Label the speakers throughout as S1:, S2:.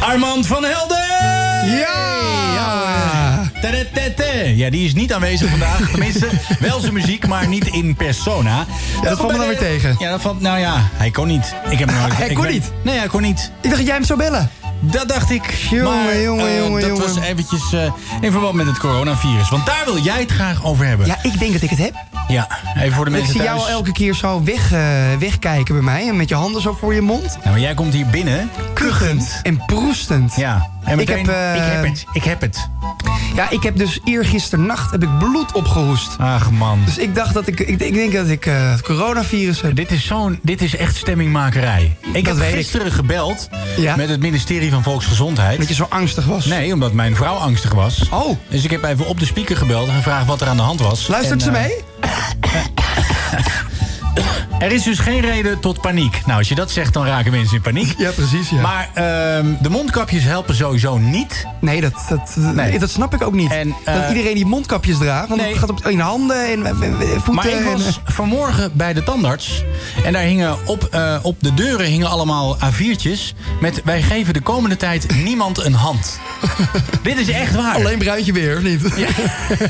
S1: Armand van Helden!
S2: Ja!
S1: Ja. Tadadada. Ja, die is niet aanwezig vandaag. Tenminste, wel zijn muziek, maar niet in persona.
S2: dat valt me dan
S1: bij de-
S2: weer tegen.
S1: Ja, dat valt... Nou ja, hij kon niet. Ik heb hem nooit-
S2: Hij
S1: ik
S2: kon
S1: ben-
S2: niet?
S1: Nee, hij kon niet.
S2: Ik dacht dat jij hem zou bellen.
S1: Dat dacht ik.
S2: Jongen,
S1: maar
S2: jongen,
S1: eh,
S2: jongen,
S1: dat
S2: jongen.
S1: was eventjes eh, in verband met het coronavirus. Want daar wil jij het graag over hebben.
S2: Ja, ik denk dat ik het heb.
S1: Ja, even voor de
S2: ik
S1: mensen
S2: zie
S1: thuis.
S2: jou al elke keer zo weg, eh, wegkijken bij mij. En met je handen zo voor je mond.
S1: Nou, maar jij komt hier binnen.
S2: Kuchend. En proestend.
S1: Ja. En
S2: Ik
S1: meteen,
S2: heb, eh,
S1: ik heb het. Ik heb het.
S2: Ja, ik heb dus eergisternacht heb ik bloed opgehoest.
S1: Ach man.
S2: Dus ik dacht dat ik... Ik, ik denk dat ik eh, het coronavirus heb.
S1: Dit is, zo'n, dit is echt stemmingmakerij. Ik
S2: Dat
S1: heb
S2: weet ik.
S1: gisteren gebeld
S2: Ja.
S1: met het ministerie van Volksgezondheid.
S2: Dat je zo angstig was.
S1: Nee, omdat mijn vrouw angstig was.
S2: Oh.
S1: Dus ik heb even op de speaker gebeld en gevraagd wat er aan de hand was.
S2: Luistert
S1: En,
S2: ze
S1: eh,
S2: mee?
S1: er is dus geen reden tot paniek. Nou, als je dat zegt, dan raken mensen in paniek.
S2: Ja, precies, ja.
S1: Maar ehm, de mondkapjes helpen sowieso niet.
S2: Nee, dat, dat,
S1: Nee.
S2: dat snap ik ook niet.
S1: En, eh,
S2: dat iedereen die mondkapjes draagt. Want
S1: nee.
S2: het gaat op, in handen en eh, voeten.
S1: Maar ik
S2: en, eh,
S1: was vanmorgen bij de tandarts. En daar hingen op, eh, op de deuren hingen allemaal A4'tjes. Met wij geven de komende tijd niemand een hand. Dit is echt waar.
S2: alleen bruintje weer, of niet?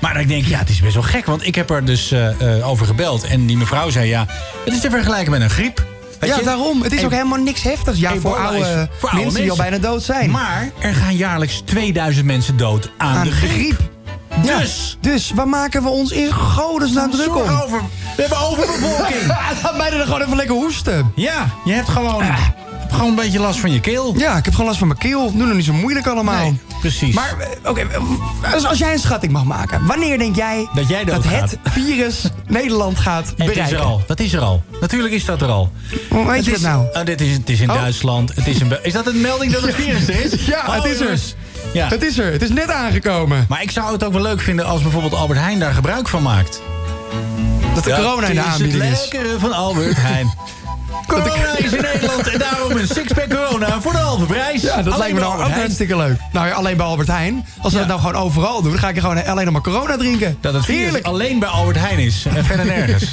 S1: Maar dan denk ik, ja, het is best wel gek. Want ik heb er dus eh, eh, over gebeld. En die mevrouw zei, ja, het is te vergelijken met een griep. Weet
S2: Ja,
S1: je?
S2: daarom. Het is
S1: En-
S2: ook helemaal niks heftigs. Ja, voor
S1: Ebola
S2: oude,
S1: is-
S2: mensen, die al bijna dood zijn.
S1: Maar er gaan jaarlijks 2000 mensen dood aan, de griep.
S2: Ja,
S1: Dus-
S2: dus waar maken we ons in godesnaam druk om?
S1: Zorg over. We hebben overbevolking.
S2: Laat mij er gewoon even lekker hoesten. Ah.
S1: ja, je hebt gewoon, hebt gewoon een beetje last van je keel.
S2: Ja, ik heb gewoon last van mijn keel. Doe nog niet zo moeilijk allemaal.
S1: Nee, precies.
S2: Maar, eh, oké, eh, dus als jij een schatting mag maken. Wanneer denk jij
S1: Dat jij doodgaat?
S2: het virus Nederland gaat
S1: Het is
S2: bereiken?
S1: er al. Dat is er al. Natuurlijk is dat er al.
S2: Hoe weet
S1: het
S2: je
S1: is,
S2: dat nou?
S1: Oh, dit is, het is in
S2: Oh.
S1: Duitsland. Het is, een be- is dat een melding dat het virus er is?
S2: Ja,
S1: Oh,
S2: het is er.
S1: jongens. Ja.
S2: Het is er. Het is net aangekomen.
S1: Maar ik zou het ook wel leuk vinden als bijvoorbeeld Albert Heijn daar gebruik van maakt.
S2: Dat de corona in de aanbieding
S1: is.
S2: is.
S1: Het lekkere van Albert Heijn. corona is in Nederland en daarom een sixpack corona voor de halve prijs.
S2: Ja, dat
S1: Alleen
S2: lijkt me
S1: bij
S2: dan ook
S1: Albert Heijn.
S2: hartstikke leuk. Nou ja, alleen bij Albert Heijn. Als ze
S1: Ja.
S2: dat nou gewoon overal doen, dan ga ik gewoon alleen nog maar corona drinken.
S1: Dat het virus
S2: Heerlijk.
S1: alleen bij Albert Heijn is en verder nergens.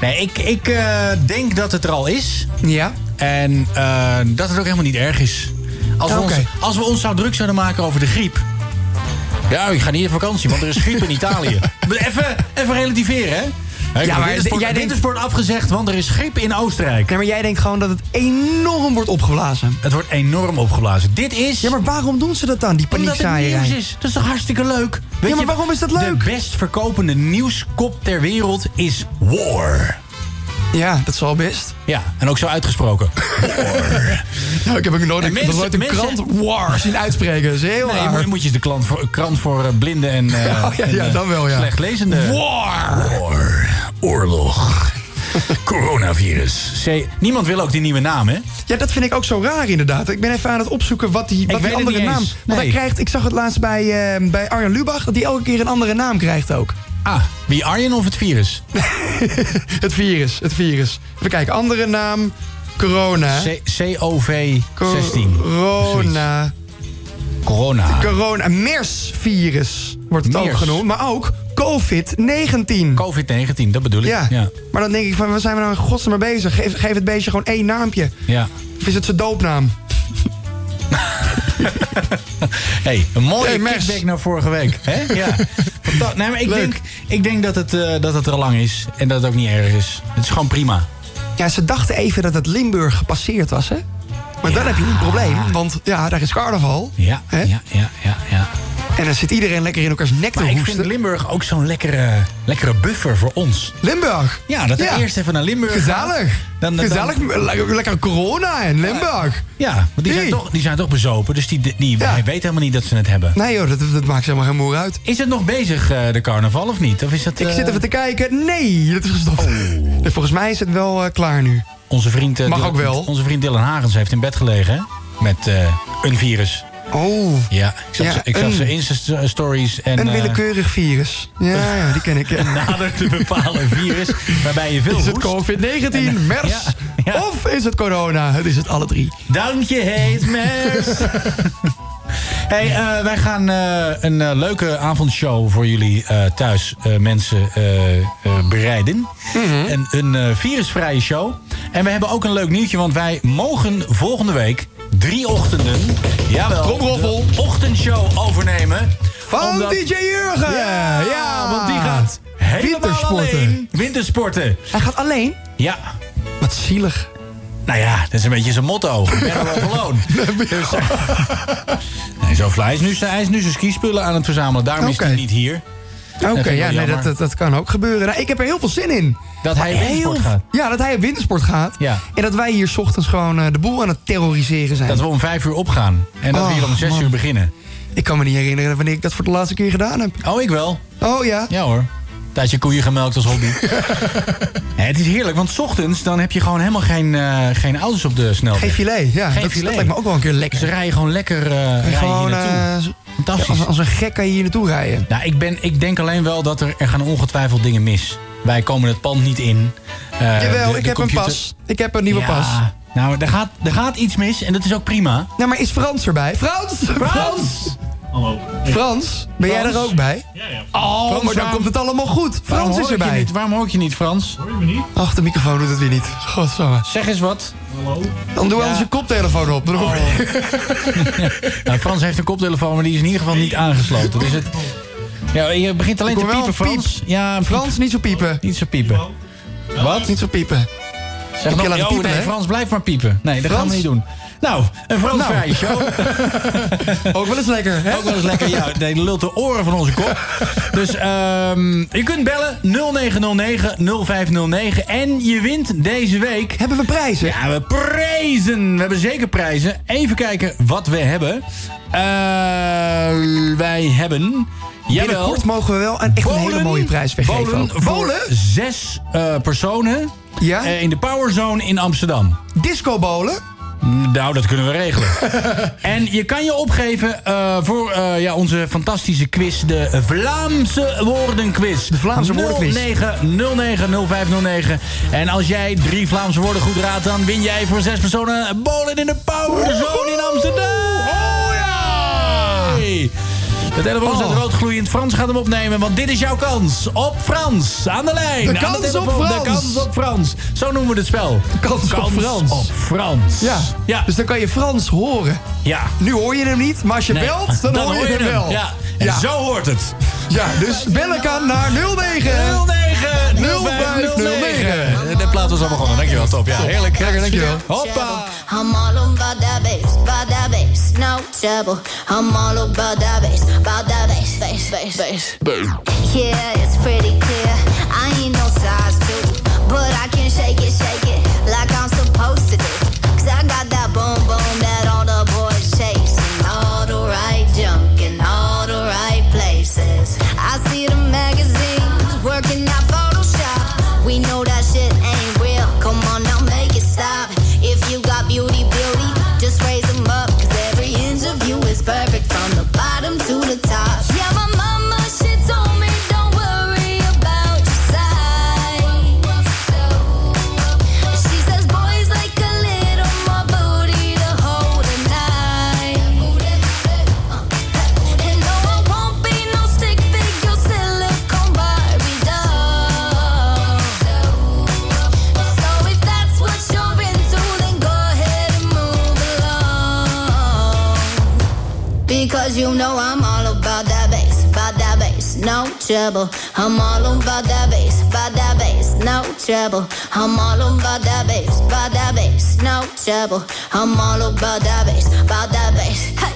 S1: nee, ik, ik eh, denk dat het er al is.
S2: Ja.
S1: En eh, dat het ook helemaal niet erg is. Als we,
S2: Oké.
S1: ons, als we ons zou druk zouden maken over de griep. Ja, ik ga niet op vakantie, want er is griep in Italië. Maar even, even relativeren, hè? Ik heb
S2: maar
S1: wintersport,
S2: jij denkt-
S1: wintersport afgezegd, want er is griep in Oostenrijk.
S2: Nee, maar jij denkt gewoon dat het enorm wordt opgeblazen.
S1: Het wordt enorm opgeblazen. Dit is...
S2: Ja, maar waarom doen ze dat dan, die
S1: omdat het nieuws
S2: paniekzaaierij?
S1: is. Dat is toch hartstikke leuk? Weet
S2: maar waarom is dat leuk?
S1: De best verkopende nieuwskop ter wereld is War.
S2: Ja, dat zal best.
S1: Ja, en ook zo uitgesproken.
S2: Nou, ik heb ook nooit,
S1: En mensen-
S2: nooit een
S1: mensen-
S2: krant war zien uitspreken. Dat is heel
S1: Nee,
S2: raar.
S1: je moet, moet je eens de klant voor, krant voor eh, blinden en, eh
S2: Oh, ja,
S1: en,
S2: ja,
S1: eh,
S2: dan wel, ja.
S1: slechtlezenden.
S2: War!
S1: War. Oorlog. Coronavirus. C- Niemand wil ook die nieuwe naam, hè?
S2: Ja, dat vind ik ook zo raar inderdaad. Ik ben even aan het opzoeken wat die, wat
S1: weet
S2: die
S1: het
S2: andere
S1: niet
S2: naam...
S1: eens.
S2: Want hij
S1: Nee.
S2: krijgt, ik zag het laatst bij, eh, bij Arjan Lubach... dat hij elke keer een andere naam krijgt ook.
S1: Ah, wie Arjen of het virus?
S2: Het virus, het virus. We kijken, andere naam, corona.
S1: C- COV-16. Zoiets.
S2: Corona.
S1: Corona.
S2: Corona. MERS-virus wordt het ook
S1: MERS.
S2: genoemd. Maar ook COVID-19.
S1: COVID-19, dat bedoel ik.
S2: ja.
S1: Ja.
S2: maar dan denk ik van, waar zijn we nou in godsnaam mee bezig? Geef, geef het beestje gewoon één naampje.
S1: Ja.
S2: Of is het zijn doopnaam?
S1: Hey, een mooie
S2: Hey, Mers.
S1: kickback naar vorige week. Hè? Ja. Fanta- nee, maar ik
S2: Leuk.
S1: denk, ik denk dat, het, eh, dat het er al lang is. En dat het ook niet erg is. Het is gewoon prima.
S2: Ja, ze dachten even dat het Limburg gepasseerd was, hè? Maar dan heb je een probleem, want ja, daar is carnaval.
S1: Ja,
S2: Hè?
S1: ja, ja, ja, ja.
S2: En dan zit iedereen lekker in elkaars nek te
S1: Maar ik
S2: hoesten.
S1: vind Limburg ook zo'n lekkere, lekkere buffer voor ons.
S2: Limburg.
S1: Ja, dat we eerst even naar Limburg gaan.
S2: Gezellig.
S1: Dan- dan-
S2: Gezellig. le- Lekker corona in Limburg.
S1: Ja, want die zijn,
S2: Nee.
S1: toch, die zijn toch bezopen, dus die, die,
S2: Ja.
S1: hij weet helemaal niet dat ze het hebben.
S2: Nee joh, dat, dat maakt helemaal geen moer uit.
S1: Is het nog bezig, eh, de carnaval, of niet? Of is dat,
S2: Ik
S1: eh, Oh.
S2: zit even te kijken. Nee, dat is gestopt. Dus volgens mij is het wel eh, klaar nu.
S1: onze vriend, eh,
S2: Mag
S1: Dylan-
S2: ook wel.
S1: Onze vriend Dylan Hagens heeft in bed gelegen, hè? Met eh, een virus.
S2: Oh,
S1: Ja, ik zag,
S2: Ja,
S1: ze- ik zag
S2: een-
S1: zijn Insta-stories en...
S2: een
S1: eh,
S2: willekeurig virus. Ja, ja die ken ik.
S1: nader te bepalen virus, waarbij je veel
S2: Is het
S1: hoest.
S2: COVID-19, MERS?
S1: eh, Ja, ja.
S2: Of is het corona? Het is het alle drie.
S1: Dankje heet mers. Hey, eh, wij gaan eh, een eh, leuke avondshow voor jullie eh, thuis eh, mensen eh, eh, bereiden.
S2: Mhm.
S1: Een, een eh, virusvrije show. En we hebben ook een leuk nieuwtje, want wij mogen volgende week drie ochtenden. Jawel.
S2: Tromroffel.
S1: de Ochtendshow overnemen.
S2: Van
S1: Omdat-
S2: DJ Jurgen! Ah.
S1: Ja, want die gaat helemaal
S2: Wintersporten.
S1: alleen wintersporten.
S2: Hij gaat alleen.
S1: Ja.
S2: Wat zielig.
S1: Nou ja, dat is een beetje zijn motto. Better off alone. Dus, eh, nee, zo fly is nu, zijn- hij is nu zijn skispullen aan het verzamelen. Daarom is hij
S2: Oké.
S1: niet hier.
S2: Oké,
S1: vind ik
S2: ja,
S1: wel
S2: nee, dat,
S1: jammer.
S2: dat, dat kan ook gebeuren. Nou, ik heb er heel veel zin in.
S1: Dat hij in sport gaat.
S2: Ja, dat hij op wintersport gaat.
S1: Ja.
S2: En dat wij hier 's ochtends gewoon eh, de boel aan het terroriseren zijn.
S1: Dat we om vijf uur opgaan. En dat we
S2: Oh,
S1: hier om zes
S2: man.
S1: uur beginnen.
S2: Ik kan me niet herinneren wanneer ik dat voor de laatste keer gedaan heb.
S1: Oh, ik wel.
S2: Oh ja.
S1: Ja hoor. Tijdje koeien gemelkt als hobby. Ja, het is heerlijk, want 's ochtends dan heb je gewoon helemaal geen, eh, geen auto's op de snelweg.
S2: Geen filet. Ja,
S1: Geen
S2: dat,
S1: filet.
S2: dat lijkt me ook wel een keer lekker.
S1: Dus dan rij je gewoon lekker eh rij je
S2: gewoon,
S1: hier naartoe.
S2: eh, zo-
S1: Fantastisch.
S2: als, als een gek kan je hier naartoe rijden.
S1: Nou, ik, ben, ik denk alleen wel dat er, er gaan ongetwijfeld dingen mis. Wij komen het pand niet in. Eh,
S2: Jawel,
S1: de-
S2: ik
S1: de
S2: heb
S1: computer-
S2: een pas. Ik heb een nieuwe
S1: Ja,
S2: pas.
S1: Nou, er gaat, er gaat iets mis en dat is ook prima.
S2: Nou, maar is Frans erbij? Frans!
S1: Frans!
S3: Hallo.
S2: Frans, ben jij
S1: Frans?
S2: er ook bij?
S3: Ja, ja.
S2: Oh, maar dan
S1: waarom-
S2: komt het allemaal goed.
S1: Waarom
S2: Frans
S1: hoor
S2: is
S1: ik je
S2: erbij.
S1: Niet? Waarom hoor ik je niet, Frans?
S3: Hoor je me niet?
S2: Ach, de microfoon doet het weer niet. Godsamme.
S1: Zeg eens wat.
S3: Hallo.
S2: Dan doe
S1: Ja.
S2: anders je koptelefoon op. Dan hoor je-
S1: Nou, Frans heeft een koptelefoon, maar die is in ieder geval niet aangesloten. Dus het... ja, je begint alleen
S2: Ik
S1: te
S2: hoor wel
S1: piepen,
S2: een piep.
S1: Frans. Ja, Frans.
S2: Frans, niet zo piepen.
S1: Niet zo piepen. Wat?
S2: Niet zo piepen.
S1: Zeg
S2: Heb je laten
S1: oh,
S2: piepen,
S1: nee,
S2: hè?
S1: Frans, blijf maar piepen. Nee, dat gaan
S2: Frans?
S1: we niet doen. Nou, een Fransvrije show.
S2: Ook wel eens lekker, hè?
S1: Ook wel eens lekker. Ja, nee, die lult de oren van onze kop. Dus ehm, je kunt bellen 0909-0509. En je wint deze week...
S2: Hebben we prijzen?
S1: Ja, we prijzen. We hebben zeker prijzen. Even kijken wat we hebben. Eh, wij hebben... Jawel.
S2: Binnenkort mogen we wel een, echt een hele mooie prijs weggeven.
S1: Bolen,
S2: ook.
S1: voor zes eh, personen
S2: Ja?
S1: eh, in de Powerzone in Amsterdam.
S2: Discobolen?
S1: Nou, dat kunnen we regelen. en je kan je opgeven eh, voor eh, ja, onze fantastische quiz, de Vlaamse woordenquiz. De
S2: Vlaamse woordenquiz.
S1: 09090509. En als jij drie Vlaamse woorden goed raadt, dan win jij voor zes personen Bolen in de Powerzone in Amsterdam. Oh ja! De telefoon staat
S2: Oh.
S1: rood gloeiend. Frans gaat hem opnemen, want dit is jouw kans. Op Frans, aan de lijn.
S2: De
S1: Aan de
S2: kans op
S1: telefoon,
S2: Frans.
S1: De kans op Frans. Zo noemen we het spel.
S2: kans op Frans.
S1: op Frans.
S2: Ja.
S1: ja.
S2: Dus dan kan je Frans horen.
S1: Ja.
S2: Nu hoor je hem niet, maar als je
S1: Nee,
S2: belt, dan, hoor je hem wel.
S1: Ja. En
S2: Ja.
S1: zo hoort het.
S2: Ja, dus bellen kan naar 09.
S1: 09
S2: 05 09.
S1: De plaat was al begonnen. Dankjewel, top. Ja, heerlijk.
S2: Lekker, dankjewel.
S1: Hoppa.
S4: I'm all about that bass, about that bass, no trouble. I'm all about that bass, about that bass, bass, bass, bass. Yeah, it's pretty clear. I ain't no size two, but I can shake it, shake it like I'm supposed to do. Cause I got that boom boom that all the boys chase. and All the right junk in all the right places. I see the magazines working out Photoshop. We know that shit ain't real. Come on now, make it stop. If you got beauty, beauty, just raise them up. Cause every inch of you is perfect from the bottom to the top. Yeah, my mama, she told me, don't worry about your size. She says, boys like a little more booty to hold a knife. Uh, And no, I won't be no stick figure silicone Barbie doll. So if that's what you're into, then go ahead and move along. Because you know I'm all about that bass, about that bass, no trouble. I'm all about that bass, about that bass, no trouble. I'm all about that bass, about that bass, no trouble. I'm all about that bass, about that bass. Hey,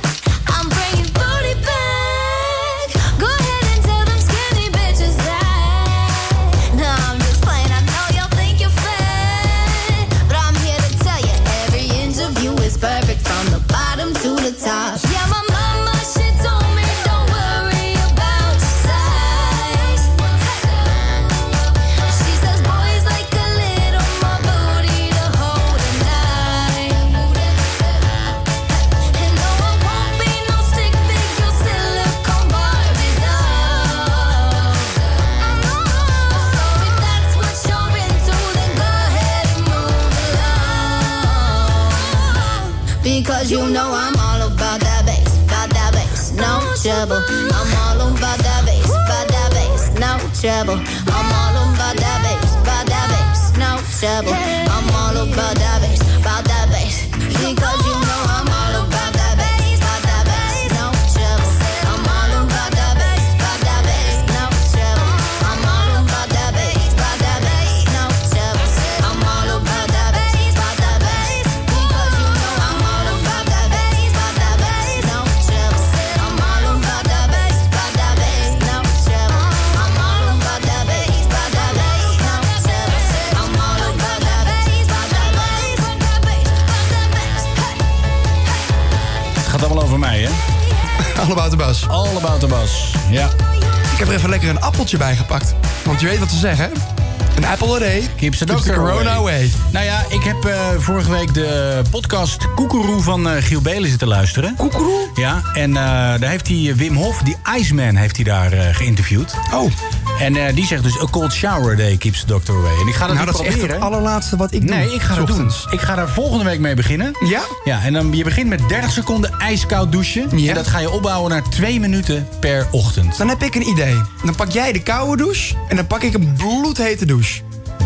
S4: I'm bringing booty back. Go ahead and tell them skinny bitches that. No, I'm just playing. I know y'all think you're fat, but I'm here to tell you every inch of you is perfect from the bottom to the top. Yeah, my mama, she told me don't worry about your size. She says boys like a little more booty to hold a knife. And no, I won't be no stick figure silicone Barbie doll. So if that's what you're into, then go ahead and move along. Because you know I'm all about that bass, about that bass, no trouble. I'm all about that bass, about that bass, no trouble. I'm all about that bass, about that bass, no trouble. I'm all about that bass, about that bass, because you know I'm all
S2: All about the bus.
S1: All about the bus. Ja.
S2: Ik heb er even lekker een appeltje bij gepakt. Want je weet wat ze zeggen. Een apple a day.
S1: Keeps the
S2: keeps the
S1: doctor
S2: corona away.
S1: Nou ja, ik heb eh, vorige week de podcast Koekeroe van eh, Giel Belen zitten luisteren.
S2: Koekeroe?
S1: Ja, en eh, daar heeft hij eh, Wim Hof, die Iceman, heeft hij daar eh, geïnterviewd.
S2: Oh,
S1: En eh, die zegt dus, a cold shower day keeps the doctor away. En ik ga dat
S2: nou
S1: niet
S2: dat is echt
S1: proberen.
S2: het allerlaatste wat ik doe.
S1: Nee, ik ga dat doen.
S2: ochtends.
S1: Ik ga daar volgende week mee beginnen.
S2: Ja?
S1: Ja, en dan, je begint met 30 seconden ijskoud douchen.
S2: Ja.
S1: En dat ga je opbouwen naar 2 minuten per ochtend.
S2: Dan heb ik een idee. Dan pak jij de koude douche en dan pak ik een bloedhete douche.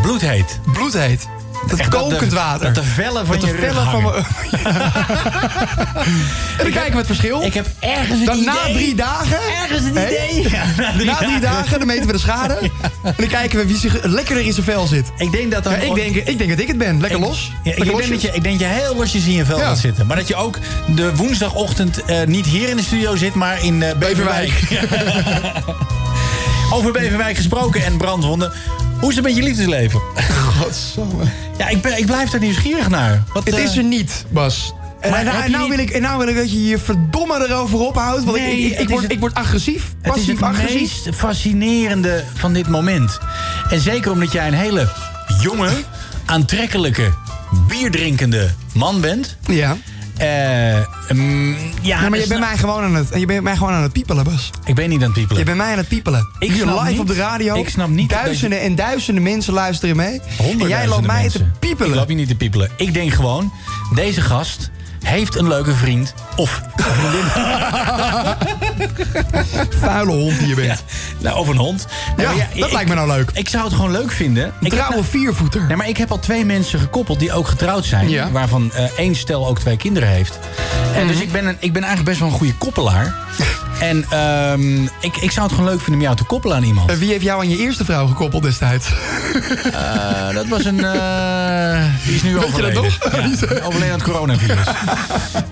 S1: Bloedheet.
S2: Bloedheet. Dat
S1: Echt dat de-
S2: kokend water.
S1: dat de vellen van
S2: Dat de
S1: je rug
S2: vellen van
S1: hangen.
S2: mijn- en dan kijken we het verschil.
S1: Ik heb ergens het
S2: dan
S1: idee...
S2: na drie dagen...
S1: Ergens het
S2: Hé?
S1: idee. Ja, na drie
S2: Na drie dagen, dan meten we de schade. En dan kijken we wie zich lekkerder in zijn vel zit.
S1: Ik denk dat dan...
S2: Ja, ik, denk, ik denk dat ik het ben. Lekker los.
S1: Ja, ik,
S2: Lekker
S1: denk dat
S2: losjes.
S1: je, ik denk dat je heel losjes in je vel
S2: Ja.
S1: gaat zitten. Maar dat je ook de woensdagochtend eh, niet hier in de studio zit, maar in eh, Beverwijk. Over Beverwijk gesproken en brandwonden. Hoe is het met je liefdesleven?
S2: Godsamme.
S1: Ja, ik, ben, ik blijf daar nieuwsgierig naar. Wat,
S2: Het
S1: eh,
S2: is er niet, Bas. En,
S1: Maar
S2: en- en
S1: heb je
S2: nou
S1: niet-
S2: wil ik, en nou wil ik dat je je verdomme erover ophoudt. Want ik-
S1: Nee,
S2: ik, ik,
S1: het is
S2: word,
S1: het-
S2: ik word agressief.
S1: Het is
S2: Passief
S1: het
S2: agressief.
S1: meest fascinerende van dit moment. En zeker omdat jij een hele jonge, aantrekkelijke, bierdrinkende man bent.
S2: Ja.
S1: Eh, mm,
S2: Ja,
S1: ja,
S2: maar je
S1: dus
S2: bent
S1: nou-
S2: mij gewoon aan het, je bent mij gewoon aan het piepelen, Bas.
S1: Ik ben niet aan het piepelen.
S2: Je bent mij aan het piepelen.
S1: Ik
S2: Hier
S1: snap
S2: live
S1: niet-
S2: op de radio.
S1: ik snap niet dat
S2: Duizenden en duizenden mensen luisteren mee. En jij loopt mij
S1: mensen.
S2: te piepelen.
S1: Ik loop je niet te piepelen. Ik denk gewoon, deze gast heeft een leuke vriend. Of vriendin.
S2: Vuile hond die je bent.
S1: nou, of een hond.
S2: Ja,
S1: maar
S2: dat lijkt me nou leuk.
S1: Ik zou het gewoon leuk vinden.
S2: Een
S1: Ik heb
S2: trouwe viervoeter.
S1: Nee, maar ik heb al twee mensen gekoppeld die ook getrouwd zijn.
S2: Ja. Mhm.
S1: Waarvan eh, één stel ook twee kinderen heeft. En dus ik ben, een, ik ben eigenlijk best wel een goede koppelaar. en ehm, ik, ik zou het gewoon leuk vinden om jou te koppelen aan iemand.
S2: En Wie heeft jou aan je eerste vrouw gekoppeld destijds?
S1: Eh, dat was een... eh, die is nu
S2: Weet je dat
S1: overleden. Ja, overleden aan het coronavirus.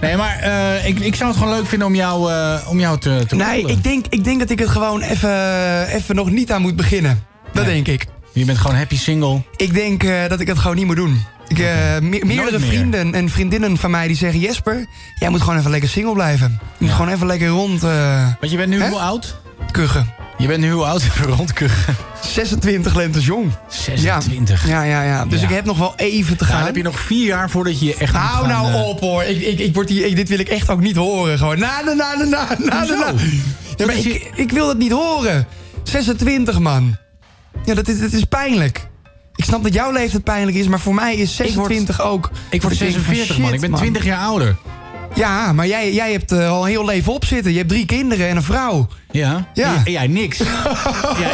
S1: nee, maar eh, ik, ik zou het gewoon leuk vinden om jou, eh, om jou te, te
S2: Nee,
S1: koppelen.
S2: ik denk, ik denk dat ik het gewoon even, even nog niet aan moet beginnen. Dat denk ik.
S1: Je bent gewoon happy single.
S2: Ik denk eh, dat ik het gewoon niet moet doen. Ik, eh, me- meerdere
S1: meer.
S2: vrienden en vriendinnen van mij die zeggen... Jesper, jij moet gewoon even lekker single blijven. Je moet gewoon even lekker rond eh,
S1: Want je bent nu
S2: Hè?
S1: hoe oud?
S2: kuchen.
S1: Je bent nu hoe oud? Rondkuchen.
S2: 26 lentes jong.
S1: 26.
S2: Ja, ja, ja. ja. Dus
S1: Ja.
S2: ik heb nog wel even te
S1: Ja,
S2: gaan.
S1: dan heb je nog vier jaar voordat je je echt moet
S2: Hou
S1: gaan,
S2: nou
S1: eh,
S2: op hoor. Ik, ik, ik word hier, ik- dit wil ik echt ook niet horen. Gewoon na, na, na, na, na, na, na, na.
S1: Hoezo?
S2: Ja, maar
S1: is
S2: ik, ik wil dat niet horen. 26 man. Ja, dat is, dat is pijnlijk. Ik snap dat jouw leeftijd pijnlijk is, maar voor mij is
S1: word-
S2: 26 ook.
S1: Ik word
S2: dat denk van,
S1: 46, man.
S2: shit,
S1: Ik ben 20 jaar ouder.
S2: Ja, maar jij, jij hebt eh, al een heel leven op zitten. Je hebt drie kinderen en een vrouw.
S1: Ja?
S2: Ja.
S1: En jij niks. jij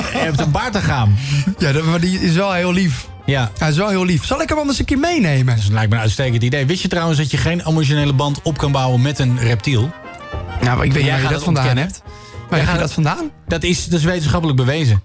S1: hebt een baard te gaan.
S2: Ja, dat, maar die is wel heel lief.
S1: Ja.
S2: Ja, is wel heel lief. Zal ik hem anders een keer meenemen?
S1: Dus het lijkt me een uitstekend idee. Wist je trouwens dat je geen emotionele band op kan bouwen met een reptiel?
S2: Nou, maar ik weet niet waar
S1: Jij
S2: je
S1: gaat
S2: dat
S1: het
S2: vandaan
S1: ontkennen.
S2: hebt. Waar heb
S1: gaat
S2: je dat
S1: het-
S2: vandaan?
S1: Dat is, dat is wetenschappelijk bewezen.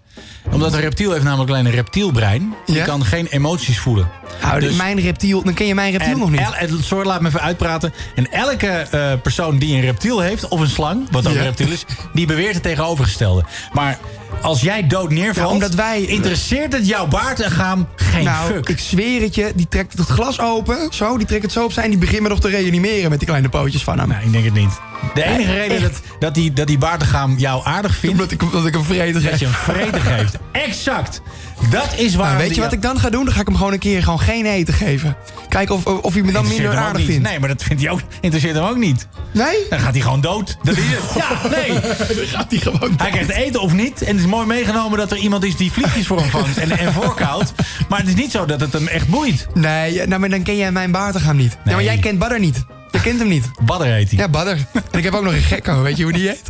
S1: Omdat een reptiel heeft namelijk alleen een reptielbrein. Die
S2: Ja.
S1: kan geen emoties voelen.
S2: Nou,
S1: Dus-
S2: mijn reptiel, dan ken je mijn reptiel
S1: En
S2: nog niet.
S1: el- el- sorry, laat me even uitpraten. En elke eh, persoon die een reptiel heeft, of een slang, wat ook
S2: Ja.
S1: een reptiel is, die beweert het tegengenovergestelde. Maar als jij dood neervalt,
S2: Ja, omdat wij-
S1: interesseert het jouw baard en gaam geen
S2: nou,
S1: fuck.
S2: ik zweer het je, die trekt het glas open. Zo, die trekt het zo op zijn. Die begint me nog te reanimeren met die kleine pootjes van hem.
S1: Nou, ik denk het niet. De enige reden dat, dat die, dat die baardengaam jou aardig vindt,
S2: eh, Omdat ik, omdat ik hem vreten
S1: dat
S2: geef.
S1: je hem vreten geeft. Exact. Dat is waar.
S2: Nou, weet je wat ik dan ga doen? Dan ga ik hem gewoon een keer gewoon geen eten geven. Kijken of, of hij me dan minder aardig vindt.
S1: Nee, maar dat vindt hij ook, interesseert hem ook niet.
S2: Nee?
S1: Dan gaat hij gewoon dood. Dat is het. Ja, nee.
S2: Dan gaat hij gewoon.
S1: Hij krijgt eten of niet. En het is mooi meegenomen dat er iemand is die vliegjes voor hem vangt en, en voorkoudt. Maar het is niet zo dat het hem echt boeit.
S2: Nee, ja, nou, maar dan ken jij mijn baartegaam niet. Ja, maar
S1: Nee.
S2: jij kent Badder niet. Je kent hem niet.
S1: Badder heet hij.
S2: Ja, Badder. En ik heb ook nog een gekko. Weet je hoe die heet?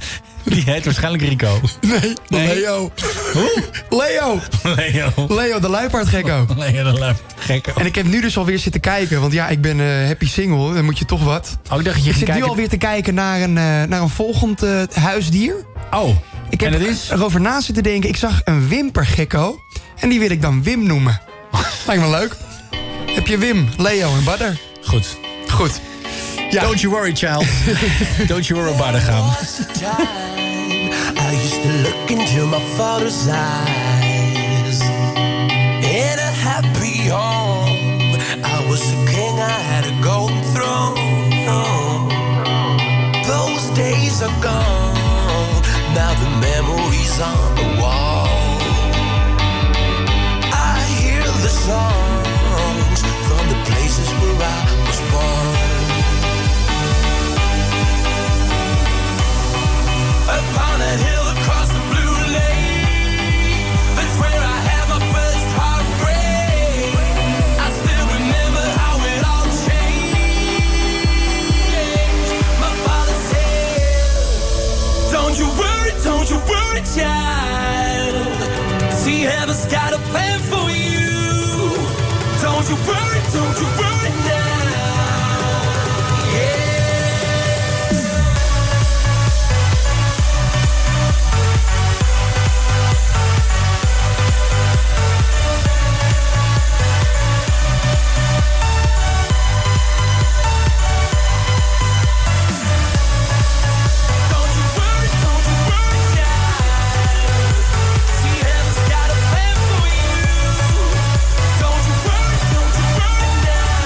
S1: Die heet waarschijnlijk Rico.
S2: Nee,
S1: Nee.
S2: Leo.
S1: Hoe?
S2: Leo.
S1: Leo.
S2: Leo, de luipaardgekko.
S1: Leo de Lef. Gekko.
S2: En ik heb nu dus alweer zitten kijken, want ja, ik ben eh, happy single, dan moet je toch wat.
S1: Oh, ik dacht dat je
S2: Ik
S1: ging
S2: zit nu
S1: kijken.
S2: alweer te kijken naar een, eh, naar een volgend eh, huisdier.
S1: Oh,
S2: Ik heb
S1: en dat is?
S2: erover na zitten denken, ik zag een wimpergekko en die wil ik dan Wim noemen. Lijkt me leuk. Heb je Wim, Leo en Badder?
S1: Goed.
S2: Goed. Ja.
S1: Don't you worry, child. Don't you worry, Baddergaam.
S3: was a time I used to look into my father's eyes. In a happy home, I was a king, I had a golden throne. Those days are gone. pictures on the wall. I hear the songs from the places where I was born. Upon a hill across the blue lake, that's where I had my first heartbreak. I still remember how it all changed. My father said. Don't you worry, don't you worry, child. See, heaven's got a plan for you. Don't you worry, don't you worry now. Yeah. Don't you worry, don't you worry, child. See, heaven's got a plan for you. Don't you worry, don't you worry now.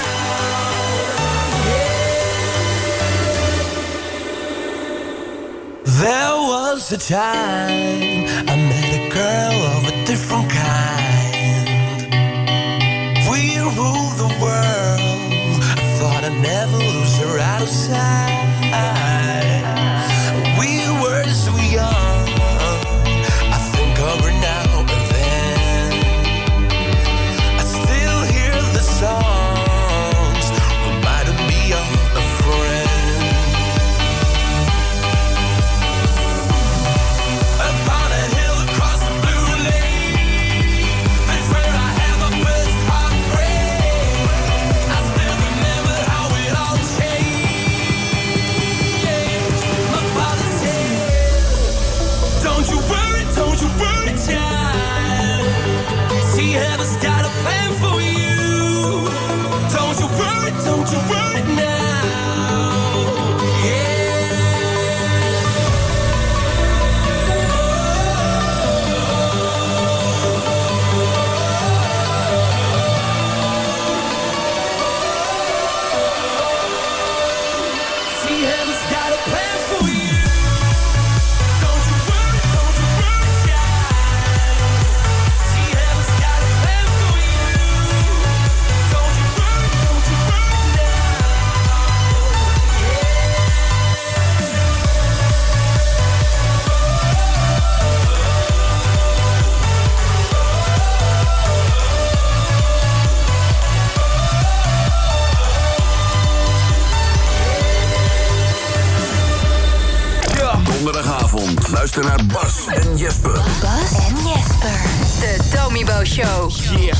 S3: There was a time I met a girl of a different kind. We ruled the world. I thought I'd never lose her out of sight. We were so young. I think of her now and then. I still hear the songs. Reminded me of a friend. Upon a hill across the blue lake, that's where I had my first heartbreak. I still remember how it all changed. My father said, "Don't you worry, don't you worry, child. See, heaven's got a plan for you. Don't you worry, don't you worry now, yeah." See, heaven's got a plan for you. Don't you worry, don't you worry, child. See, heaven's got a plan for you. Don't you worry, don't you worry now. Yeah.
S5: Donderdagavond. Luister naar Bas en Jesper.
S6: Bas en Jesper. De Domibo Show.
S7: Yeah.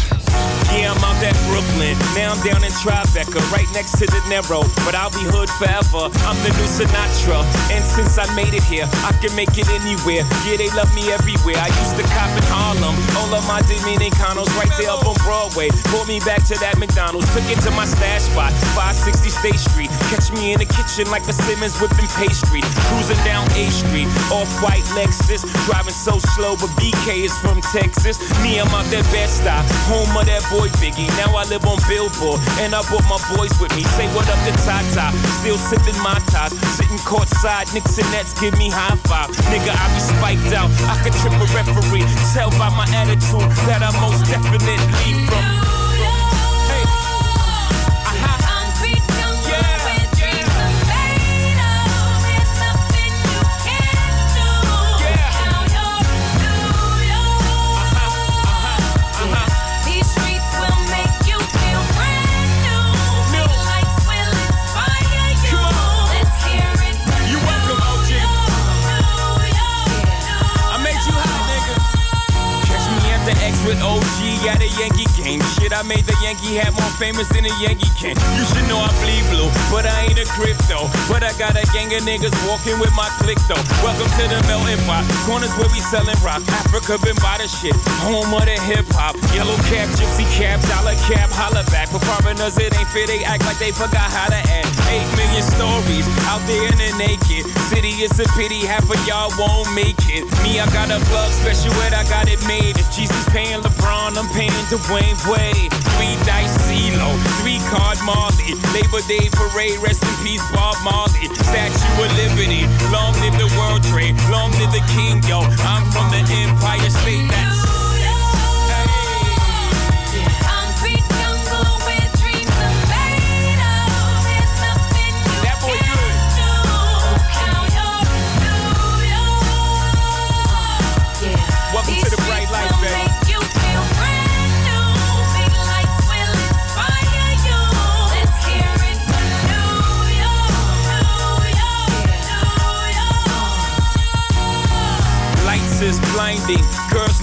S7: Yeah, I'm out at Brooklyn. Now I'm down in Tribeca, right next to the narrow. But I'll be hood forever. I'm the new Sinatra. And since I made it here, I can make it anywhere. Yeah, they love me everywhere. I used to cop in Harlem. All of my Dominicanos right there up on Broadway. Brought me back to that McDonald's. Took it to my stash spot, 560 State Street. Catch me in the kitchen like a Simmons whipping pastry. Cruising down A Street, off white Lexus. Driving so slow, but BK is from Texas. Me, I'm out that bed stop, home of that boy Biggie. Now I live on Billboard, and I brought my boys with me. Say what up to Tata, still sipping my ties. Sitting courtside, Knicks and Nets give me high five. Nigga, I be spiked out, I could trip a referee. Tell by my attitude that I most definitely from. Hey. Aha. You welcome, OG. I made you hot, nigga. Catch me at the X with OG at a Yankee game. Shit, I made the Yankee hat more famous than a Yankee can. You should know I bleed blue, but I ain't a crypto. But I got a gang of niggas walking with my click though. Welcome to the melting pot. Corners where we selling rock. Africa been by the shit. Home of the hip hop. Yellow cap, gypsy cap, dollar cap, holla back. For foreigners, it ain't fair. They act like they forgot how to act. Eight million stories out there in the naked. city. It's a pity half of y'all won't make it. Me, I got a plug special, and I got it made. If Jesus paying LeBron, I'm paying Dwayne Wade. Three dice CeeLo, three card Marley. Labor Day parade, rest in peace Bob Marley. Statue of Liberty, long live the World Trade, long live the King, yo. I'm from the Empire State. That's
S8: Concrete jungle where dreams are made of. There's nothing you
S7: that boy good.
S8: do. Now you're in New York.
S7: Welcome
S8: These
S7: to the bright
S8: streets
S7: light,
S8: will
S7: baby.
S8: make you feel brand new. Big lights will inspire you. Let's hear it for New York, New York, New York.
S7: Lights is blinding, girls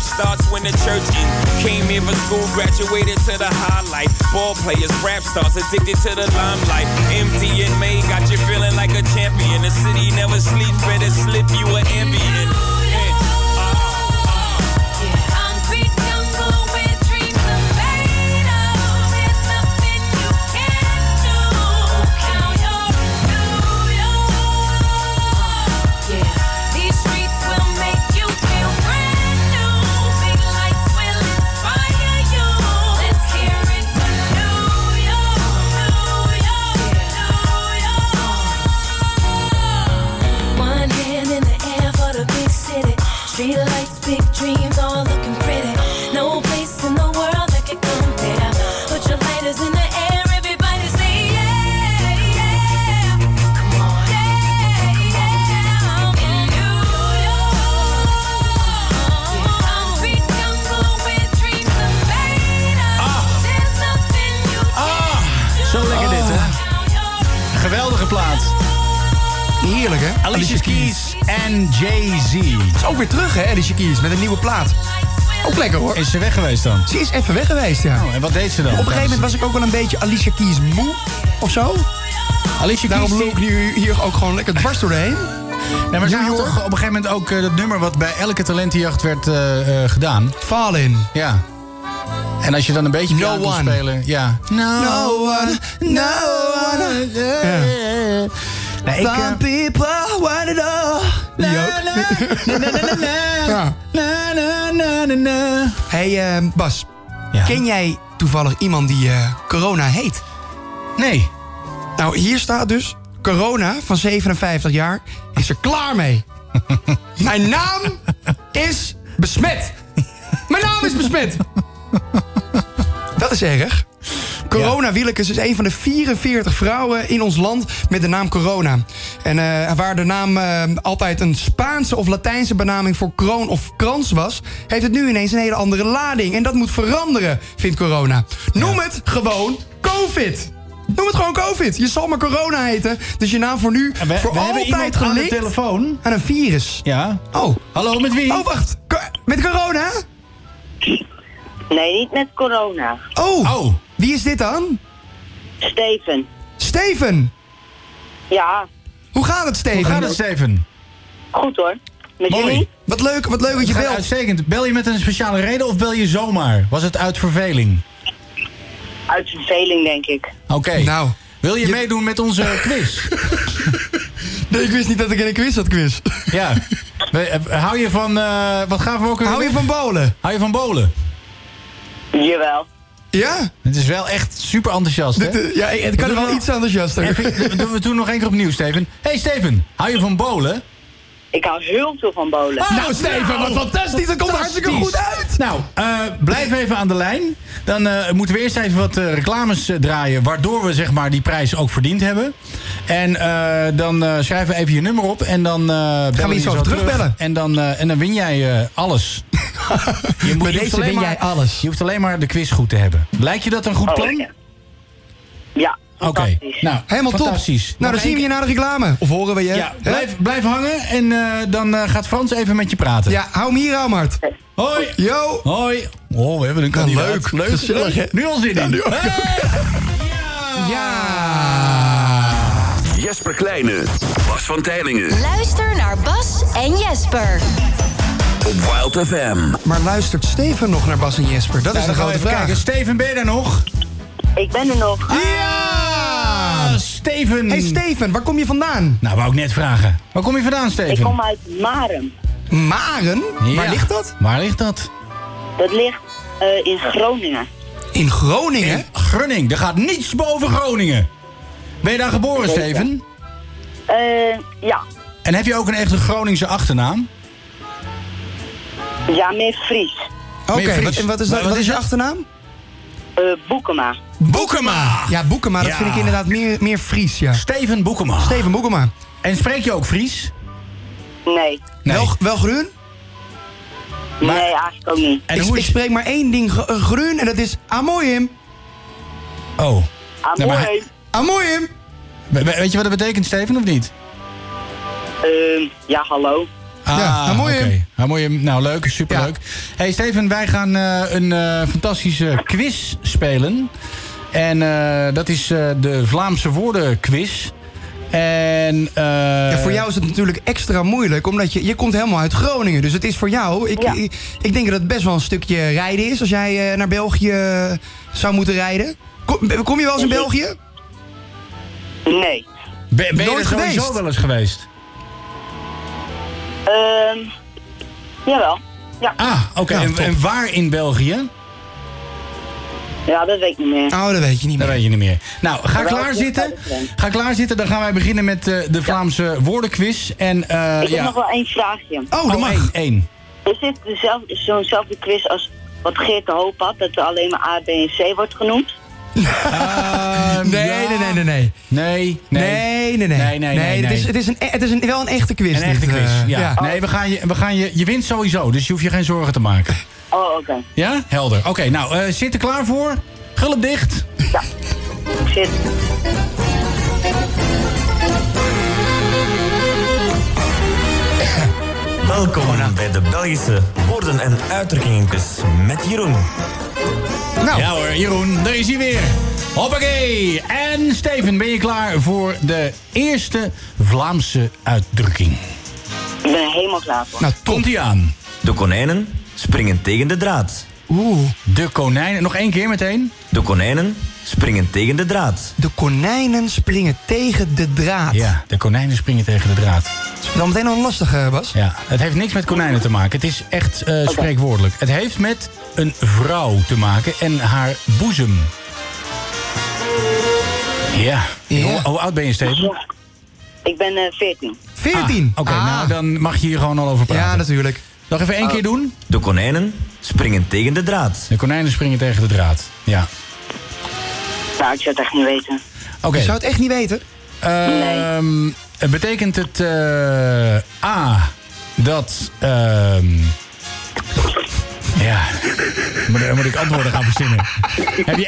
S7: starts when the church in. Came here for school, graduated to the highlight. Ball players, rap stars, addicted to the limelight. Empty in May, got you feeling like a champion. The city never sleeps, better slip you an ambient. And, uh, uh.
S8: Concrete jungle where dreams are made of. There's nothing you can't do. Now you're in New York. These streets will make you feel brand new. Big lights will inspire you. Let's hear it for New York, New York, New York. One hand in the air for the big city. Street lights, big dreams, all looking pretty. No place in the world that could compare. Put your lighters in the air, everybody say yeah, yeah. Come on, yeah, yeah. I'm in New York. Concrete jungle where dreams are made of. There's nothing you
S1: Ah,
S8: can't
S1: zo lekker dit, hè? Geweldige plaats.
S2: Heerlijk, hè?
S1: Alicia Keys en Jay-Z.
S2: Is ook weer terug, hè, Alicia Keys, met een nieuwe plaat. Ook lekker, hoor.
S1: Is ze weg geweest dan?
S2: Ze is even weg geweest, ja.
S1: Oh, en wat deed ze dan?
S2: Op een gegeven moment was ik ook wel een beetje Alicia Keys moe, of zo.
S1: Alicia
S2: Daarom
S1: Keys,
S2: loop ik nu hier ook gewoon lekker dwars doorheen.
S1: Nee, maar ze had
S2: Junior.
S1: toch op een gegeven moment ook eh, dat nummer wat bij elke talentenjacht werd eh, eh, gedaan.
S2: Fall in.
S1: Ja. En als je dan een beetje
S2: No
S1: piano kon
S2: one.
S1: spelen. Ja. No,
S2: one, no one.
S1: Nee, ik, eh,
S2: people want it all. Die ook. Ja. Hey eh, Bas,
S1: Ja.
S2: ken jij toevallig iemand die eh, corona heet?
S1: Nee.
S2: Nou, hier staat dus: corona van 57 jaar is er klaar mee. Mijn naam is besmet. Mijn naam is besmet. Dat is erg. Corona Wielekes is een van de 44 vrouwen in ons land met de naam Corona. En eh, waar de naam eh, altijd een Spaanse of Latijnse benaming voor kroon of krans was, heeft het nu ineens een hele andere lading. En dat moet veranderen, vindt Corona. Noem het gewoon COVID. Noem het gewoon COVID. Je zal maar corona heten. Dus je naam voor nu
S1: En we-
S2: voor
S1: we hebben iemand
S2: altijd
S1: aan de
S2: gelinkt
S1: telefoon.
S2: aan een virus.
S1: Ja.
S2: Oh.
S1: Hallo, met wie?
S2: Oh, wacht. Co- Met corona?
S9: Nee, niet met corona.
S2: Oh.
S1: Oh.
S2: Wie is dit dan?
S9: Steven.
S2: Steven.
S9: Ja,
S2: Hoe gaat het, Steven?
S1: Hoe gaat het, Steven?
S9: goed hoor. Met
S1: Mooi.
S9: jullie?
S2: Wat leuk, wat leuk dat je
S1: Gaat
S2: belt.
S1: Uitstekend. Bel je met een speciale reden of bel je zomaar? Was het uit verveling?
S9: Uit verveling, denk ik.
S1: Oké.
S2: Nou,
S1: Wil je, meedoen met onze quiz?
S2: nee, ik wist niet dat ik in een quiz had quiz.
S1: ja. We- eh, hou je van... eh, wat gaan we ook... weer
S2: Hou je
S1: doen?
S2: van bolen?
S1: hou je van bolen?
S9: Jawel.
S2: Ja?
S1: Het is wel echt super enthousiast, hè?
S2: Dit, eh, ja, het kan
S1: Doe
S2: wel
S1: wel-
S2: iets enthousiaster.
S1: Even, doen we toen nog één keer opnieuw, Steven. hey, Steven, hou je van bolen? Ah,
S9: Ik hou heel veel van bolen.
S2: Nou, Steven, wat fantastisch. Dat komt hartstikke goed uit.
S1: Nou, eh, blijf even aan de lijn. Dan eh, moeten we eerst even wat eh, reclames eh, draaien... waardoor we zeg maar, die prijs ook verdiend hebben. En eh, dan eh, schrijven we even je nummer op... en dan eh gaan
S2: we iets over terugbellen.
S1: En dan, eh, en dan win jij eh, alles. je, moet,
S2: Bij deze win jij alles.
S1: Je hoeft alleen maar de quiz goed te hebben. Lijkt je dat een goed
S9: Oh,
S1: plan?
S9: lekker. Ja,
S1: Oké, nou,
S2: Helemaal
S1: fantastisch.
S2: top. Nou, dan
S1: Nog
S2: zien we
S1: één
S2: je na de reclame. Of horen we je.
S1: keer- Ja,
S2: Hè?
S1: blijf, blijf hangen en eh, dan eh, gaat Frans even met je praten.
S2: ja hou hem hier aan, Mart.
S9: Eh.
S1: Hoi.
S2: Yo. Nou,
S1: Hoi. Oh, we hebben een kandidaat.
S2: leuk, gezellig, hè?
S1: Nu al zin in. Eh?
S2: Ja.
S5: Jesper Kleine, Bas van Tijlingen
S6: Luister naar Bas en Jesper.
S5: op Wild FM.
S2: Maar luistert Steven nog naar Bas en Jesper? Dat
S1: Nou,
S2: is de grote vraag.
S1: Steven, ben je daar nog?
S9: Ik ben er nog.
S1: Ja! Steven.
S2: Ah! Hey Steven, waar kom je vandaan?
S1: Nou, wou ik net vragen. Waar kom je vandaan, Steven?
S9: Ik kom uit Marem.
S2: Maren?
S1: Ja.
S2: Waar ligt dat?
S1: Waar ligt dat?
S9: Dat ligt eh, in Groningen.
S2: In Groningen?
S1: Grunning. Er gaat niets boven Groningen. Ben je daar
S2: Oh,
S1: geboren,
S9: Zeker.
S1: Steven?
S9: Eh, ja.
S1: En heb je ook een echte Groningse achternaam?
S9: Ja, meer Fries.
S2: Oké,
S1: Ben je Fries?
S2: wat- en wat is, dat,
S1: Maar
S2: wat is je
S1: dat?
S2: achternaam?
S9: Eh, Boekema.
S1: Boekema!
S2: Ja, Boekema, dat
S1: Ja.
S2: vind ik inderdaad meer, meer Fries, ja.
S1: Steven Boekema.
S2: Steven Boekema.
S1: En spreek je ook Fries?
S9: Nee.
S1: Nee.
S2: Wel, wel groen?
S9: Nee, eigenlijk ook niet.
S1: En
S2: ik,
S1: hoe
S2: ik
S1: is...
S2: spreek maar één ding gr- eh, groen en dat is Amoyim.
S1: Oh.
S9: Ah,
S1: Nee, maar
S9: mooi.
S2: Amoyim.
S1: We- we- weet je wat dat betekent, Steven, of niet?
S9: Eh, ja, hallo.
S2: Ja, nou, mooi, hè?
S1: oké. Nou, mooi, hè? Nou, leuk, superleuk. Hey Steven, wij gaan eh, een eh, fantastische quiz spelen. En eh, dat is eh, de Vlaamse woordenquiz. En eh,
S2: Ja, voor jou is het natuurlijk extra moeilijk, omdat je, je komt helemaal uit Groningen. Dus het is voor jou, ik,
S9: Ja.
S2: ik, ik denk dat het best wel een stukje rijden is als jij eh, naar België zou moeten rijden. Kom, kom je wel eens in
S9: Ik-
S2: België?
S9: Nee.
S1: ben, ben je er
S2: nooit
S1: sowieso
S2: geweest?
S1: wel eens geweest?
S9: Ehm jawel. Ja.
S1: Ah, oké.
S2: Nou,
S1: en,
S2: top.
S1: en waar in België?
S9: ja, dat weet ik niet meer.
S2: Oh, dat weet je niet
S1: Dat
S2: meer.
S1: weet je niet meer. Nou, ga
S9: Wel,
S1: klaarzitten.
S9: ja, dat is leuk.
S1: Ga klaarzitten, dan gaan wij beginnen met eh, de Vlaamse woordenquiz. En eh
S9: ik heb
S1: ja.
S9: nog wel één vraagje.
S2: Oh, dat
S1: Oh,
S2: mag.
S1: één, één.
S9: Is dit dezelfde- zo'nzelfde quiz als wat Geert de Hoop had, dat er alleen maar A, B en C wordt genoemd?
S1: Eh,
S2: Nee,
S1: ja.
S2: nee, nee, nee, nee.
S1: Nee,
S2: Nee, nee, nee.
S1: Nee, nee, Eh, nee,
S2: Het
S1: nee.
S2: is, het is, een, e- het is een, wel een echte quiz.
S1: Een echte
S2: dit,
S1: quiz,
S2: eh,
S1: ja.
S9: Oh.
S1: Nee, we gaan, je, we gaan je... Je wint sowieso, dus je hoeft je geen zorgen te maken.
S9: Oh, oké.
S1: Ja? Helder. Oké, nou, eh, zit er klaar voor? Gulp dicht.
S9: Ik zit.
S10: Welkom bij de Belgische woorden en uitdrukkingenquiz met Jeroen.
S2: Nou,
S1: Ja hoor, Jeroen, daar is hij weer. Hoppakee. En Steven, ben je klaar voor de eerste Vlaamse uitdrukking?
S9: Ik ben er helemaal klaar voor.
S2: nou top.
S1: Komt hij aan.
S10: De konijnen springen tegen de draad.
S2: Oeh,
S1: De konijnen. Nog één keer meteen.
S10: De konijnen springen tegen de draad.
S2: de konijnen springen tegen de draad.
S1: Ja, de konijnen springen tegen de draad.
S2: Dat is dan meteen al een lastige, Bas.
S1: Ja, het heeft niks met konijnen te maken. Het is echt eh, spreekwoordelijk. Het heeft met een vrouw te maken en haar boezem. Ja.
S2: Ja.
S1: Hoe, hoe oud ben je, Steven?
S9: Ik ben eh, 14.
S2: 14.
S1: Ah, Oké,
S2: Ah.
S1: nou dan mag je hier gewoon al over praten.
S2: Ja, natuurlijk.
S1: Nog even één keer doen.
S10: De konijnen springen tegen de draad.
S1: De konijnen springen tegen de draad. Ja.
S9: Nou, ik zou het echt niet weten.
S1: Oké.
S2: Je zou het echt niet weten.
S1: ehm, Betekent het eh, A dat. ehm, ja. Moet, moet ik antwoorden gaan verzinnen? Heb je.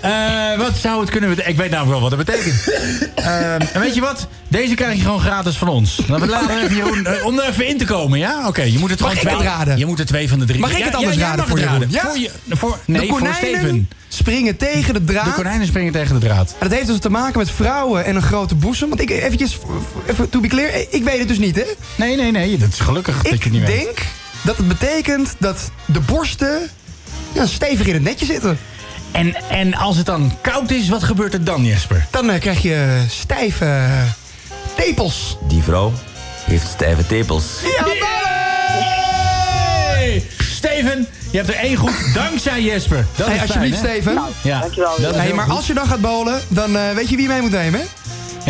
S1: Eh, wat zou het kunnen betekenen? Ik weet namelijk wel wat het betekent. Ehm, en weet je wat? Deze krijg je gewoon gratis van ons. Laten we laten we even Jeroen, eh, om er even in te komen, ja? Oké, je moet het
S2: Mag
S1: gewoon
S2: ik
S1: twee-
S2: het raden?
S1: Je moet er twee van de drie.
S2: Mag ik
S1: Ja,
S2: het anders
S1: ja, jij
S2: raden
S1: mag het
S2: voor Jeroen? Ja?
S1: Voor je, voor, nee,
S2: de
S1: voor Steven.
S2: konijnen springen tegen de draad.
S1: De konijnen springen tegen de draad.
S2: En dat heeft dus te maken met vrouwen en een grote boezem. Want ik, eventjes, even, to be clear, ik weet het dus niet, hè?
S1: Nee, nee, nee. Dat is gelukkig dat je
S2: Ik
S1: het niet weet.
S2: denk dat het betekent dat de borsten ja, stevig in het netje zitten.
S1: En, en als het dan koud is, wat gebeurt er dan, Jesper?
S2: Dan eh, krijg je stijve eh, tepels.
S10: Die vrouw heeft stijve tepels.
S2: Ja,
S1: Hey! Steven, je hebt er één goed dankzij Jesper. Dat
S2: Hey,
S1: is
S2: alsjeblieft,
S1: fijn, hè?
S2: Steven.
S1: Ja,
S9: Dankjewel.
S1: dat is
S2: Hey,
S1: heel
S2: maar
S1: goed.
S2: als je dan gaat bolen, dan eh, weet je wie je mee moet nemen, hè?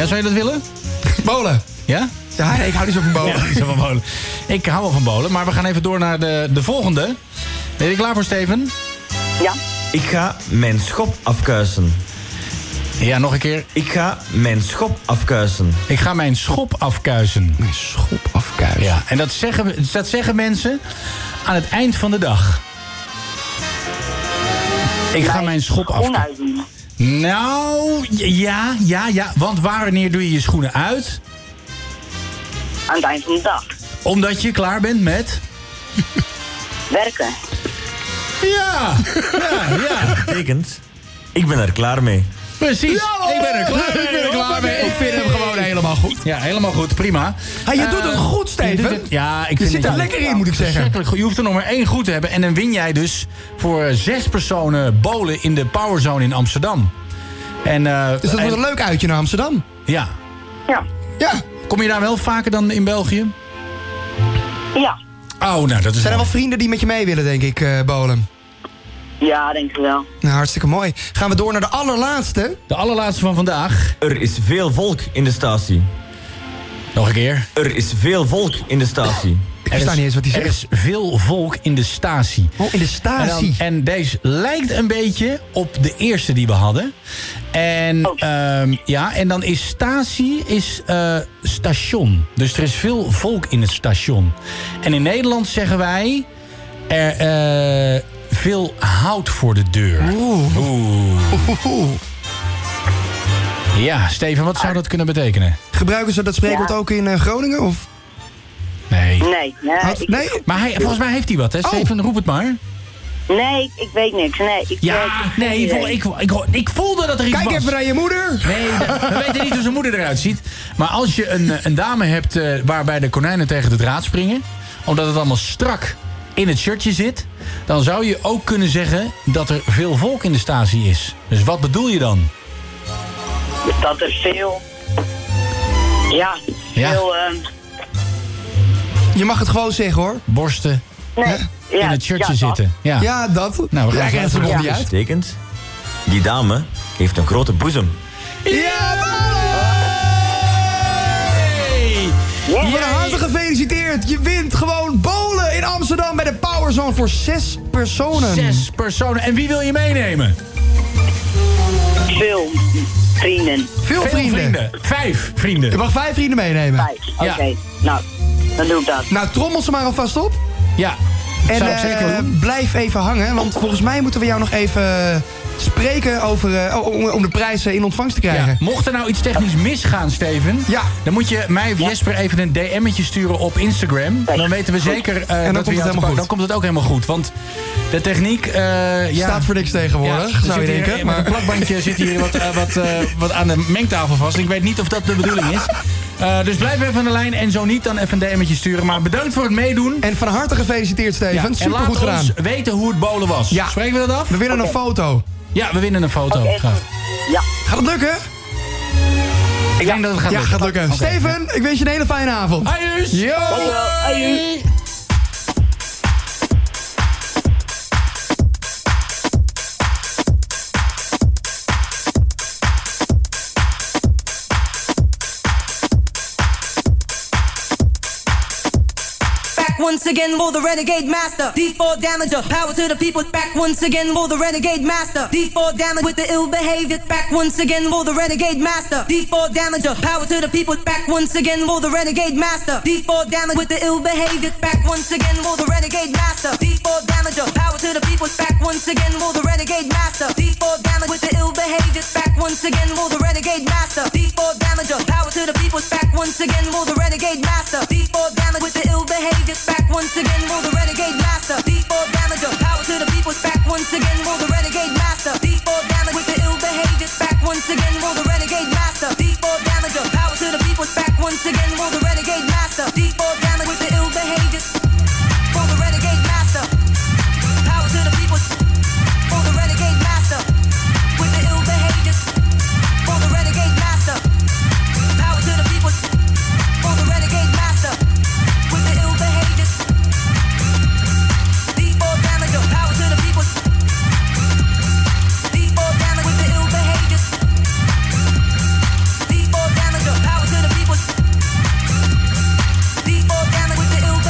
S1: Ja, zou je dat willen?
S2: Bolen.
S1: Ja?
S2: Ja, nee, ik hou niet zo van bolen.
S1: Ja, zo van bolen. Ik hou wel van bolen, maar we gaan even door naar de, de volgende. Ben je klaar voor, Steven?
S9: Ja?
S10: Ik ga mijn schop afkuisen.
S1: Ja, nog een keer.
S10: Ik ga mijn schop afkuisen.
S1: Ik ga mijn schop afkuisen.
S2: Mijn schop afkuisen.
S1: Ja, en dat zeggen, dat zeggen mensen aan het eind van de dag. Ik ga mijn schop
S9: Groen
S1: afkuisen.
S9: uitdoen.
S1: Nou, ja, ja, ja. Want wanneer doe je je schoenen uit?
S9: Aan het eind van de dag.
S1: Omdat je klaar bent met...
S9: Werken.
S1: Ja, ja, ja.
S10: Betekent, ik ben er klaar mee.
S1: Precies. ik ben er klaar mee.
S2: Ik ben er klaar mee. Ik vind hem gewoon helemaal goed.
S1: Ja, helemaal goed. Prima.
S2: Hey, je
S1: Eh,
S2: doet het goed, Steven.
S1: je doet het- Ja, ik
S2: Je
S1: vind
S2: zit
S1: dat
S2: er lekker in, moet ik zeggen.
S1: verschrikkelijk goed. Je hoeft er nog maar één goed te hebben. En dan win jij dus voor zes personen bolen in de Powerzone in Amsterdam. En, eh,
S2: Dus dat wordt
S1: en-
S2: een leuk uitje naar Amsterdam.
S1: Ja.
S9: Ja.
S2: Ja.
S1: Kom je daar wel vaker dan in België?
S9: Ja.
S1: Oh, nou,
S2: Zijn
S1: dat is...
S2: er
S1: mooi.
S2: wel vrienden die met je mee willen, denk ik, eh Bolem?
S9: Ja, denk ik wel.
S2: Nou, hartstikke mooi. Gaan we door naar de allerlaatste.
S1: De allerlaatste van vandaag.
S10: Er is veel volk in de statie.
S1: Nog een keer.
S10: Er is veel volk in de statie.
S2: Ik versta niet eens wat hij
S1: Er
S2: zegt.
S1: is veel volk in de statie.
S2: Oh, in de statie.
S1: En, dan- en deze lijkt een beetje op de eerste die we hadden. En,
S9: Oh.
S1: ehm, ja, en dan is statie is, eh, station. Dus er is veel volk in het station. En in Nederland zeggen wij... Er, eh, veel hout voor de deur.
S2: Oeh.
S1: Ja, Steven, wat zou dat kunnen betekenen?
S2: Gebruiken ze dat spreekwoord ook in eh, Groningen? Of?
S1: Nee.
S9: Nee. Nee,
S2: Had-
S9: ik,
S2: nee? Oh.
S1: Maar hij, volgens mij heeft hij wat, hè? Steven, roep het maar.
S9: nee ik, ik weet niks. Nee, ik,
S1: Ja,
S9: ik heb geen
S1: nee, ik,
S9: idee.
S1: voel- ik, ik, ik voelde dat er iets
S2: Kijk
S1: was.
S2: even naar je moeder.
S1: Nee, we weten niet hoe zijn moeder eruit ziet. Maar als je een, eh, een dame hebt eh, waarbij de konijnen tegen de draad springen... omdat het allemaal strak in het shirtje zit... dan zou je ook kunnen zeggen dat er veel volk in de statie is. Dus wat bedoel je dan?
S9: Dat er veel... Ja,
S1: Ja.
S9: veel... ehm,
S2: Je mag het gewoon zeggen, hoor.
S1: Borsten
S9: nee, ja,
S1: in het shirtje
S9: ja, dat.
S1: zitten. Ja.
S2: Ja, dat.
S1: Nou, we gaan
S2: ja,
S1: eens
S2: ze
S1: luisteren.
S2: niet uit.
S10: Betekent, die dame heeft een grote boezem.
S2: Ja, Bolem! Van harte gefeliciteerd. Je wint gewoon bolen in Amsterdam bij de Powerzone voor zes personen.
S1: Zes personen. En wie wil je meenemen?
S9: Veel vrienden.
S2: Veel,
S1: Veel
S2: vrienden.
S1: Vijf vrienden.
S2: Je mag vijf vrienden meenemen.
S9: Vijf. Oké,
S1: Ja.
S9: nou, dan doe ik dat.
S2: Nou, trommel ze maar alvast op.
S1: Ja,
S2: En
S1: zou ik
S2: eh,
S1: zeker doen.
S2: blijf even hangen, want volgens mij moeten we jou nog even spreken over, eh, om, om de prijzen in ontvangst te
S1: Ja,
S2: krijgen.
S1: mocht er nou iets technisch misgaan, Steven...
S2: Ja.
S1: dan moet je mij of Jesper even een DM'tje sturen op Instagram. Dan weten we zeker eh, dat
S2: dan
S1: we
S2: komt het
S1: jou te
S2: helemaal
S1: pakken-
S2: goed.
S1: Dan komt het ook helemaal goed, want de techniek... eh, ja,
S2: Staat voor niks tegenwoordig,
S1: er
S2: zou je
S1: zit hier-
S2: denken.
S1: Met
S2: Maar
S1: een plakbandje zit hier wat, eh, wat, eh, wat aan de mengtafel vast. Ik weet niet of dat de bedoeling is. Eh, dus blijf even aan de lijn en zo niet, dan even een DM'tje sturen. Maar bedankt voor het meedoen.
S2: En van harte gefeliciteerd,
S1: Ja,
S2: Steven.
S1: en
S2: Super
S1: laat
S2: goed gedaan.
S1: ons weten hoe het bolen was.
S2: Ja.
S1: Spreken we dat af?
S2: We willen een foto.
S1: Ja, we winnen een foto.
S9: Oké,
S1: Graag.
S9: goed. Ja.
S2: Gaat het lukken?
S1: Ik denk dat het gaat
S2: Ja,
S1: lukken.
S2: gaat lukken.
S1: Oké.
S2: Steven, ik wens je een hele fijne avond.
S1: Adios!
S2: Yo!
S11: Back once again for the renegade master. D4 damager. Power to the people. Back once again for the renegade master. D4 damage with the ill behavior. Back once again for the renegade master. D4 damager. Power to the people. Back once again for the renegade master. D4 damage with the ill behavior. Back once again for the renegade master. D4 damager. Power to the people. Back once again for the renegade master. D4 damage with the ill behavior. Back once again for the renegade master. D4 damager. Power to the people. Back once again for the renegade master. D4 damage with the ill behavior. Back once again for the renegade master. D4 damager. Power to the people. Back once again for the renegade master. D4 damage with the ill behavior. Back once again for the renegade master. D4 damager. Power to the people. Back once again for the renegade master. D4 damage with the ill behavior. For the renegade master. Power to the people. For the renegade master. With the ill behavior. For the renegade master. Power to the people. For the renegade master. With the ill behavior. D4 damage. Power to the people. D4 damage with the ill behavior. D4 damage. Power to the people. D4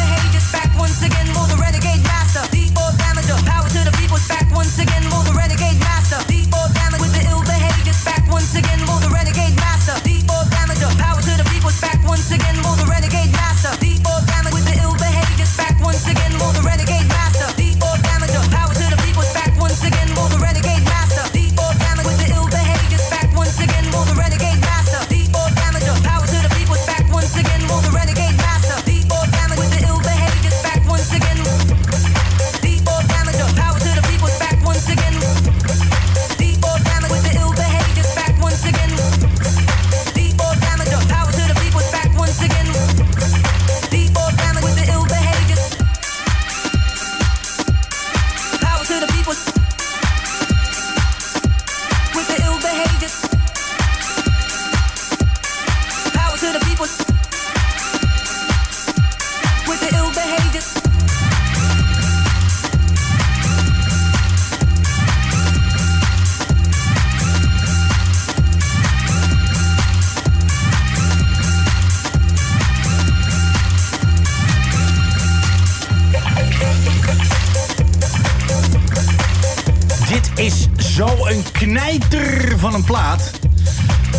S1: Zo'n knijter van een plaat.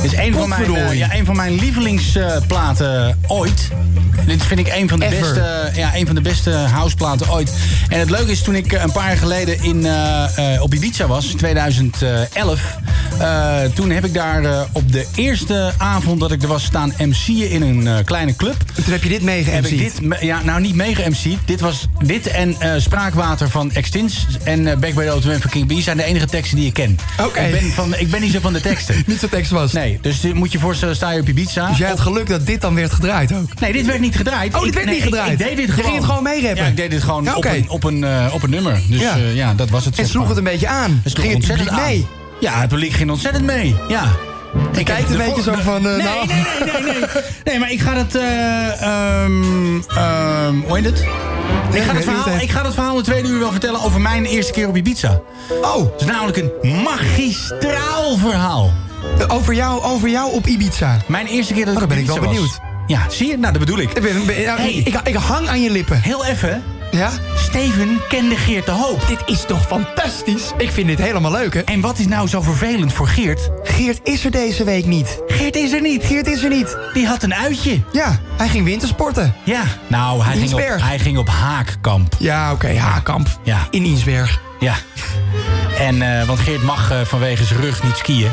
S1: Dit is een van mijn, eh,
S2: Potverdorie.
S1: ja, een van mijn eh, lievelingsplaten ooit. Dit vind ik een van, de
S2: Ever.
S1: beste, ja, een van de beste houseplaten ooit. En het leuke is, toen ik eh, een paar jaar geleden in, eh, eh, op Ibiza was, in 2011... eh, toen heb ik daar eh, op de eerste avond dat ik er was staan MC'en in een eh, kleine club.
S2: Toen heb je dit meege
S1: Heb ik
S2: MC'd?
S1: dit, me- ja, nou niet mega MC. Dit was dit en eh, Spraakwater van Extins en eh, Back by the Old Man van King B zijn de enige teksten die ik ken.
S2: Oké.
S1: Ik, ben van, ik ben niet zo van de teksten.
S2: Niet zo tekst was.
S1: Nee, dus dit moet je voorstellen, sta je op Ibiza.
S2: Dus jij had geluk dat dit dan werd gedraaid ook.
S1: Nee, dit werd niet gedraaid.
S2: Oh, dit
S1: Ik-
S2: werd
S1: nee,
S2: niet gedraaid.
S1: Ik, ik deed dit
S2: Je
S1: gewoon.
S2: ging het gewoon meerappen?
S1: Ja, ik deed dit gewoon
S2: Ja, oké.
S1: op, een, op, een, eh, op een nummer. Dus ja.
S2: Ja.
S1: ja, dat was het.
S2: En
S1: zeg
S2: sloeg
S1: maar.
S2: het een beetje aan.
S1: Dus
S2: ging het publiek mee?
S1: Ja, het publiek ging ontzettend mee. Ja. Ik
S2: kijkt
S1: heb
S2: een
S1: de
S2: beetje
S1: volgende-
S2: zo van, eh,
S1: nee,
S2: nou.
S1: nee, nee, nee, nee. Nee, maar ik ga het... eh, ehm, ehm, hoe heet het? Ik
S2: weet
S1: ga
S2: niet,
S1: het, verhaal,
S2: hè.
S1: ik ga het verhaal in de tweede uur wel vertellen over mijn eerste keer op Ibiza.
S2: Oh,
S1: Het is namelijk een magistraal verhaal.
S2: over jou, over jou Nou, op Ibiza.
S1: Mijn eerste keer dat ik
S2: Oh,
S1: op
S2: dan ben ik
S1: Ibiza
S2: wel
S1: was.
S2: benieuwd.
S1: Ja, zie je? Nou, dat bedoel ik.
S2: Ik, ben- ben- nou,
S1: Hey.
S2: ik, ik hang aan je lippen.
S1: Heel even,
S2: Ja?
S1: Steven kende Geert de Hoop.
S2: Dit is toch fantastisch? Ik vind dit helemaal leuk, hè?
S1: En wat is nou zo vervelend voor Geert?
S2: Geert is er deze week niet.
S1: Geert is er niet.
S2: Geert is er niet.
S1: Die had een uitje.
S2: Ja, hij ging wintersporten.
S1: Ja. Nou, hij, ging op,
S2: Liesberg.
S1: hij ging op haakkamp.
S2: Ja, oké, Haakamp.
S1: Ja.
S2: In Iensberg.
S1: Ja. En, eh, want Geert mag eh, vanwege zijn rug niet skiën.
S2: Nee,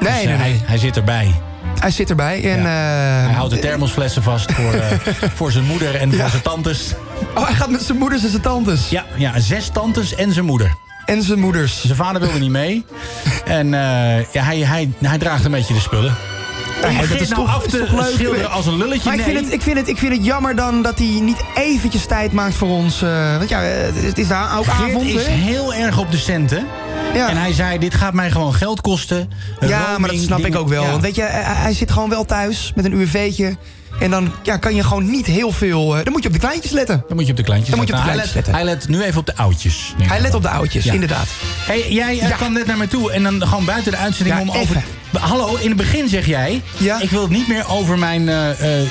S1: Dus, eh,
S2: nee, nee.
S1: Hij,
S2: Hij,
S1: hij zit erbij.
S2: zit erbij en... eh,
S1: Hij houdt de thermosflessen vast voor, eh, voor zijn moeder en voor zijn tantes.
S2: Oh, hij gaat met zijn moeders en zijn tantes.
S1: Ja, ja, zes tantes en zijn moeder.
S2: En zijn moeders.
S1: Zijn vader wilde niet mee. En eh, ja, hij, hij, hij draagt een beetje de spullen. Om
S2: dat
S1: Geert
S2: is
S1: nou
S2: toch-
S1: af
S2: is
S1: te
S2: toch leuk?
S1: schilderen als een lulletje,
S2: Maar ik,
S1: nee.
S2: vind het, ik, vind het, ik vind het jammer dan dat hij niet eventjes tijd maakt voor ons. eh, want ja, eh, het is- het is daar ook
S1: Geert
S2: avond,
S1: is
S2: hè?
S1: heel erg op de centen.
S2: Ja.
S1: En hij zei, dit gaat mij gewoon geld kosten.
S2: Ja, maar dat snap ik ook wel. Want weet je, hij, hij zit gewoon wel thuis met een UFV'tje. En dan ja, kan je gewoon niet heel veel... eh, dan moet je op de kleintjes letten.
S1: Dan moet je op de kleintjes
S2: Dan moet je op de
S1: letten. Nou,
S2: kleintjes
S1: hij, let, hij let nu even op de oudjes. denk
S2: Hij
S1: ik.
S2: let op de oudjes,
S1: Ja.
S2: inderdaad.
S1: Hey, jij eh,
S2: Ja.
S1: kwam net naar me toe en dan gewoon buiten de uitzending
S2: Ja,
S1: om over...
S2: even.
S1: Ba- Hallo, in het begin zeg jij...
S2: Ja.
S1: ik wil het niet meer over mijn eh, eh, eh,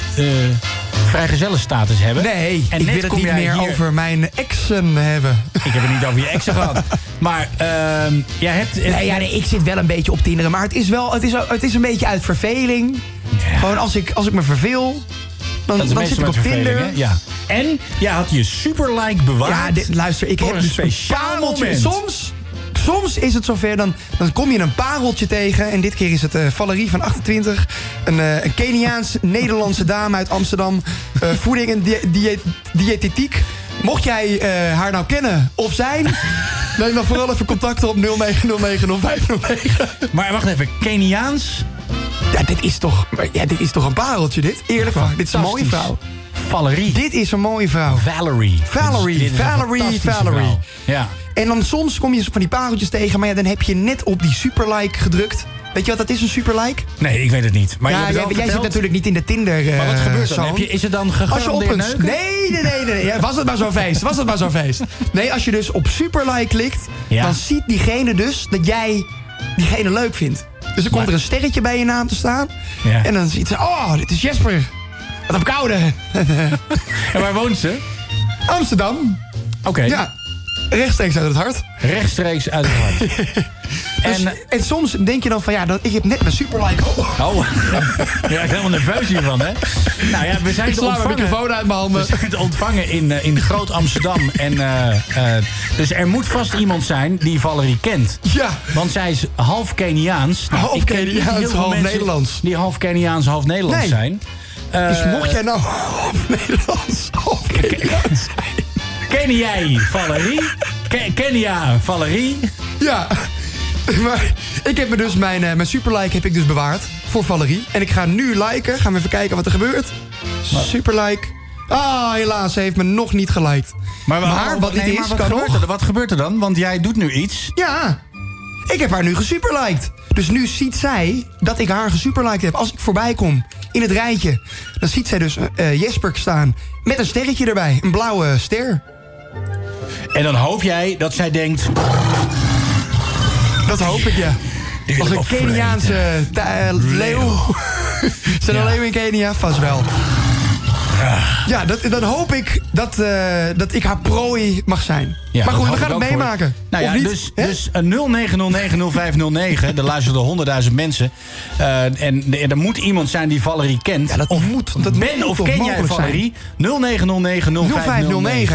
S1: vrijgezellenstatus hebben.
S2: Nee,
S1: en
S2: ik
S1: net
S2: wil het
S1: kom
S2: niet
S1: jij
S2: meer
S1: hier-
S2: over mijn exen hebben.
S1: Ik heb het niet over je exen gehad. Maar ehm, jij hebt... eh,
S2: Nee, ja, nee, ik zit wel een beetje op Tinder, maar het is wel, het is, het is een beetje uit verveling. Gewoon als ik, als ik me verveel, dan,
S1: dat is
S2: dan zit ik
S1: meestal met
S2: op
S1: verveling,
S2: Tinder.
S1: hè? Ja. En jij had je superlike bewaard.
S2: Ja, dit, luister, ik
S1: Voor
S2: heb
S1: een
S2: dus een
S1: speciaal
S2: pareltje.
S1: moment.
S2: Soms, soms is het zover, dan, dan kom je een pareltje tegen. En dit keer is het eh, Valerie van 28. Een, eh, een Keniaans-Nederlandse dame uit Amsterdam. eh, voeding en die- die- diëtetiek. Mocht jij eh, haar nou kennen of zijn... neem dan vooral even contact op 09090509.
S1: Maar wacht even, Keniaans?
S2: Ja, dit is toch, maar ja, dit is toch een pareltje, dit? Eerlijk waar, dit is een mooie
S1: Fantastisch.
S2: vrouw.
S1: Valerie.
S2: Dit is een mooie vrouw.
S1: Valerie.
S2: Valerie,
S1: Dit is- dit is een
S2: Valerie,
S1: fantastische
S2: Valerie.
S1: vrouw. Ja.
S2: En dan soms kom je van die pareltjes tegen, maar ja, dan heb je net op die superlike gedrukt. Weet je wat dat is, een superlike?
S1: Nee, ik weet het niet. Maar je
S2: ja,
S1: hebt het
S2: jij,
S1: wel
S2: jij zit
S1: verteld.
S2: natuurlijk niet in de Tinder. eh,
S1: Maar wat gebeurt er dan?
S2: zone.
S1: Heb je, is het dan
S2: Als je op
S1: gegarandeerd
S2: een.
S1: neuken?
S2: Nee, nee, nee, nee. Ja, was het maar zo'n feest? Was het maar zo'n feest? Nee, als je dus op superlike klikt,
S1: Ja.
S2: dan ziet diegene dus dat jij diegene leuk vindt. Dus dan komt
S1: Maar-
S2: er een sterretje bij je naam te staan.
S1: Ja.
S2: En dan ziet ze, oh, dit is Jesper. Wat op koude.
S1: En waar woont ze?
S2: Amsterdam.
S1: Oké,
S2: Ja, rechtstreeks uit het hart.
S1: rechtstreeks uit het hart.
S2: Dus-
S1: en...
S2: en, soms denk je dan van ja, dat, ik heb net mijn superlike. Oh,
S1: Oh, ja, ik ben helemaal nerveus hiervan, hè? Nou ja, we zijn
S2: ik
S1: te
S2: sla mijn
S1: ontvangen.
S2: microfoon uit mijn
S1: We
S2: handen.
S1: zijn te ontvangen in, eh, in Groot Amsterdam. En, eh, eh, dus er moet vast iemand zijn die Valerie kent.
S2: Ja.
S1: Want zij is half Keniaans. Nou,
S2: Half
S1: ik ken niet
S2: Keniaans,
S1: heel veel
S2: half
S1: mensen
S2: Nederlands.
S1: Die half Keniaans, half Nederlands
S2: Nee.
S1: zijn. Eh,
S2: Dus mocht jij nou half Nederlands, half Nederlands zijn.
S1: Ken jij Valerie? Ken, Kenia Valerie?
S2: Ja. Maar ik heb me dus mijn, eh, mijn superlike heb ik dus bewaard voor Valerie. En ik ga nu liken. Gaan we even kijken wat er gebeurt. Superlike. Ah, helaas, ze heeft me nog niet geliked. Maar, wat
S1: nee,
S2: dit
S1: maar
S2: is,
S1: wat
S2: kan
S1: gebeurt
S2: nog.
S1: er, wat gebeurt er dan? Want jij doet nu iets.
S2: Ja, ik heb haar nu gesuperliked. Dus nu ziet zij dat ik haar gesuperliked heb. Als ik voorbij kom in het rijtje, dan ziet zij dus eh, eh, Jesper staan. Met een sterretje erbij, een blauwe ster.
S1: En dan hoop jij dat zij denkt...
S2: Dat hoop ik, ja.
S1: wil
S2: Als
S1: ik
S2: een
S1: wel
S2: Keniaanse ta- eh, leeuw. Zijn er
S1: Ja.
S2: leeuwen in Kenia? Vast wel. Ja, dat, dan hoop ik dat, eh, dat ik haar prooi mag zijn. maar
S1: Ja, dat
S2: goed, we gaan
S1: hoop ik
S2: het
S1: ook voor
S2: meemaken.
S1: je. Nou
S2: Of
S1: ja,
S2: niet,
S1: dus,
S2: hè?
S1: dus eh, 0909-0509, daar luisteren honderdduizend mensen. Eh, en, en er moet iemand zijn die Valerie kent. dat of, moet,
S2: dat
S1: ben
S2: moet
S1: of
S2: toch
S1: ken jij
S2: mogelijk zijn?
S1: Valerie?
S2: 0509.
S1: 0909-0509.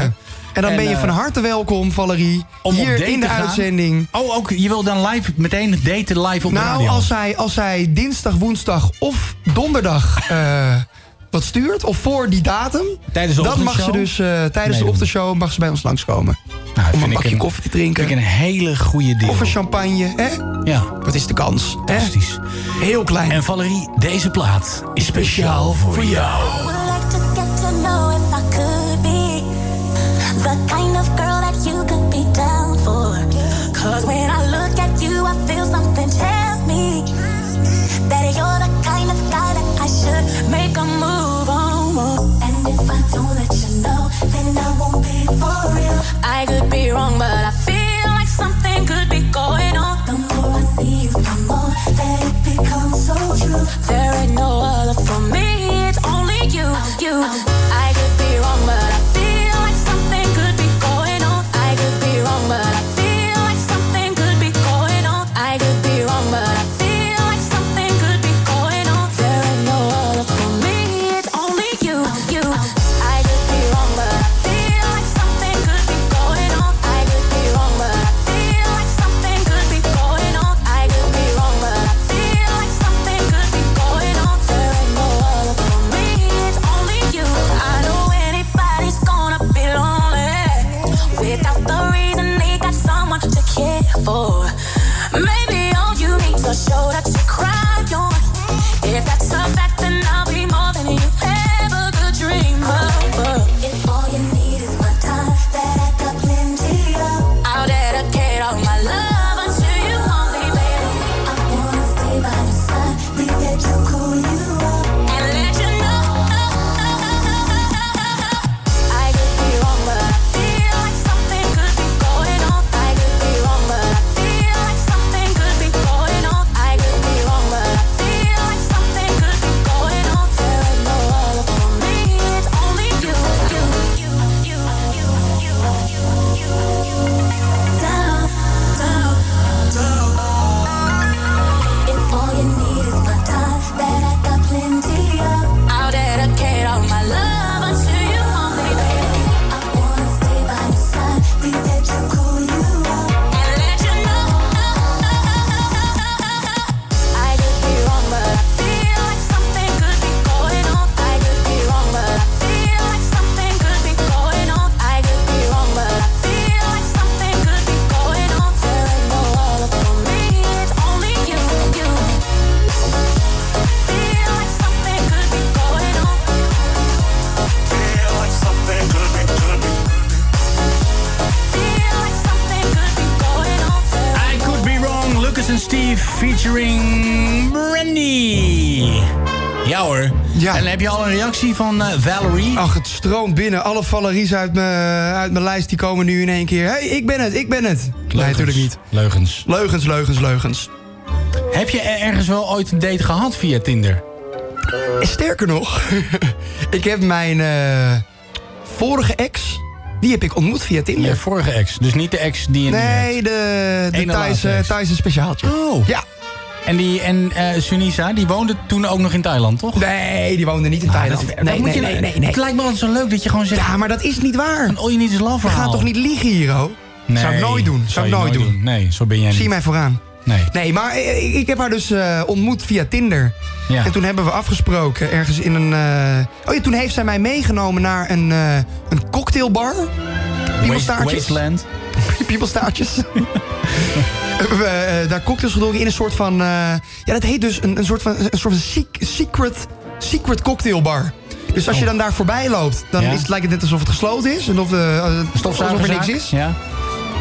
S2: En dan ben je van harte welkom, Valerie.
S1: Eh, om op
S2: hier
S1: date
S2: in de
S1: te gaan?
S2: uitzending.
S1: Oh, ook, je wil dan live meteen daten live op de
S2: nou,
S1: radio?
S2: als zij, als zij dinsdag, woensdag of donderdag eh, wat stuurt, of voor die datum,
S1: Tijdens de
S2: dan mag ze
S1: ochtendshow?
S2: dus eh, tijdens de
S1: Meedoen.
S2: ochtendshow mag ze bij ons langskomen.
S1: Nou,
S2: Om
S1: vind
S2: een
S1: ik
S2: bakje koffie te drinken.
S1: Vind ik een hele goede deal.
S2: Of een champagne, hè?
S1: Ja.
S2: Wat is de kans? hè?
S1: Fantastisch.
S2: Heel klein.
S1: En Valerie, deze plaat is speciaal voor
S8: I
S1: jou.
S8: would like to get to know if I could be the kind of girl that you could be down for. Cause when I look at you, I feel something tells me that you're the kind of guy that I should make a move on. And if I don't let you know, then I won't be for real. I could be wrong, but I feel like something could be going on. The more I see you, the more that it becomes so true. There ain't no other for me, it's only you, you. I could be wrong, but I feel like something could be going on. I could be wrong, but I feel like something could be going on. I could be wrong, but I feel like something could be going on. There ain't no other for me, it's only you, you. I could be wrong, but I feel like something could be going on. I could be wrong, but I feel like something could be going on. I could be wrong, but I feel like something could be going on. There ain't no other for me, it's only you. I know anybody's gonna be lonely without the reason they got someone to care for. Maybe all you need to show that you cry on. If that's a fact, then I'll be more than you ever could dream of. If all you need is my time, that I got plenty of. I'll dedicate all my love until you want me, baby. I wanna stay by your side, leave it to cool you up, and let you know. I could be wrong, but I feel like something could be going on. I could be wrong, but I feel like something could be going on. I could be wrong, but I feel like something could be going on. There ain't no other for me. It's only you, you, you, you, you, you, you, you, you. Down, down, down. If all you need is my time, that I got plenty of. I'll dedicate all my love until you want me, baby. I wanna stay by your side, be there to cool you up, and let you know. I could be wrong, but I feel like something could be going on. I could be wrong, but I feel like something could be going on. I could be wrong, but I feel like something could be going on. There ain't no other for me. It's only you, you. Feel like something could be going on. Feel like something could be, could be. Feel like something could be going on.
S1: I could be wrong, Lucas en Steve featuring Brandy. Ja hoor.
S2: Ja.
S1: En heb je al een reactie van eh, Valerie?
S2: Ach, het stroomt binnen. Alle Valerie's uit mijn uit mijn lijst die komen nu in één keer. hey, ik ben het, ik ben het. Nee, natuurlijk niet.
S1: Leugens.
S2: Leugens, leugens, leugens.
S1: Heb je er- ergens wel ooit een date gehad via Tinder?
S2: Eh, Sterker nog, ik heb mijn eh, vorige ex, die heb ik ontmoet via Tinder.
S1: Je vorige ex. Dus niet de ex die je nu hebt.
S2: Nee, de, de
S1: Ene
S2: Thais,
S1: laatste
S2: eh,
S1: ex.
S2: Thais een speciaaltje.
S1: Oh.
S2: Ja.
S1: En, die, en eh, Sunisa, die woonde toen ook nog in Thailand, toch?
S2: Nee, die woonde niet in
S1: Ah,
S2: Thailand.
S1: dat, dat
S2: nee,
S1: moet
S2: nee,
S1: je,
S2: nee, nee, nee.
S1: Het lijkt me altijd zo leuk dat je gewoon zegt...
S2: Ja, maar dat is niet waar.
S1: Een all you need is love
S2: We gaan
S1: verhaal.
S2: toch niet liegen hier, ho?
S1: Nee,
S2: Zou ik nooit doen. Zou
S1: zou
S2: ik
S1: je
S2: nooit doen.
S1: Nee, zo ben jij niet.
S2: Zie mij vooraan.
S1: Nee.
S2: Nee, maar eh, ik, ik heb haar dus eh, ontmoet via Tinder.
S1: Ja.
S2: En toen hebben we afgesproken ergens in een... eh, Oh ja, toen heeft zij mij meegenomen naar een, eh, een cocktailbar.
S1: Waste,
S2: Piemelstaartjes.
S1: Wasteland.
S2: Piepelstaartjes. hebben we eh, daar cocktails gedronken in een soort van... eh, ja, dat heet dus een, een soort van, een soort van sec- secret, secret cocktailbar. Dus als je dan daar voorbij loopt, dan
S1: Oh. Ja.
S2: is het, lijkt het net alsof het gesloten is. En of, de eh, alsof er niks
S1: Stofzuigerzaak.
S2: is.
S1: Ja.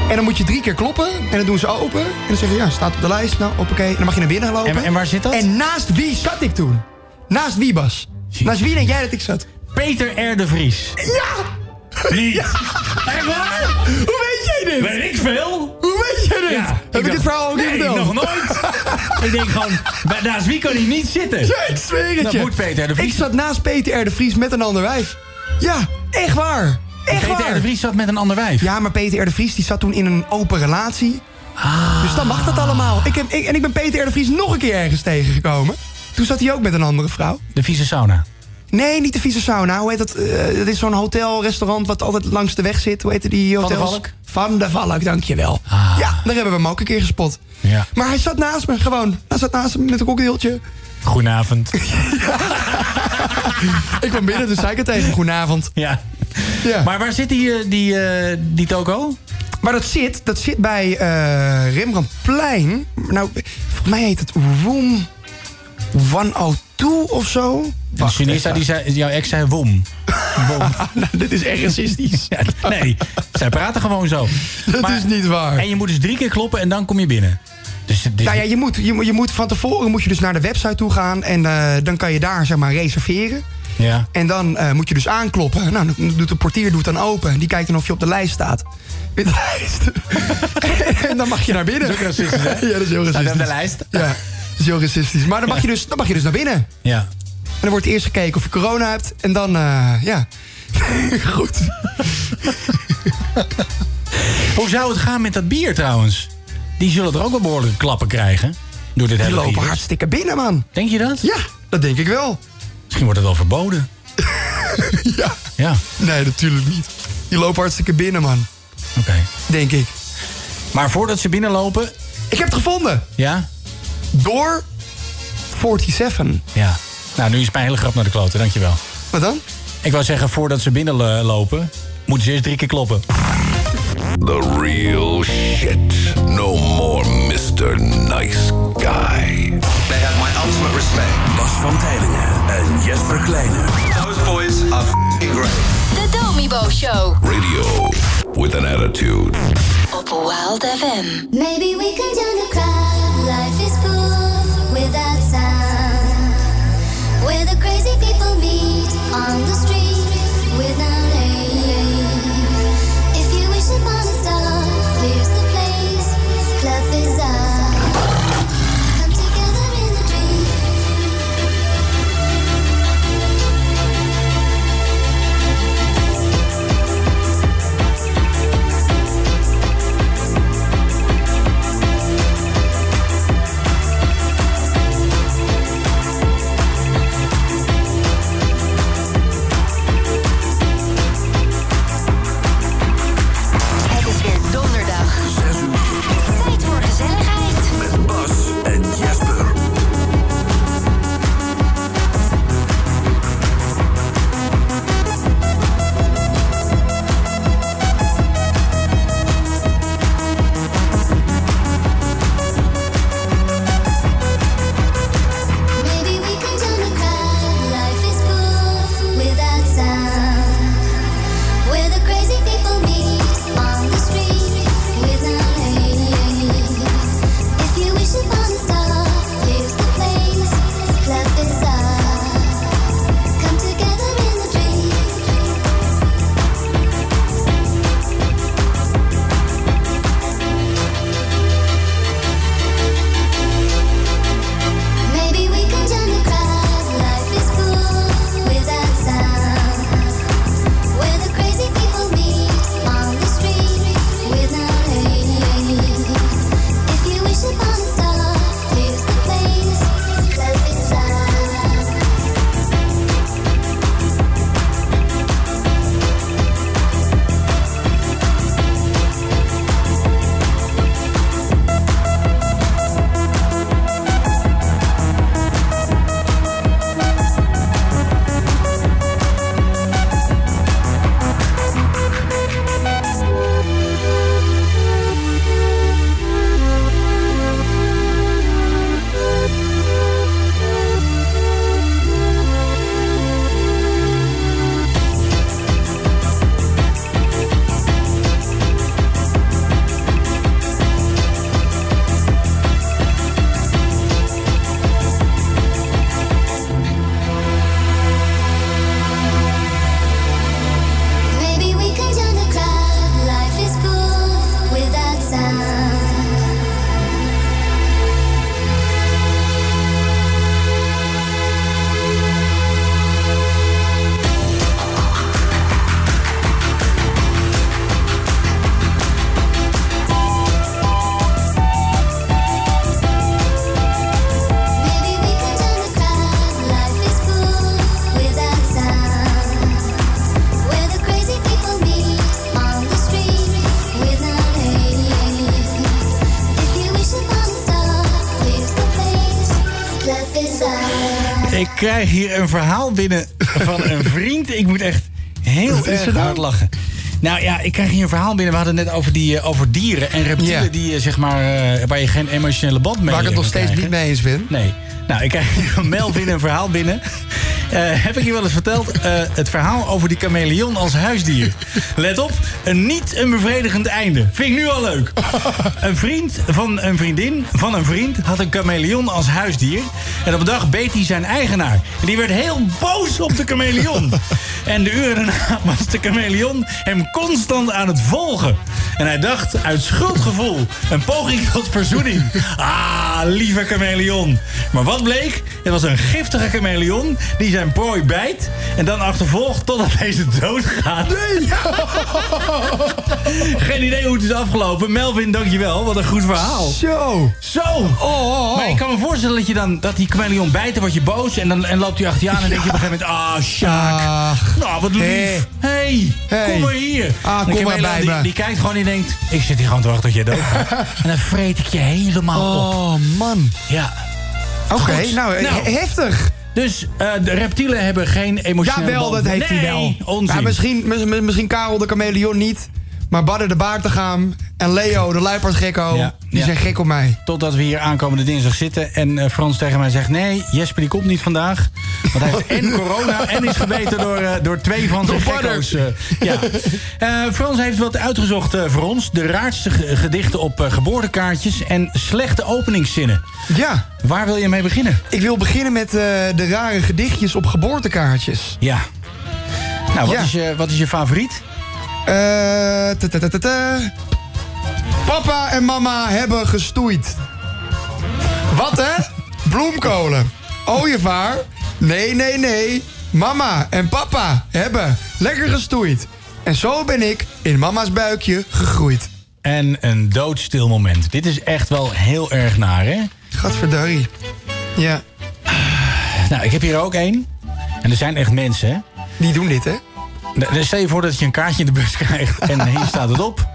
S2: En dan moet je drie keer kloppen. En dan doen ze open. En dan zeggen ze, ja, staat op de lijst. Nou, hoppakee. En dan mag je naar binnen lopen.
S1: En- en waar zit dat?
S2: En naast wie zat ik toen? Naast wie, Bas? Naast wie denk jij dat ik zat?
S1: Peter R. de Vries.
S2: Ja!
S1: Niet. Echt waar?
S2: Hoe weet jij dit?
S1: ik veel?
S2: Hoe weet jij dit?
S1: Ja,
S2: Heb ik
S1: dacht-
S2: het verhaal ook niet
S1: nee,
S2: verteld?
S1: nog nooit. ik denk gewoon, bij- naast wie kan hij niet zitten?
S2: Ja, ik zweer het
S1: Dat
S2: je.
S1: moet Peter de Vries.
S2: Ik zat naast Peter R. de Vries met een ander wijf. Ja, echt waar. Echt
S1: Peter
S2: waar.
S1: R. de Vries zat met een ander wijf?
S2: Ja, maar Peter R. de Vries die zat toen in een open relatie.
S1: Ah.
S2: Dus dan mag dat allemaal. Ik heb, ik, en ik ben Peter R. de Vries nog een keer ergens tegengekomen. Toen zat hij ook met een andere vrouw.
S1: De vieze sauna.
S2: Nee, niet de vieze sauna. Hoe heet dat? Eh, dat is zo'n hotelrestaurant wat altijd langs de weg zit. Hoe heette die
S1: Van de
S2: hotels?
S1: Valk? Ah.
S2: Van de Valk, dankjewel. Ja, daar hebben we hem ook een keer gespot.
S1: Ja.
S2: Maar hij zat naast me gewoon. Hij zat naast me met een kokdeeltje.
S1: Goedenavond.
S2: Ik kwam binnen, dus zei ik het tegen hem. Goedenavond.
S1: Ja.
S2: Ja.
S1: Maar waar zit die, eh, die, eh, die toko?
S2: Maar dat zit, dat zit bij eh, Rembrandtplein. Nou, volgens mij heet het Room 102 of zo.
S1: De
S2: Wacht,
S1: Chinesa,
S2: even.
S1: die zei, jouw ex zei wom. Wom.
S2: Nou, dit is echt racistisch.
S1: Ja, nee, zij praten gewoon zo.
S2: Dat is niet waar.
S1: En je moet dus drie keer kloppen en dan kom je binnen. Dus, het is-
S2: Nou ja, je moet, je, moet- je moet van tevoren moet je dus naar de website toe gaan. En eh, dan kan je daar zeg maar reserveren.
S1: ja.
S2: En dan eh, moet je dus aankloppen. Nou, dan doet de portier doet dan open. Die kijkt dan of je op de lijst staat. In de lijst. en dan mag je naar binnen.
S1: Dat is ook racistisch, hè?
S2: Ja, dat is heel
S1: Staat
S2: racistisch.
S1: op de lijst?
S2: Ja, dat is heel racistisch. Maar dan mag je dus, dan mag je dus naar binnen.
S1: ja.
S2: En dan wordt eerst gekeken of je corona hebt. En dan, eh, ja. Goed.
S1: Hoe zou het gaan met dat bier trouwens? Die zullen er ook wel behoorlijke klappen krijgen. Door dit
S2: Die
S1: hele
S2: lopen
S1: virus.
S2: hartstikke binnen, man.
S1: Denk je dat?
S2: Ja, dat denk ik wel.
S1: Misschien wordt het wel verboden.
S2: Ja.
S1: Ja,
S2: Nee, natuurlijk niet. Die lopen hartstikke binnen, man.
S1: oké.
S2: Denk ik.
S1: Maar voordat ze binnenlopen...
S2: Ik heb het gevonden.
S1: Ja?
S2: Door 47.
S1: Ja. Nou, nu is mijn hele grap naar de kloten. Dankjewel.
S2: Wat dan?
S1: Ik wou zeggen, voordat ze binnenlopen... moeten ze eerst drie keer kloppen.
S5: The real shit. No more Mr. Nice Guy.
S12: They have my ultimate respect.
S5: Bas van Tijlingen en Jesper Kleine.
S12: Those boys are f***ing great.
S6: De Domibo Show.
S5: Radio with an attitude.
S6: Op Wild FM.
S4: Maybe we could join the club. Life is cool without sound. Where the crazy people meet on the street without aim. If you wish upon a star, here's the place. Club is ours. Come together in the dream.
S1: Ik krijg hier een verhaal binnen van een vriend. Ik moet echt heel
S2: Wat is er
S1: erg
S2: dan?
S1: hard lachen. Nou ja, ik krijg hier een verhaal binnen. We hadden het net over, die, eh, over dieren en reptielen...
S2: Ja.
S1: Die, eh, zeg maar, eh, waar je geen emotionele band mee hebt.
S2: Waar ik het nog steeds niet mee eens ben.
S1: Nee. Nou, ik krijg hier een mail binnen, een verhaal binnen. Eh, heb ik je wel eens verteld? eh, het verhaal over die chameleon als huisdier. Let op, een niet een bevredigend einde. Vind ik nu al leuk. Een vriend van een vriendin van een vriend had een chameleon als huisdier. En op een dag beet hij zijn eigenaar. En die werd heel boos op de chameleon. En de uren daarna was de chameleon hem constant aan het volgen. En hij dacht uit schuldgevoel een poging tot verzoening. Ah, lieve chameleon. Maar wat bleek? Het was een giftige chameleon die zijn prooi bijt... en dan achtervolgt totdat deze doodgaat. Nee! Geen idee hoe het is afgelopen. Melvin, dankjewel. Wat een goed verhaal.
S2: Zo.
S1: Zo. Maar ik kan me voorstellen dat, je dan, dat die chameleon bijt... en word je boos en dan en loopt hij achter je aan... en denk je op een gegeven moment... Ah, Sjaak. nou, wat lief.
S2: Hey.
S1: Hey,
S2: Hey.
S1: kom maar hier.
S2: Ah,
S1: En
S2: kom
S1: Camilla,
S2: maar bij
S1: die,
S2: me.
S1: Die kijkt gewoon en denkt... Ik zit hier gewoon te wachten tot je doodgaat. en dan vreet ik je helemaal op.
S2: Oh, man.
S1: Ja.
S2: Oké,
S1: Goed.
S2: nou, he-
S1: Nou.
S2: heftig.
S1: Dus eh, de reptielen hebben geen emotionele
S2: Jawel,
S1: band.
S2: dat heeft
S1: nee,
S2: hij wel.
S1: Onzin.
S2: Ja, misschien, mis- mis- misschien Karel de chameleon niet. Maar Badder de baartegaam en Leo de luipaardgekko...
S1: Ja,
S2: die
S1: ja.
S2: zijn gek op mij.
S1: Totdat we hier aankomende dinsdag zitten en eh, Frans tegen mij zegt... nee, Jesper die komt niet vandaag. Want hij heeft en corona en is gebeten door, eh, door twee van zijn
S2: Door Badder.
S1: gekko's. eh, ja. Eh, Frans heeft wat uitgezocht eh, voor ons. De raarste ge- gedichten op eh, geboortekaartjes en slechte openingszinnen.
S2: Ja,
S1: Waar wil je mee beginnen?
S2: ik wil beginnen met eh, de rare gedichtjes op geboortekaartjes.
S1: Ja. Nou, wat,
S2: Ja.
S1: is, je, wat is je favoriet?
S2: Eh, ta- ta- ta- ta- ta. Papa en mama hebben gestoeid. Wat hè? Bloemkolen. Ooievaar. Nee, nee, nee. Mama en papa hebben lekker gestoeid. En zo ben ik in mama's buikje gegroeid.
S1: En een doodstil moment. Dit is echt wel heel erg naar, hè?
S2: Gadverdarrie. Ja,
S1: Nou, ik heb hier ook één. En er zijn echt mensen, hè?
S2: die doen dit hè?
S1: Nou, dan Stel je voor dat je een kaartje in de bus krijgt en hier staat het op.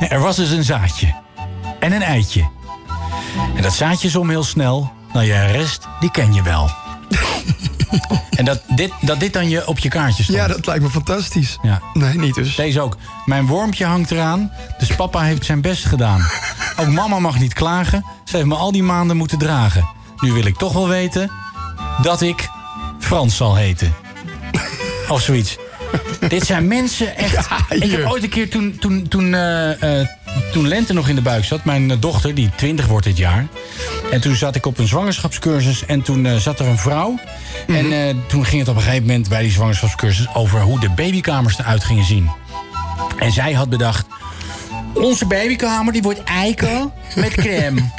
S1: Er was dus een zaadje. En een eitje. En dat zaadje zwom heel snel. Nou ja, de rest, die ken je wel. en dat dit, dat dit dan je op je kaartje stond.
S2: Ja, dat lijkt me fantastisch.
S1: Ja.
S2: Nee, niet dus.
S1: Deze ook. Mijn wormpje hangt eraan, dus papa heeft zijn best gedaan. Ook mama mag niet klagen, ze heeft me al die maanden moeten dragen. Nu wil ik toch wel weten dat ik Frans zal heten. Of zoiets. Dit zijn mensen echt... ik heb
S2: joh.
S1: ooit een keer toen, toen, toen, eh, eh, toen Lente nog in de buik zat... mijn eh, dochter, die 20 wordt dit jaar... en toen zat ik op een zwangerschapscursus... en toen eh, zat er een vrouw... en eh, toen ging het op een gegeven moment bij die zwangerschapscursus... over hoe de babykamers eruit gingen zien. En zij had bedacht... Onze babykamer die wordt eiken met crème.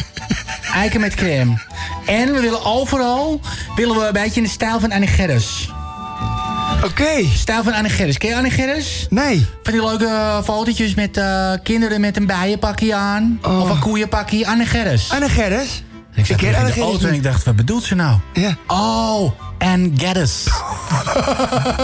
S1: Eiken met crème. En we willen overal willen we een beetje in de stijl van Anne Gerris.
S2: Oké.
S1: Stijl van Anne Gerris. Ken je Anne Gerris?
S2: Nee.
S1: Van die leuke eh, fotootjes met eh, kinderen met een bijenpakje aan.
S2: Oh.
S1: Of een koeienpakje. Anne Gerris.
S2: Anne Gerdes.
S1: Ik zat
S2: ken
S1: in
S2: Anne
S1: de
S2: Gerris
S1: auto en
S2: niet.
S1: ik dacht, wat bedoelt ze nou?
S2: Ja.
S1: Oh, Anne Gerris.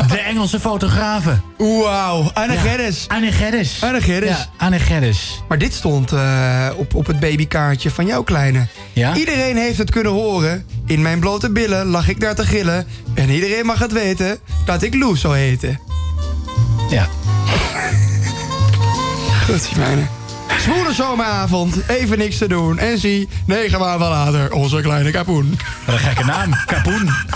S1: de Engelse fotografe.
S2: Wauw, Anne Gerdes.
S1: Anne Gerris.
S2: Anne Gerris.
S1: Ja, Anne Gerris.
S2: Maar dit stond eh, op, op het babykaartje van jouw kleine.
S1: Ja?
S2: Iedereen heeft het kunnen horen. In mijn blote billen lag ik daar te gillen. En iedereen mag het weten dat ik Lou zou heten.
S1: Ja.
S2: Goed, mijne. Zwoele zomeravond, even niks te doen. En zie, negen maanden later, onze kleine kapoen.
S1: Wat een gekke naam. Kapoen.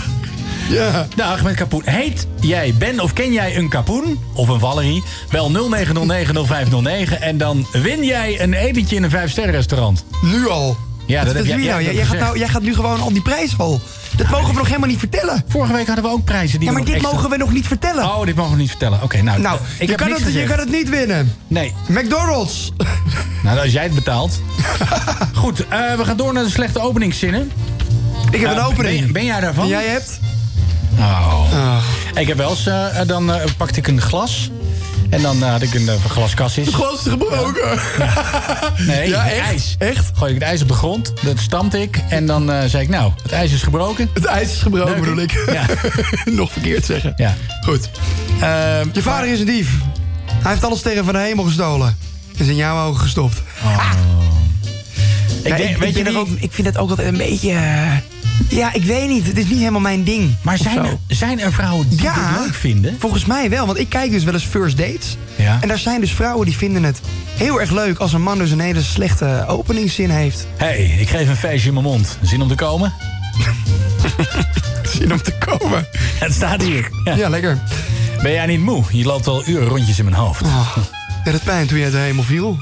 S2: Ja.
S1: Dag met Kapoen. Heet jij, ben of ken jij een Kapoen of een Valerie? Bel 09090509 en dan win jij een etentje in een 5 restaurant.
S2: Nu al.
S1: Ja, dat
S2: Wat
S1: heb
S2: doe je
S1: jij- jij
S2: nou? Jij,
S1: hebt
S2: jij
S1: dat
S2: gaat
S1: gezegd.
S2: nou? Jij gaat nu gewoon al die prijs al. Dat mogen we nog helemaal niet vertellen.
S1: Vorige week hadden we ook prijzen die
S2: Ja, maar
S1: we nog
S2: dit
S1: extra-
S2: mogen we nog niet vertellen.
S1: Oh, dit mogen we niet vertellen. Oké, nou,
S2: Nou,
S1: eh, ik
S2: je,
S1: heb
S2: kan
S1: niks
S2: het, je
S1: gezegd.
S2: kan het niet winnen.
S1: Nee,
S2: McDonald's.
S1: nou als jij het betaalt. Goed, eh, we gaan door naar de slechte openingszinnen.
S2: Ik heb een
S1: Nou,
S2: opening.
S1: Ben, ben jij daarvan?
S2: En jij hebt? Ah.
S1: Oh. Ik heb wel eens, eh, eh, dan eh, pakte ik een glas. En dan eh, had ik een eh, glaskassis.
S2: Glas gebroken.
S1: Nee,
S2: Ja,
S1: het
S2: echt?
S1: ijs.
S2: Echt?
S1: Gooi ik het ijs op de grond, dat stampte ik. En dan eh, zei ik, nou, het ijs is gebroken.
S2: Het ijs is gebroken,
S1: Leuk, hè?
S2: bedoel ik.
S1: Ja.
S2: Nog verkeerd zeggen.
S1: Ja.
S2: Goed.
S1: Ehm,
S2: Je vader is een dief. Hij heeft alles tegen van de hemel gestolen. Is in jouw ogen gestopt.
S1: Oh. ik denk, weet je
S10: vind
S1: wie,
S10: dat ook, ik vind dat ook altijd een beetje... eh,
S2: Ja, ik weet niet. Het is niet helemaal mijn ding.
S1: Maar zijn er- zijn er vrouwen die
S2: ja,
S1: dit leuk vinden?
S2: Volgens mij wel, want ik kijk dus wel eens first dates.
S1: Ja.
S2: En daar zijn dus vrouwen die vinden het heel erg leuk als een man dus een hele slechte openingszin heeft.
S1: Hé, hey, ik geef een feestje in mijn mond. Zin om te komen?
S2: Zin om te komen?
S1: Het staat hier. Ja.
S2: lekker.
S1: Ben jij niet moe? Je loopt al uren rondjes in mijn hoofd.
S2: Oh, Deed het pijn toen je uit de hemel viel?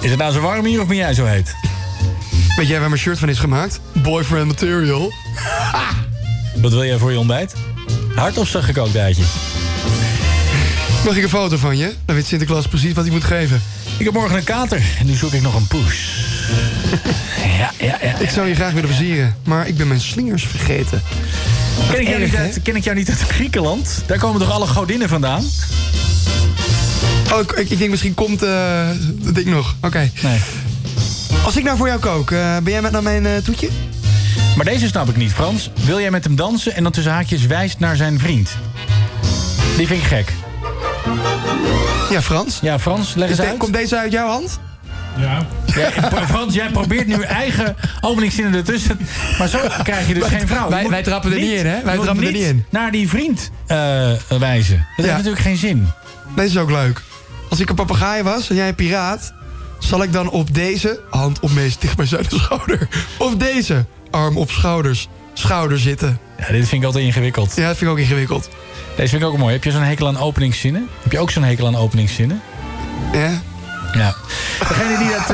S1: Is het nou zo warm hier of ben jij zo heet?
S2: Weet jij waar mijn shirt van is gemaakt? Boyfriend material.
S1: Wat wil jij voor je ontbijt? Hard of zacht gekookt eitje?
S2: Mag ik een foto van je? Dan weet Sinterklaas precies wat hij moet geven.
S1: Ik heb morgen een kater en nu zoek ik nog een poes. ja, ja, ja.
S2: Ik zou je graag willen versieren, maar ik ben mijn slingers vergeten.
S1: Ken ik, jou niet uit, ken ik jou niet uit Griekenland? Daar komen toch alle godinnen vandaan?
S2: Oh, ik, ik denk misschien komt eh dat ding nog. Oké.
S1: Nee.
S2: Als ik nou voor jou kook, eh, ben jij met naar mijn eh, toetje?
S1: Maar deze snap ik niet, Frans. Wil jij met hem dansen en dan tussen haakjes wijst naar zijn vriend? Die vind ik gek.
S2: Ja, Frans.
S1: Ja, Frans, leg eens
S2: Is de-
S1: uit.
S2: komt deze uit jouw hand?
S1: Ja. Pro- Frans, jij probeert nu eigen openingszinnen ertussen. Maar zo krijg je dus geen vrouw. Je
S2: wij-
S1: moet
S2: wij trappen er niet in, hè? Wij
S1: je moet
S2: trappen er niet in.
S1: naar die vriend eh, wijzen. Dat heeft natuurlijk geen zin.
S2: Deze is ook leuk. Als ik een papegaai was en jij een piraat, zal ik dan op deze hand op meest dicht bij zijn schouder, of deze arm op schouders, schouder zitten?
S1: Ja, dit vind ik altijd ingewikkeld.
S2: Ja, dat vind ik ook ingewikkeld.
S1: Deze vind ik ook mooi. Heb je zo'n hekel aan openingszinnen? Heb je ook zo'n hekel aan openingszinnen?
S2: Ja.
S1: Ja. Degene die dat...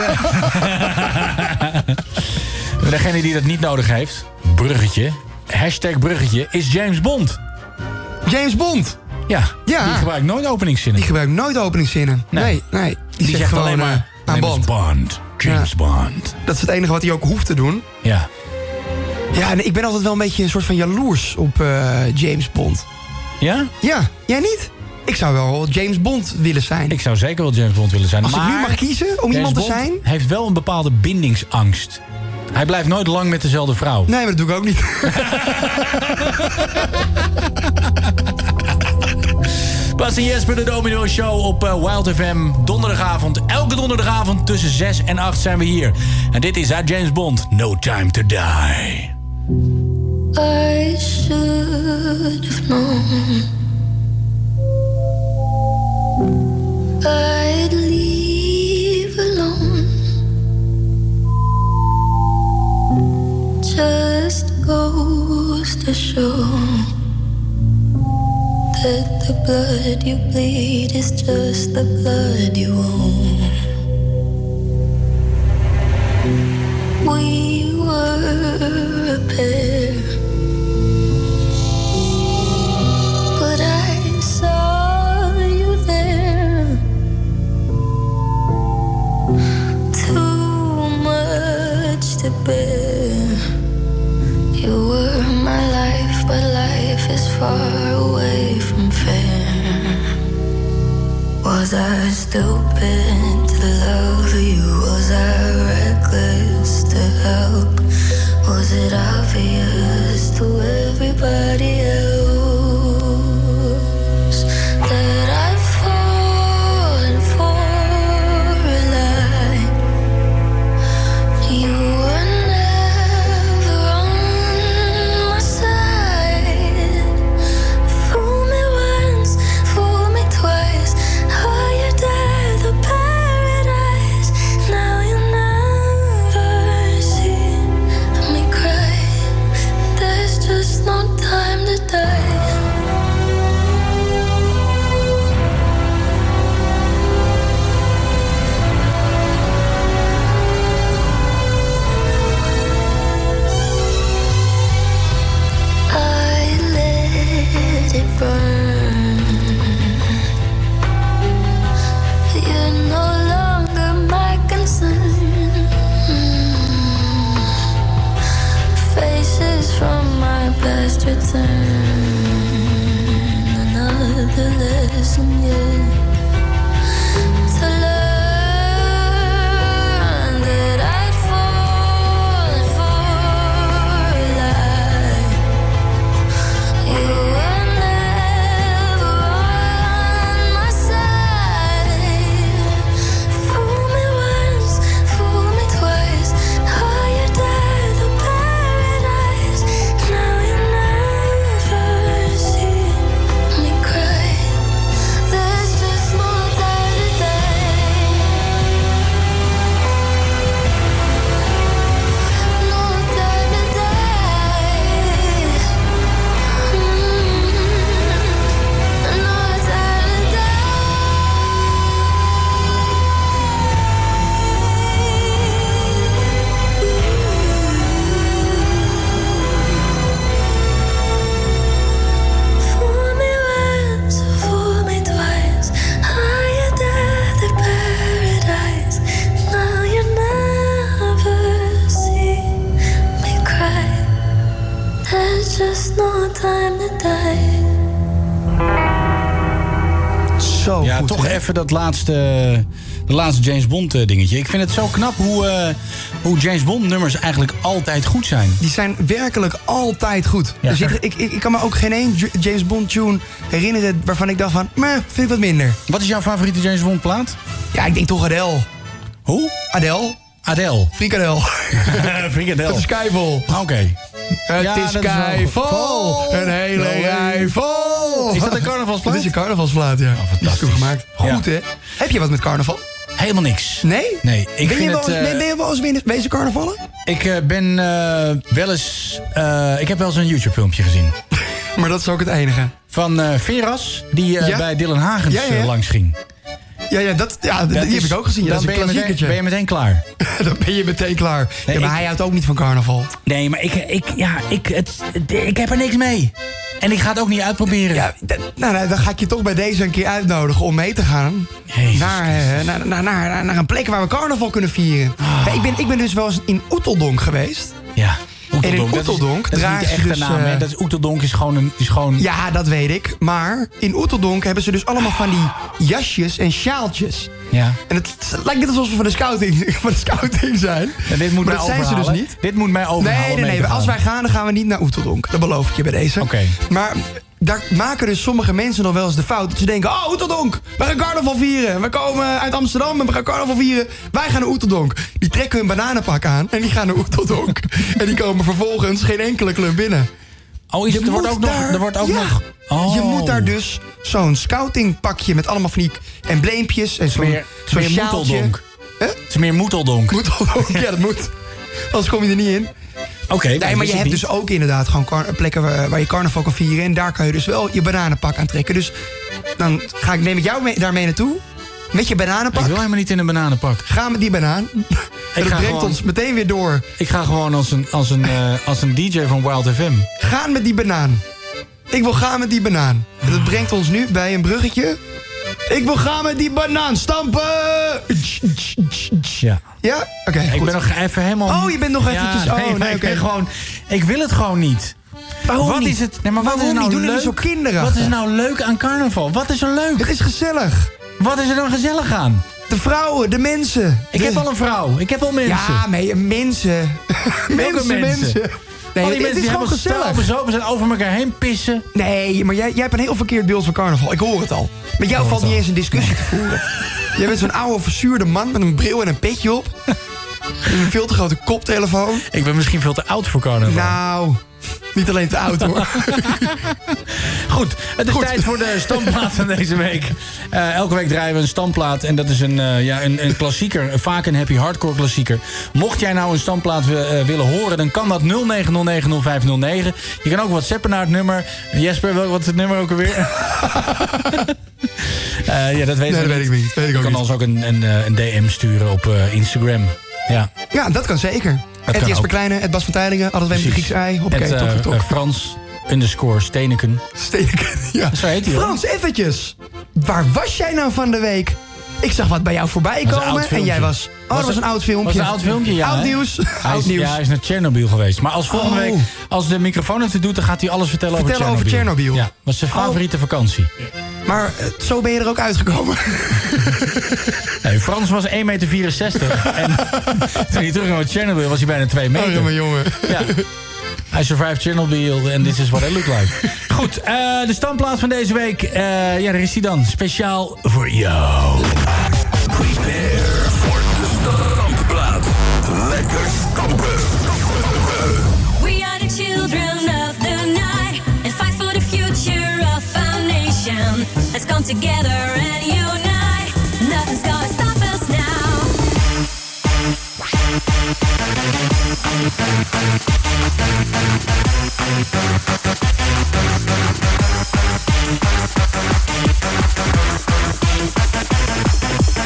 S1: eh, Degene die dat niet nodig heeft, bruggetje, hashtag bruggetje, is James Bond.
S2: James Bond.
S1: Ja,
S2: Ja.
S1: die gebruikt nooit openingszinnen.
S2: Die gebruikt nooit openingszinnen.
S1: Nee.
S2: Nee, nee. Die,
S1: Die
S2: zegt,
S1: zegt
S2: gewoon
S1: alleen maar,
S2: eh, aan
S1: "My name is
S2: Bond.
S1: Bond, James
S2: Ja.
S1: Bond.
S2: Dat is het enige wat hij ook hoeft te doen.
S1: Ja.
S2: Ja, en ik ben altijd wel een beetje een soort van jaloers op eh, James Bond.
S1: Ja?
S2: Ja, jij niet? Ik zou wel James Bond willen zijn.
S1: Ik zou zeker wel James Bond willen zijn.
S2: Als ik
S1: maar
S2: nu mag kiezen om
S1: James
S2: iemand te
S1: Bond
S2: zijn?
S1: heeft wel een bepaalde bindingsangst. Hij blijft nooit lang met dezelfde vrouw.
S2: Nee, maar dat doe ik ook niet.
S1: Bas en Jesper, de Domino Show op eh, Wild FM. Donderdagavond, elke donderdagavond tussen 6 en 8 zijn we hier. En dit is uit James Bond, No Time To Die.
S13: I should have known I'd leave alone. Just goes to show that the blood you bleed is just the blood you own. We were a pair. But I saw you there. Too much to bear. You were my life, but life is far away from fair. Was I stupid to love you? Was I reckless to help? Was it obvious to everybody else that I've fallen for a lie? You were never on my side. Fool me once, fool me twice. Oh, you died the paradise. Now you'll never see me cry.
S1: ja, toch even dat laatste, de laatste James Bond eh, dingetje. Ik vind het zo knap hoe, eh, hoe James Bond nummers eigenlijk altijd goed zijn.
S2: Die zijn werkelijk altijd goed.
S1: Ja.
S2: dus ik, ik, ik, ik kan me ook geen één J- James Bond tune herinneren waarvan ik dacht van, meh, vind ik wat minder.
S1: Wat is jouw favoriete James Bond plaat?
S2: Ja, ik denk toch Adele.
S1: Hoe?
S2: Adele.
S1: Adele.
S2: Frikadel.
S1: Frikadel.
S2: Het is Skyfall.
S1: Oké.
S2: Het
S1: Ja,
S2: is
S1: dat is wel goed.
S2: Skyfall.
S1: Vol.
S2: Een hele
S1: Wel,
S2: rij vol.
S1: Is dat een carnavalsplaat?
S2: Dit
S1: Oh,
S2: is een carnavalsplaat, ja. Die heb ik hem gemaakt. Goed, hè? Heb je wat met carnaval?
S1: Helemaal niks.
S2: Nee?
S1: Nee, ik
S2: ben,
S1: vind
S2: je wel,
S1: het,
S2: eens-
S1: eh,
S2: ben- ben je wel eens binnen- bezig carnavallen?
S1: Ik eh, ben eh, wel eens... eh, ik heb wel eens een YouTube-filmpje gezien.
S2: Maar dat is ook het enige.
S1: Van eh, Veras, die eh,
S2: Ja?
S1: bij Dylan Hagens
S2: Ja, ja, ja.
S1: eh, langs ging.
S2: Ja, ja, dat, ja die
S1: Dat
S2: heb
S1: is-
S2: ik ook gezien. Ja,
S1: dan
S2: dat is een
S1: ben je meteen-
S2: klassiekertje.
S1: ben je meteen klaar.
S2: dan ben je meteen klaar.
S1: Nee,
S2: ja, maar
S1: ik-
S2: hij houdt ook niet van carnaval.
S1: Nee, maar ik, ik, ja, ik, het, ik heb er niks mee. En ik ga het ook niet uitproberen.
S2: Ja, d- nou, nou, dan ga ik je toch bij deze een keer uitnodigen om mee te gaan. Naar, eh, naar, naar, naar, naar een plek waar we carnaval kunnen vieren.
S1: Ah.
S2: Ja, ik, ben, ik ben dus wel eens in Oeteldonk geweest.
S1: Ja.
S2: En in
S1: Oeteldonk, dat is-
S2: Oeteldonk
S1: dat is niet
S2: draag
S1: de
S2: je
S1: echte
S2: dus,
S1: naam.
S2: eh,
S1: hè. dat is, Oeteldonk is gewoon een... Is gewoon...
S2: Ja, dat weet ik. Maar in Oeteldonk hebben ze dus allemaal van die jasjes en sjaaltjes.
S1: Ja.
S2: En het lijkt net alsof we van de scouting, van de scouting zijn.
S1: En dit moet
S2: maar
S1: mij
S2: dat zijn ze dus
S1: overhalen.
S2: niet.
S1: Dit moet mij overhalen
S2: Nee, nee,
S1: mee
S2: nee.
S1: te
S2: Als
S1: gaan.
S2: wij gaan, dan gaan we niet naar Oeteldonk. Dat beloof ik je bij deze.
S1: Oké.
S2: Maar daar maken dus sommige mensen nog wel eens de fout. Dat ze denken, oh, Oeteldonk, we gaan carnaval vieren. We komen uit Amsterdam en we gaan carnaval vieren. Wij gaan naar Oeteldonk. Die trekken hun bananenpak aan en die gaan naar Oeteldonk. en die komen vervolgens geen enkele club binnen.
S1: Oh, is
S2: Je
S1: het, er wordt
S2: moet
S1: ook nog...
S2: daar-
S1: Er wordt ook
S2: ja.
S1: nog... Oh.
S2: Je moet daar dus zo'n scoutingpakje met allemaal van die embleempjes en zo'n
S1: Meer,
S2: zo'n
S1: meer
S2: sjaaltje.
S1: moeteldonk.
S2: Hè?
S1: Het is meer moeteldonk.
S2: Moeteldonk, ja, dat moet. Anders kom je er niet in.
S1: Oké,
S2: Nee, maar je hebt dus ook inderdaad gewoon kar- plekken waar, waar je carnaval kan vieren. En daar kan je dus wel je bananenpak aan trekken. Dus dan ga ik, neem ik jou mee, daarmee naartoe. Met je bananenpak.
S1: Ik wil helemaal niet in een bananenpak.
S2: Ga met die banaan. En dat
S1: ga
S2: brengt
S1: gewoon-
S2: ons meteen weer door.
S1: Ik ga gewoon als een, als een, eh, als een DJ van Wild FM.
S2: Gaan met die banaan. Ik wil gaan met die banaan. En dat brengt ons nu bij een bruggetje. Ik wil gaan met die banaan stampen.
S1: Ja.
S2: Ja? Oké,
S1: ik
S2: goed.
S1: ben nog even helemaal...
S2: Oh, je bent nog
S1: Ja,
S2: eventjes... Oh,
S1: nee,
S2: nee,
S1: maar
S2: oké.
S1: ik, ben gewoon, ik wil het gewoon niet.
S2: Waarom
S1: wat
S2: niet?
S1: is het? Nee, maar wat
S2: Waarom
S1: is er nou
S2: niet? Doen jullie
S1: leuk?
S2: zo kinderachtig?
S1: Wat is er nou leuk aan carnaval? Wat is er leuk?
S2: Het is gezellig.
S1: Wat is er dan gezellig aan?
S2: De vrouwen, de mensen.
S1: Ik
S2: de-
S1: heb al een vrouw. Ik heb al mensen.
S2: Ja, nee, mensen. mensen,
S1: mensen?
S2: mensen. Oh,
S1: al Oh, die
S2: het- het is
S1: mensen die
S2: gewoon
S1: hebben
S2: gezellig.
S1: Zo, we zijn over elkaar heen pissen.
S2: Nee, maar jij, jij hebt een heel verkeerd beeld van carnaval. Ik hoor het al. Met jou valt niet eens een discussie te voeren. Jij bent zo'n oude verzuurde man met een bril en een petje op. En een veel te grote koptelefoon.
S1: Ik ben misschien veel te oud voor carnaval.
S2: Nou, niet alleen te oud hoor.
S1: Goed, het is tijd voor de standplaat van deze week. Eh, elke week draaien we een standplaat. En dat is een, eh, ja, een, een klassieker. Vaak een happy hardcore klassieker. Mocht jij nou een standplaat wi- eh, willen horen... dan kan dat 09090509. Je kan ook whatsappen naar het nummer. Jesper, wel- wat is het nummer ook alweer? Eh, ja, dat weet,
S2: Nee, dat weet ik niet. Weet ik
S1: je
S2: ook
S1: kan
S2: niet.
S1: ons ook een, een, eh, een DM sturen op eh, Instagram. Ja,
S2: Ja, dat kan zeker.
S1: kan
S2: Het Jesper
S1: ook.
S2: Kleine, het Bas van Teylingen, altijd weer met
S1: precies.
S2: Grieks ei. Hoppakee,
S1: Het, eh,
S2: toch, toch, toch.
S1: eh, Frans underscore Steeneken.
S2: Steenken, ja.
S1: Zo heet hij, hoor.
S2: Frans, eventjes. Waar was jij nou van de week? Ik zag wat bij jou voorbij
S1: Dat was een oud
S2: komen en jij
S1: filmpje.
S2: was... Oh, dat was een oud filmpje.
S1: Was een oud filmpje, ja.
S2: Oud
S1: hè?
S2: nieuws.
S1: Hij
S2: Oud
S1: is,
S2: nieuws.
S1: Ja, hij is naar Tsjernobyl geweest. Maar als volgende
S2: Oh.
S1: week, als de microfoon het doet, dan gaat hij alles vertellen
S2: Vertellen
S1: over
S2: over
S1: Tsjernobyl.
S2: Tsjernobyl.
S1: Ja, was zijn favoriete vakantie.
S2: Maar eh, zo ben je er ook uitgekomen.
S1: Nee, Frans was 1,64 meter. en toen hij terug naar Tsjernobyl was hij bijna 2 meter.
S2: Oh, jongen.
S1: Ja. I survived Chernobyl and this is what I look like. Goed, eh, de standplaats van deze week. eh, ja, daar is hij dan. Speciaal voor jou.
S5: Prepare voor de stampplaat. Lekker stampen.
S8: We are the children of the night and fight for the future of our nation. Let's come together and unite. Nothing's gonna stop us now.
S5: Lekker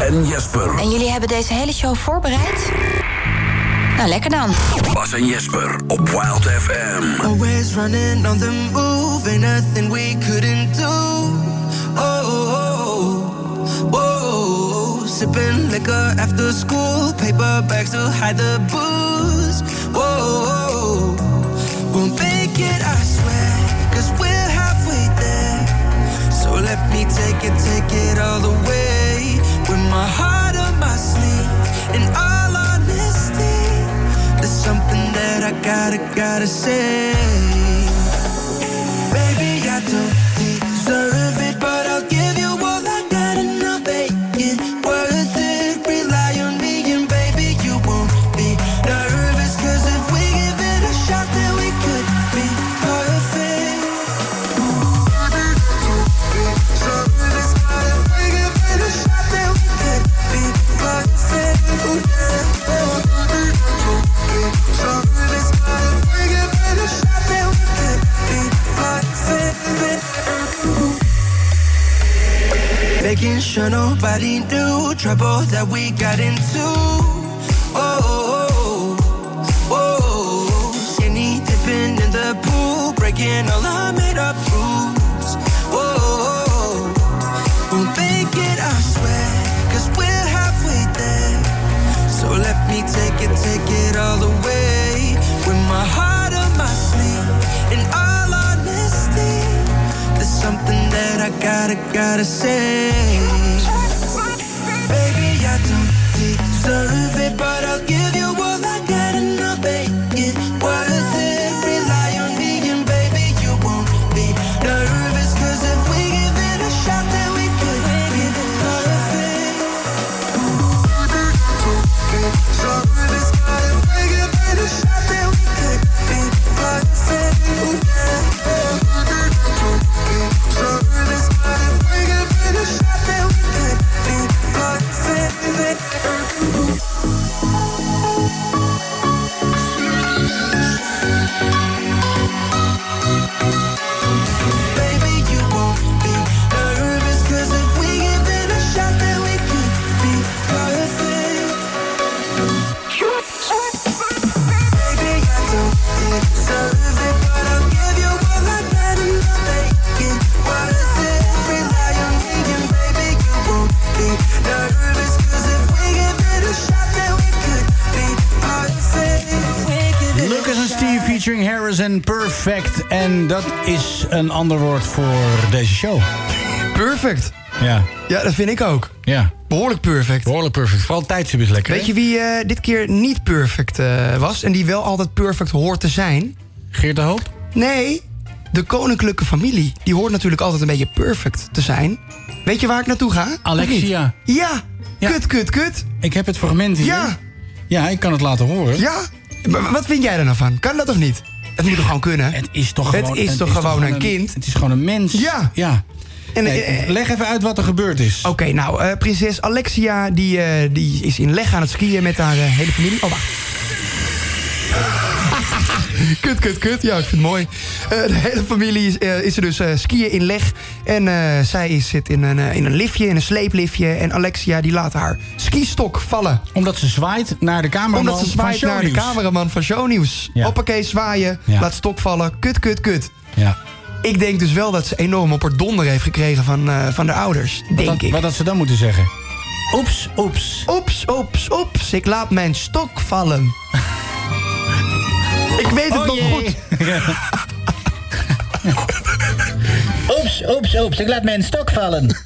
S5: en Jesper.
S6: En jullie hebben deze hele show voorbereid? Nou, lekker dan.
S5: Bas en Jesper op Wild FM.
S14: Always running on the move, ain't nothing we couldn't do. Oh, oh, oh, whoa, sipping liquor after school, paper bags to hide the booze. Whoa, oh, oh, we'll make it, I swear, cause we're halfway there. So let me take it, take it all the way, with my heart on my sleeve, in all honesty. There's something that I gotta, gotta say. Baby, I don't deserve it, but I'll give you all I got and I'll make it worth it. Rely on me and baby, you won't be nervous. Cause if we give it a shot, then we could be perfect. Baby, you deserve it, but if we give it a shot, then we could be perfect. Baby, you deserve it, but if we give it a shot, then we could be perfect. Making sure nobody knew trouble that we got into. Oh, oh, oh, oh. skinny dipping in the pool, breaking all our made up rules. Oh, oh, oh. won't make it, I swear, cause we're halfway there. So let me take it, take it all the way. With my heart on my sleeve, in all honesty, there's something that I gotta, gotta say. Baby, I don't deserve it, but I'll give you all I got and I'll make it worth it. Rely on me and baby, you won't be nervous. Cause if we give it a shot, then we could be perfect. Baby, you won't be nervous, 'cause if we give it a shot, then we could be perfect. Baby, I don't deserve it, but I'll give you all I got and I'll make it worth it. Rely on me and baby, you won't be nervous, 'cause if we give it a shot, then we could be perfect. We give it a
S1: Lucas en Steve featuring Harris en Perfect. En dat is een ander woord voor deze show.
S2: Perfect.
S1: Ja.
S2: Ja, dat vind ik ook.
S1: Ja.
S2: Behoorlijk perfect.
S1: Behoorlijk perfect. Vooral tijdstip is lekker.
S2: Weet je wie eh, dit keer niet perfect eh, was en die wel altijd perfect hoort te zijn?
S1: Geert de Hoop?
S2: Nee, de koninklijke familie. Die hoort natuurlijk altijd een beetje perfect te zijn. Weet je waar ik naartoe ga? Of
S1: Alexia.
S2: niet? Ja. Kut, kut, kut.
S1: Ik heb het fragment hier.
S2: Ja.
S1: Ja, ik kan het laten horen.
S2: Ja. Maar wat vind jij er nou van? Kan dat of niet? Het moet toch gewoon kunnen?
S1: Het is toch
S2: Het
S1: gewoon,
S2: is toch gewoon een kind?
S1: Het is gewoon een mens.
S2: Ja.
S1: Ja.
S2: En,
S1: Nee,
S2: eh,
S1: leg even uit wat er gebeurd is.
S2: Oké, nou, eh, prinses Alexia die, eh, die is in leg aan het skiën met haar eh, hele familie. Oh, wacht. kut, kut, kut. Ja, ik vind het mooi. Eh, de hele familie is, eh, is er dus eh, skiën in leg. En eh, zij is, zit in een, eh, in een liftje, in een sleepliftje. En Alexia die laat haar skistok vallen.
S1: Omdat ze zwaait naar de cameraman
S2: Omdat ze
S1: van
S2: zwaait naar de
S1: Shownieuws.
S2: cameraman van Shownieuws.
S1: Ja.
S2: Hoppakee, zwaaien,
S1: Ja.
S2: laat stok vallen. Kut, kut, kut.
S1: Ja.
S2: Ik denk dus wel dat ze enorm op haar donder heeft gekregen van, eh, van de ouders. Denk
S1: wat, dat-
S2: ik.
S1: Wat dat ze dan moeten zeggen. Oeps, oeps.
S2: Oeps, oeps, oeps, ik laat mijn stok vallen. ik weet het
S1: Oh
S2: nog goed.
S15: Oeps, oeps, oeps, ik laat mijn stok vallen.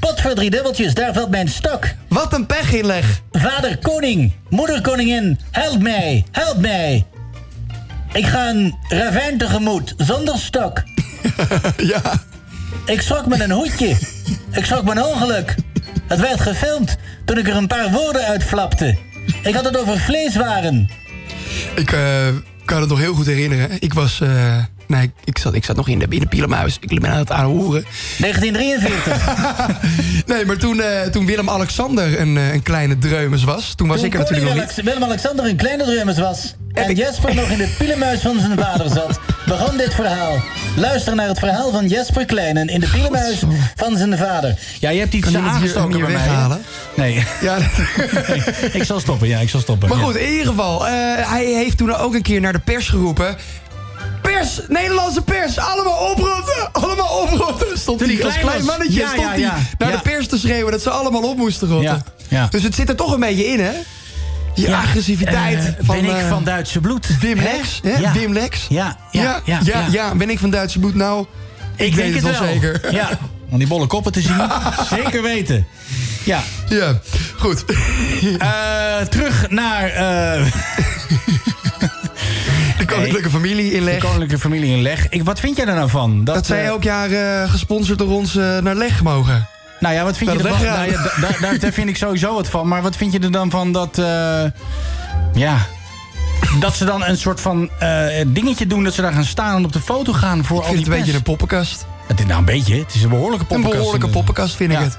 S15: Pot voor drie dubbeltjes, daar valt mijn stok.
S2: Wat een pech inleg.
S15: Vader koning, moeder koningin, help mij, help mij. Ik ga een ravijn tegemoet, zonder stok.
S2: ja.
S15: Ik schrok met een hoedje. Ik schrok mijn ongeluk. Het werd gefilmd toen ik er een paar woorden uitflapte. Ik had het over vleeswaren.
S2: Ik eh, kan het nog heel goed herinneren. Ik was. eh, nee, ik- ik zat, ik zat nog in de, in de pielenmuis. Ik ben aan het aanhoeren.
S15: 1943.
S2: nee, maar toen, eh, toen Willem-Alexander een, eh, een kleine dreumes was. Toen was
S15: Toen
S2: ik er natuurlijk nog
S15: koning
S2: niet.
S15: Alex- Willem-Alexander in kleine dreumes was... en Jesper nog in de pielenmuis van zijn vader zat... begon dit verhaal. Luister naar het verhaal van Jesper Kleinen in de pielemuis van zijn vader.
S1: Ja, je hebt iets
S15: Kan iemand hier-
S1: aangestoken
S15: hem hier
S1: bij mij,
S15: weghalen?
S1: hè? Nee. Nee, Ik zal stoppen, ja, ik zal stoppen.
S2: Maar
S1: Ja.
S2: goed, in ieder geval, eh, hij heeft toen ook een keer naar de pers geroepen. Pers, Nederlandse pers, allemaal oprotten, allemaal oprotten. Stond
S1: Toen
S2: hij
S1: hij
S2: als
S1: klein
S2: klein
S1: was.
S2: mannetje,
S1: Ja,
S2: stond
S1: ja,
S2: hij
S1: ja.
S2: naar
S1: Ja.
S2: de pers te schreeuwen dat ze allemaal op moesten rotten.
S1: ja.
S2: Dus het zit er toch een beetje in, hè? Die
S1: Ja,
S2: agressiviteit
S1: eh,
S2: van...
S1: ben ik
S2: eh,
S1: van Duitse bloed.
S2: Wim
S1: Hè?
S2: Lex, hè?
S1: Ja.
S2: Wim Lex.
S1: Ja, ja, ja.
S2: ja, ja, ben ik van Duitse bloed? Nou, ik,
S1: Ik
S2: weet
S1: denk
S2: het wel zeker.
S1: Ja, om die bolle koppen te zien. zeker weten. Ja.
S2: Ja, goed.
S1: terug naar... eh,
S2: De koninklijke familie in Leg.
S1: De koninklijke familie in Leg. Ik, wat vind jij er nou van?
S2: Dat zij
S1: eh,
S2: elk jaar eh, gesponsord door ons eh, naar Leg mogen.
S1: Nou ja, wat vind
S2: Naar
S1: je
S2: de
S1: ervan?
S2: wegraad.
S1: Nou ja, da- daar- daar, daar vind ik sowieso wat van. Maar wat vind je er dan van dat... eh, ja... Dat ze dan een soort van eh, dingetje doen... dat ze daar gaan staan en op de foto gaan voor
S2: Ik
S1: al
S2: vind
S1: die
S2: het een beetje
S1: pers.
S2: een poppenkast.
S1: Het is nou een beetje, het is een behoorlijke
S2: Een
S1: poppenkast.
S2: behoorlijke
S1: inderdaad.
S2: poppenkast vind
S1: Ja.
S2: ik het.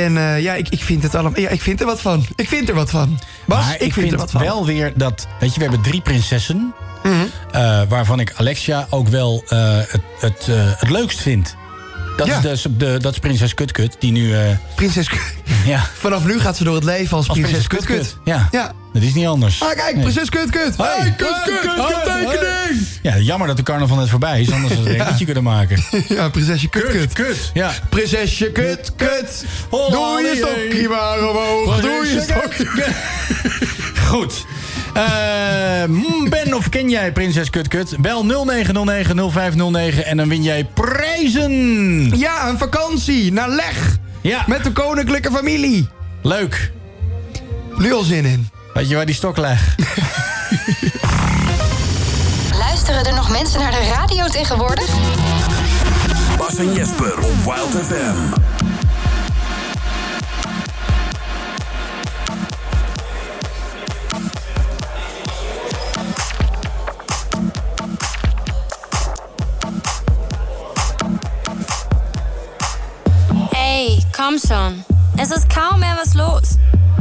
S2: En eh, ja, ik, ik vind het allemaal. Ja, ik vind er wat van. Ik vind er wat van. Bas,
S1: maar
S2: ik, vind, er wat van. Mhm.
S1: wel weer dat... Weet je, we hebben drie prinsessen... eh, waarvan ik Alexia ook wel eh, het, het, eh, het leukst vind. Dat,
S2: Ja.
S1: is dus de, dat is prinses Kutkut, die nu... eh,
S2: Prinses Kut.
S1: ja,
S2: Vanaf nu gaat ze door het leven als,
S1: als
S2: prinses
S1: prinses
S2: Kutkut.
S1: Kutkut. Ja.
S2: Ja.
S1: dat is niet anders.
S2: Ah, kijk,
S1: Nee.
S2: prinses Kutkut. Hey, hey Kutkut, tekening!
S1: Ja, jammer dat de carnaval net voorbij is, anders had ik een liedje kunnen maken.
S2: Ja, prinsesje Kutkut.
S1: Kut, ja.
S2: Prinsesje Kut, kut. Doe je stokje maar omhoog. Doe je stokje.
S1: Goed. Eh, mm, ben of ken jij Prinses Kut Kut? Bel 0909-0509 en dan win jij prijzen.
S2: Ja, een vakantie naar Leg.
S1: Ja,
S2: Met de koninklijke familie.
S1: leuk.
S2: Nu al zin in.
S1: Weet je waar die stok lag?
S6: Luisteren er nog mensen naar de radio tegenwoordig?
S5: Bas en Jesper op Wild FM.
S16: Ey, komm schon. Es ist kaum mehr was los.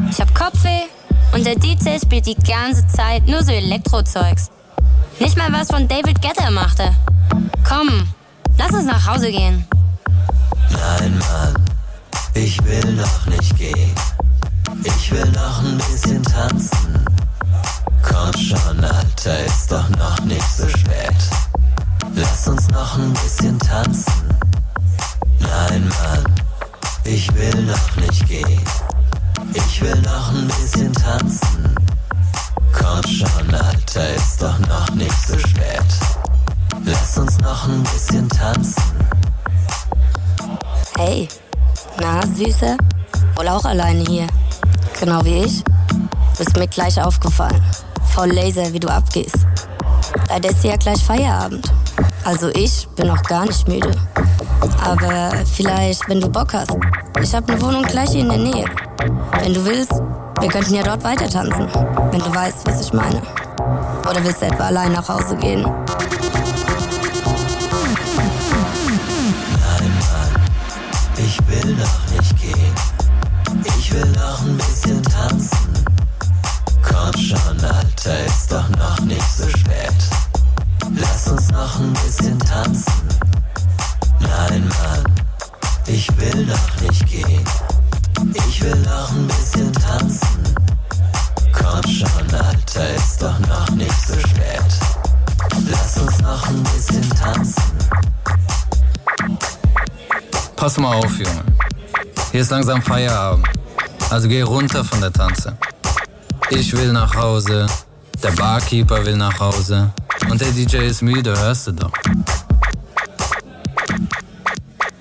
S16: Ich hab Kopfweh und der DJ spielt die ganze Zeit nur so Elektrozeugs. Nicht mal was von David Guetta machte. Komm, lass uns nach Hause gehen.
S17: Nein, Mann, ich will noch nicht gehen. Ich will noch ein bisschen tanzen. Komm schon, Alter, ist doch noch nicht so spät. Lass uns noch ein bisschen tanzen. Nein, Mann, ich will noch nicht gehen. Ich will noch ein bisschen tanzen. Komm schon, Alter, ist doch noch nicht so spät. Lass uns noch ein bisschen tanzen.
S16: Hey, na Süße? Wohl auch alleine hier. Genau wie ich. Bist mir gleich aufgefallen. Voll laser, wie du abgehst. Leider ist ja gleich Feierabend. Also ich bin noch gar nicht müde. Aber vielleicht, wenn du Bock hast. Ich habe eine Wohnung gleich hier in der Nähe. Wenn du willst, wir könnten ja dort weiter tanzen. Wenn du weißt, was ich meine. Oder willst du etwa allein nach Hause gehen?
S17: Nein, Mann, ich will noch nicht gehen. Ich will noch ein bisschen tanzen. Komm schon, Alter, ist doch noch nicht so spät. Lass uns noch ein bisschen tanzen. Nein, Mann, ich will noch nicht gehen. Ich will noch ein bisschen tanzen. Komm schon, Alter, ist doch noch nicht so spät. Lass uns noch ein bisschen tanzen.
S18: Pass mal auf, Junge. Hier ist langsam Feierabend. Also geh runter von der Tanze. Ich will nach Hause. Der Barkeeper will nach Hause. Und der DJ ist müde, hörst du doch.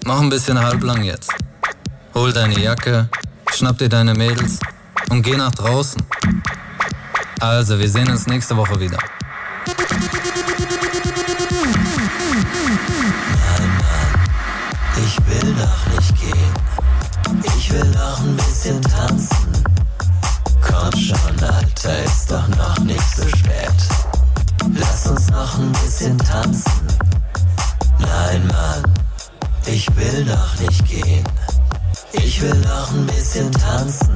S18: Mach ein bisschen halblang jetzt. Hol deine Jacke, schnapp dir deine Mädels und geh nach draußen. Also, wir sehen uns nächste Woche wieder.
S17: Ich will noch nicht gehen. Ich will noch ein bisschen tanzen. Komm schon, Alter, ist doch noch nicht so spät. Lass uns noch ein bisschen tanzen. Nein, Mann, ich will noch nicht gehen. Ich will noch ein bisschen tanzen.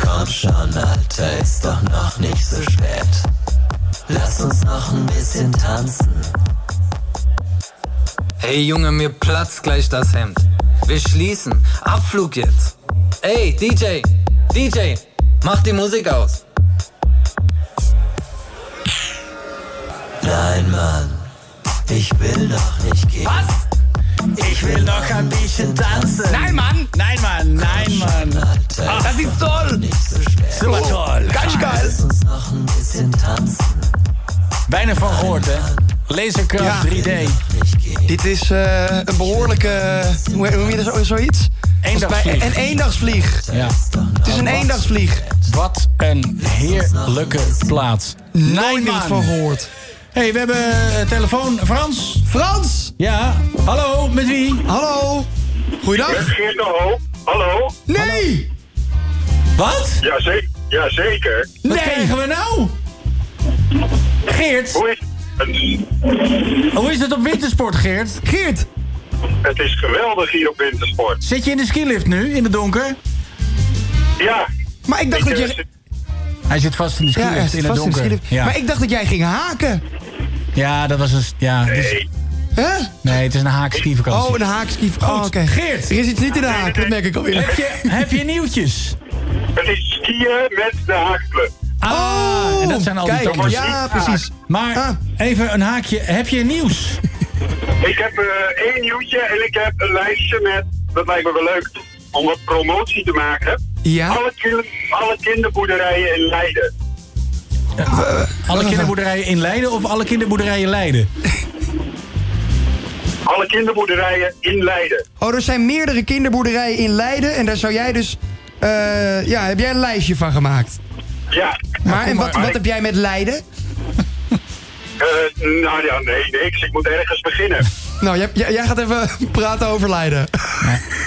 S17: Komm schon, Alter, ist doch noch nicht so spät. Lass uns noch ein bisschen tanzen.
S18: Hey Junge, mir platzt gleich das Hemd. Wir schließen. Abflug jetzt. Ey, DJ, DJ, mach die Musik aus.
S17: Nein, Mann, ich will noch nicht gehen. Was?
S3: Ich will noch ein bisschen tanzen. Nein, Mann! Nein, Mann! Nein, Mann! Ah, das ist toll! Super toll! Ganz geil!
S1: Weinig van gehoord, hè? Lasercraft
S2: Ja.
S1: 3D.
S2: Dit is eh, een behoorlijke. eh, Hoe hoe noem je dat zo- zoiets?
S1: Eendagsvlieg.
S2: Een eendagsvlieg.
S1: Ja.
S2: Het is een eendagsvlieg.
S1: Wat een heerlijke plaats. Nooit
S2: meer van gehoord.
S1: hey, we hebben eh, telefoon. Frans?
S2: Frans!
S1: Ja, hallo, met wie?
S2: Hallo! Goeiedag!
S19: Met Geert de Hoop. Hallo.
S2: Nee!
S1: Wat?
S19: Jazeker. Jazeker.
S1: Wat krijgen we nou? Geert?
S19: Hoe is het?
S1: Hoe is het op wintersport, Geert? Geert?
S19: Het is geweldig hier op Wintersport.
S1: Zit je in de skilift nu, in het donker?
S19: Ja. eh,
S2: Maar ik dacht dat je.
S1: Hij zit vast in de
S2: Ja,
S1: skilift,
S2: hij zit
S1: in het
S2: vast in de
S1: donker.
S2: skilift.
S1: ja.
S2: Maar ik dacht dat jij ging haken.
S1: ja, dat was een... Ja, nee.
S2: Hè?
S1: nee, het is een haakskivakantie.
S2: Oh, een haakskief. Oh, oké.
S1: Geert.
S2: Er is iets niet in de haak, dat merk ik alweer.
S1: Heb je, heb je nieuwtjes?
S19: Het is skiën met de haakclub.
S1: Ah, en dat zijn al
S19: kijk,
S1: die topjes.
S19: ja, precies.
S1: Maar even een haakje. Heb je nieuws?
S19: Ik heb eh, één nieuwtje en ik heb een lijstje met, dat lijkt me wel leuk, om wat promotie te maken.
S2: Ja.
S19: Alle, kin- alle kinderboerderijen in Leiden.
S1: Eh, Alle kinderboerderijen in Leiden of alle kinderboerderijen Leiden?
S19: Alle kinderboerderijen in Leiden.
S2: Oh, er zijn meerdere kinderboerderijen in Leiden. En daar zou jij dus. eh, ja, heb jij een lijstje van gemaakt?
S19: Ja.
S2: Maar, en wat, wat heb jij met Leiden?
S19: Eh, nou ja, nee, niks. Ik moet ergens beginnen.
S2: Nou, jij, jij, jij gaat even praten over Leiden.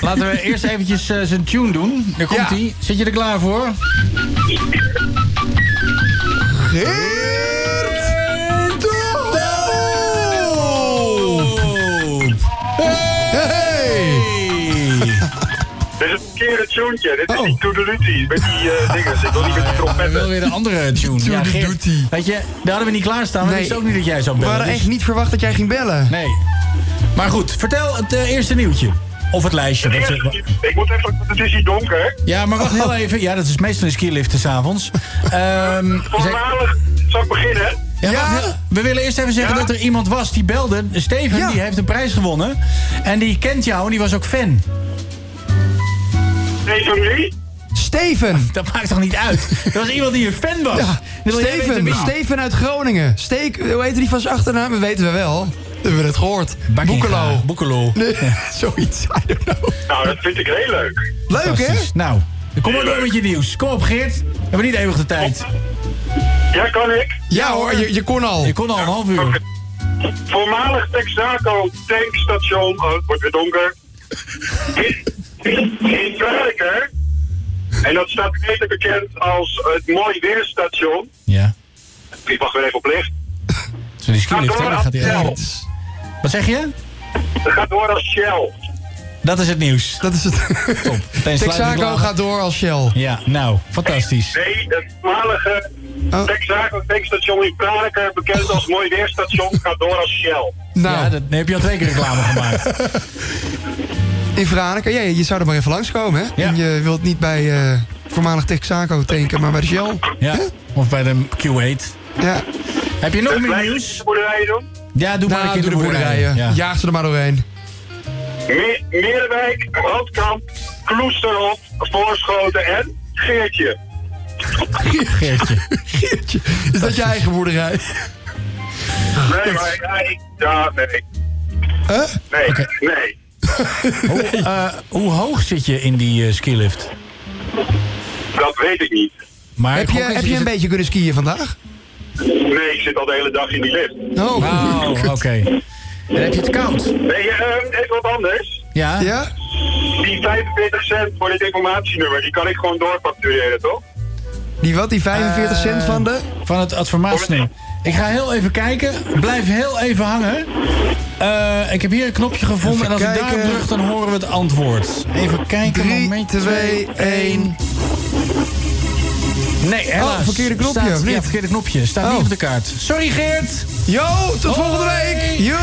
S1: Laten we eerst eventjes eh, zijn tune doen. Daar komt hij. Zit je er klaar voor?
S2: Geert
S19: Dit is een verkeerde tune. Dit is
S1: Oh.
S19: die toedelutie met die eh dingen. Ik wil niet met die
S1: Ik wil
S19: trompetten.
S1: weer een andere tune. Ja, Geert, weet je, daar hadden we niet klaarstaan. We
S2: Nee.
S1: wisten ook niet dat jij zou
S2: We
S1: bellen.
S2: hadden
S1: dus-
S2: echt niet verwacht dat jij ging bellen.
S1: Nee. Maar goed, vertel het eh, eerste nieuwtje. Of het lijstje. wat ze-
S19: Ik moet even, want het is hier donker.
S1: Ja, maar
S2: Oh.
S1: wacht heel even. Ja, dat is meestal in skiliften s'avonds. Ehm
S19: Voormalig, zal ik beginnen?
S1: Ja, wacht heel- we willen eerst even zeggen dat er iemand was die belde. Steven, die heeft een prijs gewonnen. En die kent jou en die was ook fan.
S19: Steven wie?
S2: Steven!
S1: Dat maakt toch niet uit? Dat was iemand die een fan was.
S2: Ja,
S1: Wil jij weten
S2: Steven, Nou,
S1: wie?
S2: Steven uit Groningen. Steek, hoe heet die van zijn achternaam? Dat weten we wel. We hebben het gehoord. Boekelo.
S1: Boekelo.
S2: Nee, zoiets. I don't know.
S19: Nou, dat vind ik heel leuk.
S2: Leuk, hè?
S1: Fantastisch. Nou, kom maar door met je nieuws. Kom op, Geert. We hebben niet eeuwig de tijd.
S19: Ja, kan ik.
S2: Ja hoor, je, je kon al.
S1: Je kon al een half uur.
S19: Voormalig Texaco tankstation. Oh, het wordt weer donker. In, in Kraiker. En dat staat beter bekend als het Mooi Weerstation.
S1: Ja.
S19: Ik mag weer even op licht.
S1: Zo die skilift, hè, daar gaat hij
S19: Shell.
S1: uit. Wat zeg je?
S19: Het gaat door als Shell.
S1: Dat is het nieuws.
S2: Dat is het.
S1: Top. Meteen sluitende
S2: Texaco
S1: klagen.
S2: gaat door als Shell.
S1: Ja, nou, fantastisch.
S19: Nee, het voormalige Texaco tankstation in Kraiker, bekend als Mooi Weerstation, gaat door als Shell.
S2: Nou.
S1: Ja, dat, nee, heb je al twee keer reclame gemaakt.
S2: In Veronica, ja, je zou er maar even langskomen, hè? En je wilt niet bij eh, voormalig Texaco tanken, maar bij de Shell.
S1: Ja, of bij de Q8.
S2: Ja.
S1: Heb je nog meer nieuws?
S19: Boerderijen doen.
S1: Ja, doe maar
S2: Nou,
S1: een
S2: doe de boerderijen.
S1: Ja.
S2: Jaag ze er maar doorheen.
S19: Me Meerwijk, Roodkamp, Kloesterhof, Voorschoten en Geertje.
S1: Geertje.
S2: Geertje, is dat je eigen boerderij?
S19: Nee, maar ja, ik, ja, nee.
S2: Huh?
S19: Nee, nee.
S1: Hoe, eh, hoe hoog zit je in die eh, skilift?
S19: Dat weet ik niet.
S1: Maar
S2: Heb je, heb je een beetje kunnen skiën vandaag?
S19: Nee, ik zit al de hele dag in die lift.
S2: Oh,
S1: Oh, oké. En heb je het koud?
S19: Nee, eh, even wat anders.
S1: Ja?
S2: Ja?
S19: Die 45 cent voor dit informatienummer, die kan ik gewoon doorfactureren, toch?
S2: Die wat, die 45 cent van de?
S1: Eh, Van het adformatie. Ik ga heel even kijken. Blijf heel even hangen. Eh, ik heb hier een knopje gevonden.
S2: Even
S1: en als ik
S2: kijken.
S1: daarop druk, dan horen we het antwoord. Even kijken.
S2: 3,
S1: moment
S2: 2, 1.
S1: Nee, helaas.
S2: Oh, verkeerde knopje,
S1: Staat,
S2: of niet?
S1: Ja, verkeerde knopje. Staat niet op de kaart. Sorry, Geert.
S2: Yo, tot volgende week. Yo.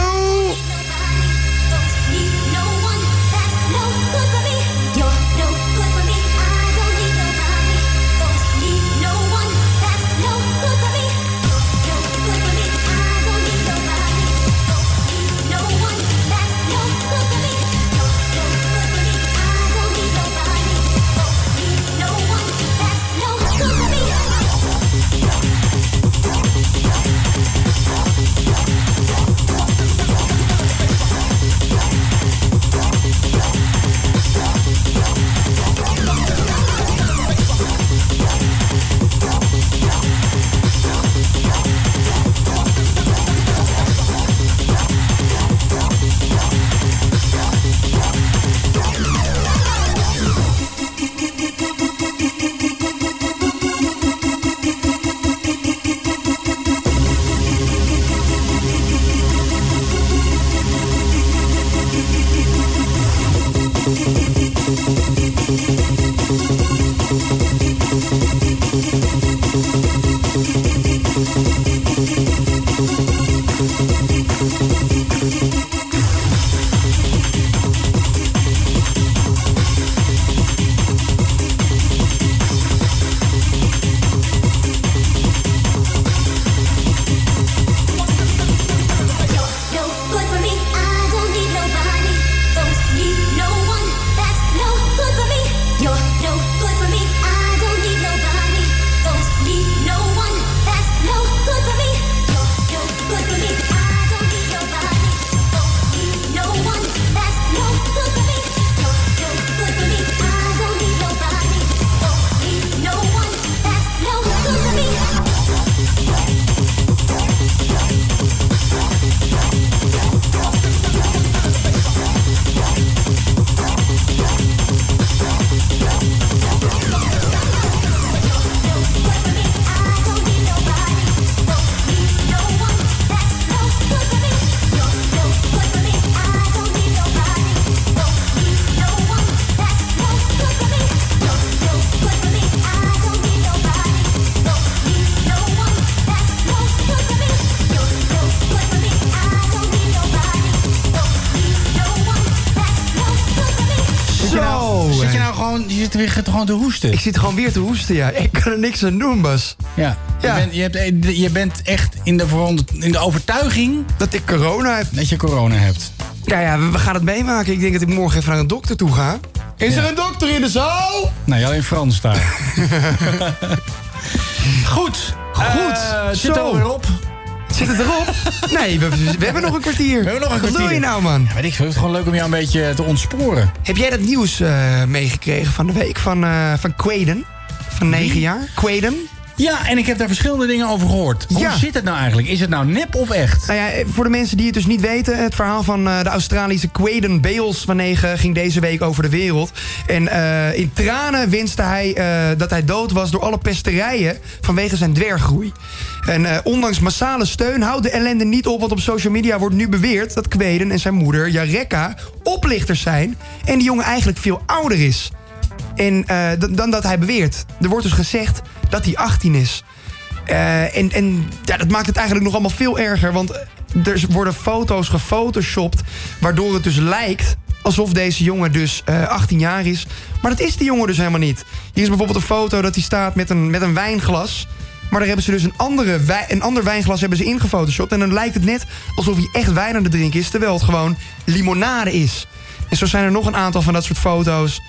S1: Zit je nou,
S2: Zo,
S1: zit je
S2: hè.
S1: nou gewoon, je zit weer gewoon te hoesten?
S2: Ik zit gewoon weer te hoesten, ja. Ik kan er niks aan doen, Bas.
S1: Ja. Je, bent, je, hebt, eh, je bent echt in de, verwond- in de overtuiging...
S2: Dat ik corona heb.
S1: Dat je corona hebt.
S2: Ja, ja, we, we gaan het meemaken. Ik denk dat ik morgen even naar een dokter toe ga. Is
S1: Ja.
S2: er een dokter in de zaal?
S1: Nou, alleen Frans daar. Goed.
S2: Goed.
S1: Eh, het
S2: Zo.
S1: zit er alweer op.
S2: Zit het erop? nee, we, we hebben nog een kwartier.
S1: We hebben nog een
S2: Wat
S1: kwartier.
S2: doe je nou, man?
S1: Ja, weet ik veel. Het is gewoon leuk om jou een beetje te ontsporen.
S2: Heb jij dat nieuws eh, meegekregen van de week van, eh van Quaden? Van 9 jaar? Quaden?
S1: Ja, en ik heb daar verschillende dingen over gehoord. Hoe
S2: Ja.
S1: zit het nou eigenlijk? Is het nou nep of echt?
S2: Nou ja, eh, voor de mensen die het dus niet weten... het verhaal van eh, de Australische Quaden Bales van 9 ging deze week over de wereld. En eh, in tranen wenste hij eh, dat hij dood was door alle pesterijen... vanwege zijn dwerggroei. En eh, ondanks massale steun houdt de ellende niet op... want op social media wordt nu beweerd dat Quaden en zijn moeder Jareka... oplichters zijn en die jongen eigenlijk veel ouder is. En, eh, dan- dan dat hij beweert. Er wordt dus gezegd dat hij 18 is. Eh, en en ja, dat maakt het eigenlijk nog allemaal veel erger. Want er worden foto's gefotoshopt. Waardoor het dus lijkt alsof deze jongen dus eh, 18 jaar is. Maar dat is die jongen dus helemaal niet. Hier is bijvoorbeeld een foto dat hij staat met een, met een wijnglas. Maar daar hebben ze dus een, andere wij- een ander wijnglas hebben ze ingefotoshopt. En dan lijkt het net alsof hij echt wijn aan het drinken is. Terwijl het gewoon limonade is. En zo zijn er nog een aantal van dat soort foto's.